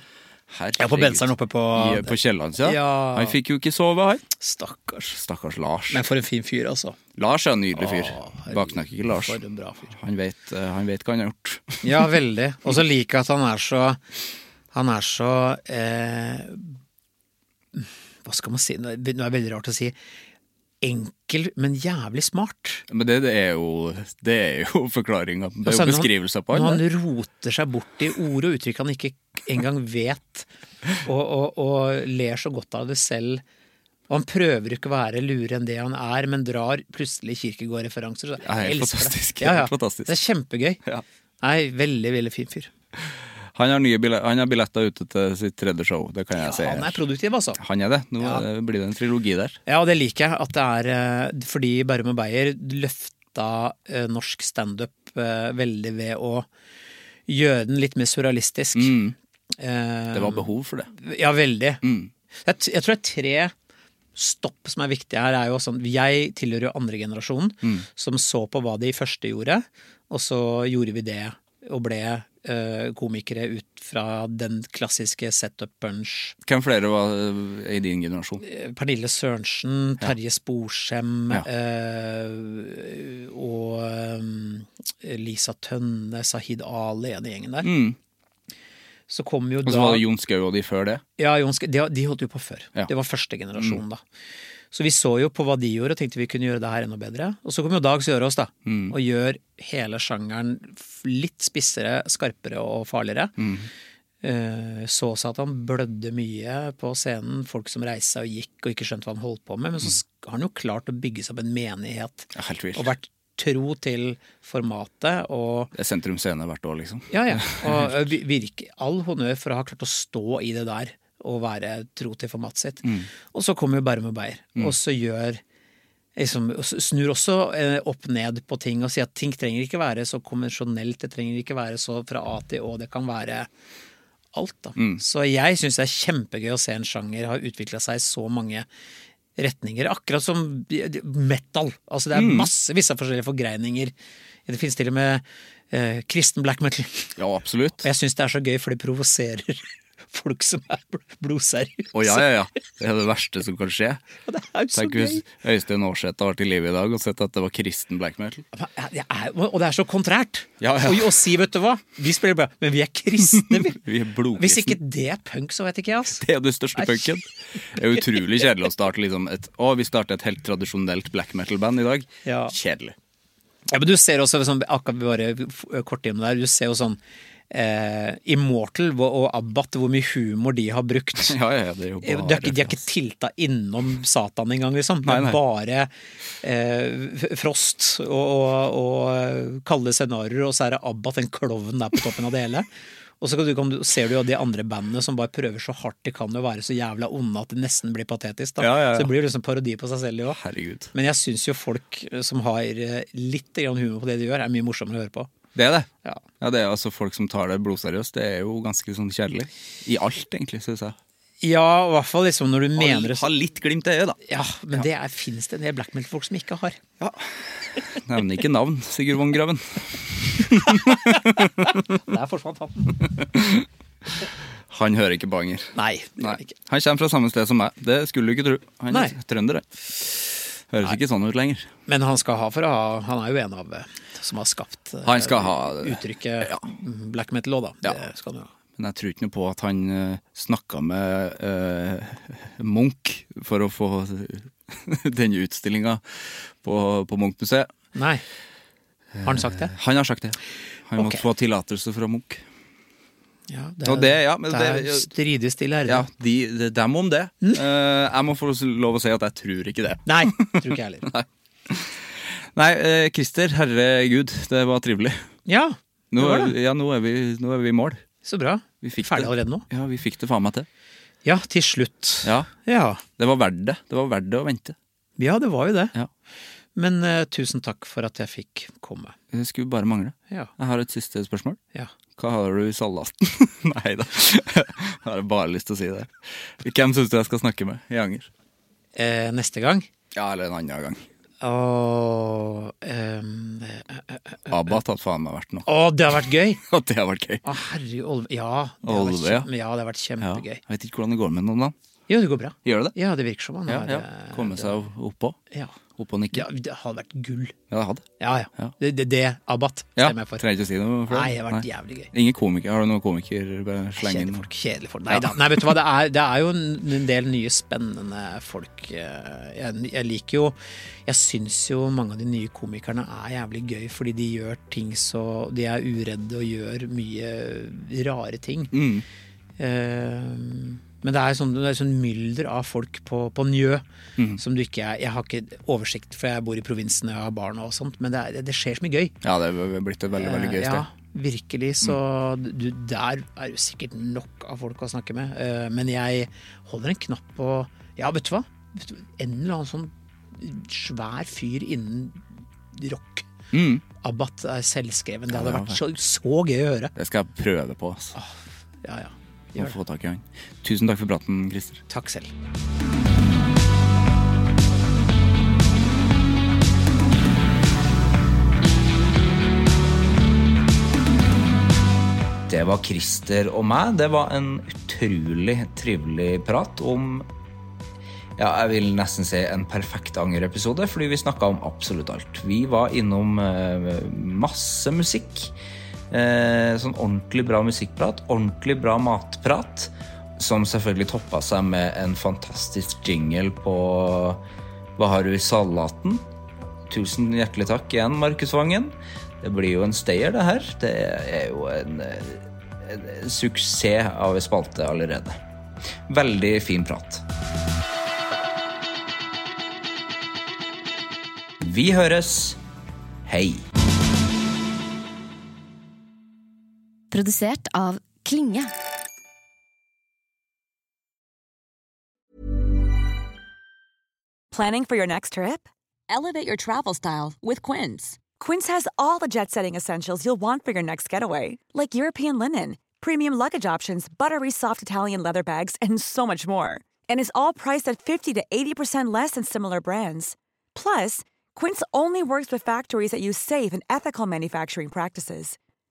Speaker 1: Herregud.
Speaker 3: Mm. Ja, på benseren oppe på
Speaker 1: I- På Kiellandsida.
Speaker 3: Ja.
Speaker 1: Han fikk jo ikke sove, han.
Speaker 3: Stakkars.
Speaker 1: Stakkars Lars.
Speaker 3: Men for en fin fyr, altså.
Speaker 1: Lars er en nydelig fyr.
Speaker 3: herregud,
Speaker 1: Baksnakker ikke Lars.
Speaker 3: for en bra fyr.
Speaker 1: Han vet, eh, han vet hva han har gjort.
Speaker 3: Ja, veldig. Og så liker jeg at han er så Han er så eh, Hva skal man si? Nå er det nå er det veldig rart å si. Enkel, men jævlig smart.
Speaker 1: Men det, det er jo, det er jo forklaringa. Det er
Speaker 3: Altså,
Speaker 1: jo
Speaker 3: når
Speaker 1: beskrivelser på
Speaker 3: han.
Speaker 1: han. det.
Speaker 3: Når han roter seg bort i ord og uttrykk han ikke engang vet, og, og, og ler så godt av det selv. Og han prøver ikke å være lure enn det han er, men drar plutselig Kirkegård-referanser. så
Speaker 1: Ja, helt
Speaker 3: jeg elsker det.
Speaker 1: fantastisk,
Speaker 3: Ja, ja.
Speaker 1: helt fantastisk.
Speaker 3: Det er kjempegøy.
Speaker 1: Ja.
Speaker 3: Nei, veldig, veldig fin fyr.
Speaker 1: Han har, nye bille- han har billetter ute til sitt tredje show, det kan jeg si.
Speaker 3: Han er produktiv, altså.
Speaker 1: Han er det. Nå eh, blir det en trilogi der.
Speaker 3: Ja, og det liker jeg. At det er eh, fordi Bærum og Beyer løfta eh, norsk standup eh, veldig ved å gjøre den litt mer surrealistisk. Eh,
Speaker 1: Mm. Det var behov for det.
Speaker 3: Ja, veldig.
Speaker 1: Mm.
Speaker 3: Jeg, t- jeg tror det er tre stopp som er viktige her. Er jo sånn, jeg tilhører jo andregenerasjonen,
Speaker 1: Mm.
Speaker 3: som så på hva de første gjorde, og så gjorde vi det og ble eh, komikere ut fra den klassiske setup punch.
Speaker 1: Hvem flere var eh, i din generasjon?
Speaker 3: Eh, Pernille Sørensen, Terje Sporsem
Speaker 1: Ja.
Speaker 3: eh, og eh, Lisa Tønne, Sahid Ali, den gjengen der. Så kom jo
Speaker 1: Mm. Og
Speaker 3: da
Speaker 1: så var det Jon Skau og de før det.
Speaker 3: ja, Jonske, de, de holdt jo på før.
Speaker 1: Ja. Mm.
Speaker 3: Det var første generasjon, da. Så vi så jo på hva de gjorde, og tenkte vi kunne gjøre det her enda bedre. Og så kom jo Dag Sørås, da,
Speaker 1: Mm.
Speaker 3: og gjør hele sjangeren f- litt spissere, skarpere og farligere.
Speaker 1: Mm.
Speaker 3: Eh, så seg at han blødde mye på scenen, folk som reiste seg og gikk og ikke skjønte hva han holdt på med, men så sk- har han jo klart å bygge seg opp en menighet,
Speaker 1: Mm. Ja, Helt vilt.
Speaker 3: og vært tro til formatet og
Speaker 1: Det er Sentrum Scene hvert år, liksom.
Speaker 3: ja, ja. Og ø, vi- virke, all honnør for å ha klart å stå i det der og være tro til formatet sitt. Og så kommer jo Bærum og Beyer, og så gjør liksom, og s- Snur også eh, opp ned på ting og sier at ting trenger ikke være så konvensjonelt, det trenger ikke være så fra A til Å, det kan være alt, da. Så jeg syns det er kjempegøy å se en sjanger har utvikla seg i så mange retninger. Akkurat som metal. Altså det er massevis av forskjellige forgreininger. Det finnes til og med eh, kristen black metal.
Speaker 1: Ja, absolutt.
Speaker 3: Og jeg syns det er så gøy, for det provoserer folk som er bl- blodseriøse.
Speaker 1: Å ja, ja, ja. Det er det verste som kan skje.
Speaker 3: Og det er jo så
Speaker 1: Tenk hvis
Speaker 3: gøy.
Speaker 1: Øystein Aarseth har vært i live i dag og sett at det var kristen black metal.
Speaker 3: Det er, og det er så kontrært.
Speaker 1: Ja, ja.
Speaker 3: Og å si, vet du hva, vi spiller bra, men vi er kristne, vi.
Speaker 1: Vi er blodkristne.
Speaker 3: Hvis ikke det er punk, så vet ikke jeg, altså.
Speaker 1: Det er den største punken. Det er utrolig kjedelig å starte liksom et Å, vi starter et helt tradisjonelt black metal-band i dag.
Speaker 3: Ja.
Speaker 1: Kjedelig.
Speaker 3: Ja, men du ser også sånn, akkurat bare f- kort innom der, du ser jo sånn eh, Immortal hvor- og Abbat, hvor mye humor de har brukt.
Speaker 1: Ja, ja, ja, det er jo
Speaker 3: Eh,
Speaker 1: bare
Speaker 3: De har, ikke, de har ikke tilta innom Satan engang, liksom. Det
Speaker 1: Nei,
Speaker 3: er
Speaker 1: nei.
Speaker 3: bare eh, f- Frost og, og, og kalde scenarioer, og så er det Abbat, den klovnen der på toppen av det hele. Og så kan du, kan du, ser du jo de andre bandene som bare prøver så hardt de kan å være så jævla onde at det nesten blir patetisk. Da.
Speaker 1: Ja, ja, ja.
Speaker 3: Så det blir jo liksom parodi på seg selv, de òg.
Speaker 1: Herregud.
Speaker 3: Men jeg syns jo folk eh, som har eh, litt grann humor på det de gjør, er mye morsommere å høre på.
Speaker 1: Det er det.
Speaker 3: Ja.
Speaker 1: det er altså folk som tar det blodseriøst. Det er jo ganske sånn kjedelig. I alt, egentlig, syns jeg.
Speaker 3: Ja, i hvert fall liksom når du mener det
Speaker 1: ha, ha litt glimt i øyet, da.
Speaker 3: Ja, men det fins det en del blackmail-folk som ikke har.
Speaker 1: Nevner ikke navn, Sigurd Vongraven.
Speaker 3: Der forsvant han.
Speaker 1: Han hører ikke på Anger.
Speaker 3: Nei, det
Speaker 1: Nei.
Speaker 3: gjør det ikke.
Speaker 1: Han kommer fra samme sted som meg. Det skulle du ikke tro. Han
Speaker 3: Nei.
Speaker 1: er trønder, det. Høres ikke sånn ut lenger.
Speaker 3: Men han skal ha for å ha Han er jo en av eh, som har skapt eh,
Speaker 1: Han skal ha det.
Speaker 3: uttrykket mm, black metal òg, da.
Speaker 1: Ja.
Speaker 3: Det skal han jo ha.
Speaker 1: Men jeg tror ikke noe på at han uh, snakka med eh, Munch for å få denne utstillinga på, på Munch-museet.
Speaker 3: Nei. Har han sagt det?
Speaker 1: Han har sagt det. Han
Speaker 3: Ok.
Speaker 1: måtte få tillatelse fra Munch.
Speaker 3: Ja,
Speaker 1: Og det- ja, men
Speaker 3: det
Speaker 1: det-
Speaker 3: er stridig stille her.
Speaker 1: Ja, de, de, dem om det.
Speaker 3: Mm.
Speaker 1: Eh, jeg må få lov å si at jeg tror ikke det.
Speaker 3: Nei, tror ikke jeg heller.
Speaker 1: Nei, eh, Christer, herregud, det var trivelig.
Speaker 3: Ja,
Speaker 1: Nå,
Speaker 3: det var
Speaker 1: er-
Speaker 3: det.
Speaker 1: Ja, nå, er, vi, nå er vi i mål.
Speaker 3: Så bra.
Speaker 1: Vi fikk
Speaker 3: Ferdig
Speaker 1: det.
Speaker 3: allerede nå?
Speaker 1: Ja, vi fikk det faen meg til.
Speaker 3: Ja, til slutt.
Speaker 1: Ja,
Speaker 3: ja.
Speaker 1: Det var verdt det. Det var verdt det å vente.
Speaker 3: Ja, det var jo det.
Speaker 1: Ja.
Speaker 3: Men eh, tusen takk for at jeg fikk komme.
Speaker 1: Det skulle bare mangle.
Speaker 3: Ja.
Speaker 1: Jeg har et siste spørsmål.
Speaker 3: ja.
Speaker 1: Hva har du i salaten? Nei da. Jeg har bare lyst til å si det. Hvem syns du jeg skal snakke med i Anger?
Speaker 3: Eh, neste gang
Speaker 1: Ja, eller en annen gang.
Speaker 3: Åh, ehm, eh, eh, eh.
Speaker 1: ABBA har tatt faen meg vært noe.
Speaker 3: Åh, det har vært gøy!
Speaker 1: At det har vært gøy.
Speaker 3: Å, herregud, Olve. Ja, det har vært,
Speaker 1: Olve, ja.
Speaker 3: kjem- ja, det har vært
Speaker 1: Ja.
Speaker 3: kjempegøy.
Speaker 1: Jeg vet ikke hvordan det går med den om dagen.
Speaker 3: Jo, det går bra.
Speaker 1: Gjør det det?
Speaker 3: Ja, det virker som han
Speaker 1: Ja,
Speaker 3: har
Speaker 1: ja.
Speaker 3: eh,
Speaker 1: Komme seg oppå.
Speaker 3: ja.
Speaker 1: Oppå og nikke.
Speaker 3: Ja, det hadde vært gull.
Speaker 1: Ja, det hadde.
Speaker 3: Ja, ja.
Speaker 1: Ja.
Speaker 3: Det, det, det Abbat,
Speaker 1: Ja,
Speaker 3: stemmer jeg for.
Speaker 1: trenger ikke å si noe for det.
Speaker 3: Nei, det har vært jævlig gøy.
Speaker 1: Ingen komiker, har du noen komiker bare slenge inn?
Speaker 3: Kjedelige folk. kjedelige folk. Nei da. Nei, vet du hva, det er, det er jo en en del nye, spennende folk. eh, Jeg, jeg liker jo Jeg syns jo mange av de nye komikerne er jævlig gøy, fordi de gjør ting så De er uredde og gjør mye rare ting.
Speaker 1: Mm.
Speaker 3: Eh, men det er sånn, det er sånn mylder av folk på, på Njø
Speaker 1: Mhm.
Speaker 3: som du ikke er Jeg har ikke oversikt, for jeg bor i provinsen og jeg har barn og sånt, men det, er, det skjer så mye gøy.
Speaker 1: Ja, det er blitt et veldig, veldig gøy
Speaker 3: Eh,
Speaker 1: sted. Mhm.
Speaker 3: Ja, virkelig. Så du, der er jo sikkert nok av folk å snakke med. Eh, Men jeg holder en knapp på Ja, vet du hva? Vet du- En eller annen sånn svær fyr innen rock. Abbat er selvskreven. Det hadde
Speaker 1: Mhm. Ja, det
Speaker 3: vært så, så gøy å høre.
Speaker 1: Det skal jeg prøve på. ass.
Speaker 3: Ja, ja.
Speaker 1: Å
Speaker 3: Gjør det.
Speaker 1: få tak i han. Tusen takk for praten, Christer.
Speaker 3: Takk selv.
Speaker 5: Det var Christer og meg. Det var en utrolig trivelig prat om ja, jeg vil nesten si en perfekt angerepisode, fordi vi snakka om absolutt alt. Vi var innom eh, masse musikk. Eh, sånn ordentlig bra musikkprat, ordentlig bra matprat, som selvfølgelig toppa seg med en fantastisk jingle på Hva har du i salaten? Tusen hjertelig takk igjen, Markus Vangen. Det blir jo en stayer, det her. Det er jo en, eh, en suksess av en spalte allerede. Veldig fin prat. Vi høres. Hei.
Speaker 6: Produsert av Klinge.
Speaker 7: Planning for your next trip? Elevate your travel style with Quince. Quince has all the jet setting essentials you'll want for your next getaway, like European linen, premium luggage options, buttery soft Italian leather bags, and so much more. And is all priced at 50 to 80% less than similar brands. Plus, Quince only works with factories that use safe and ethical manufacturing practices.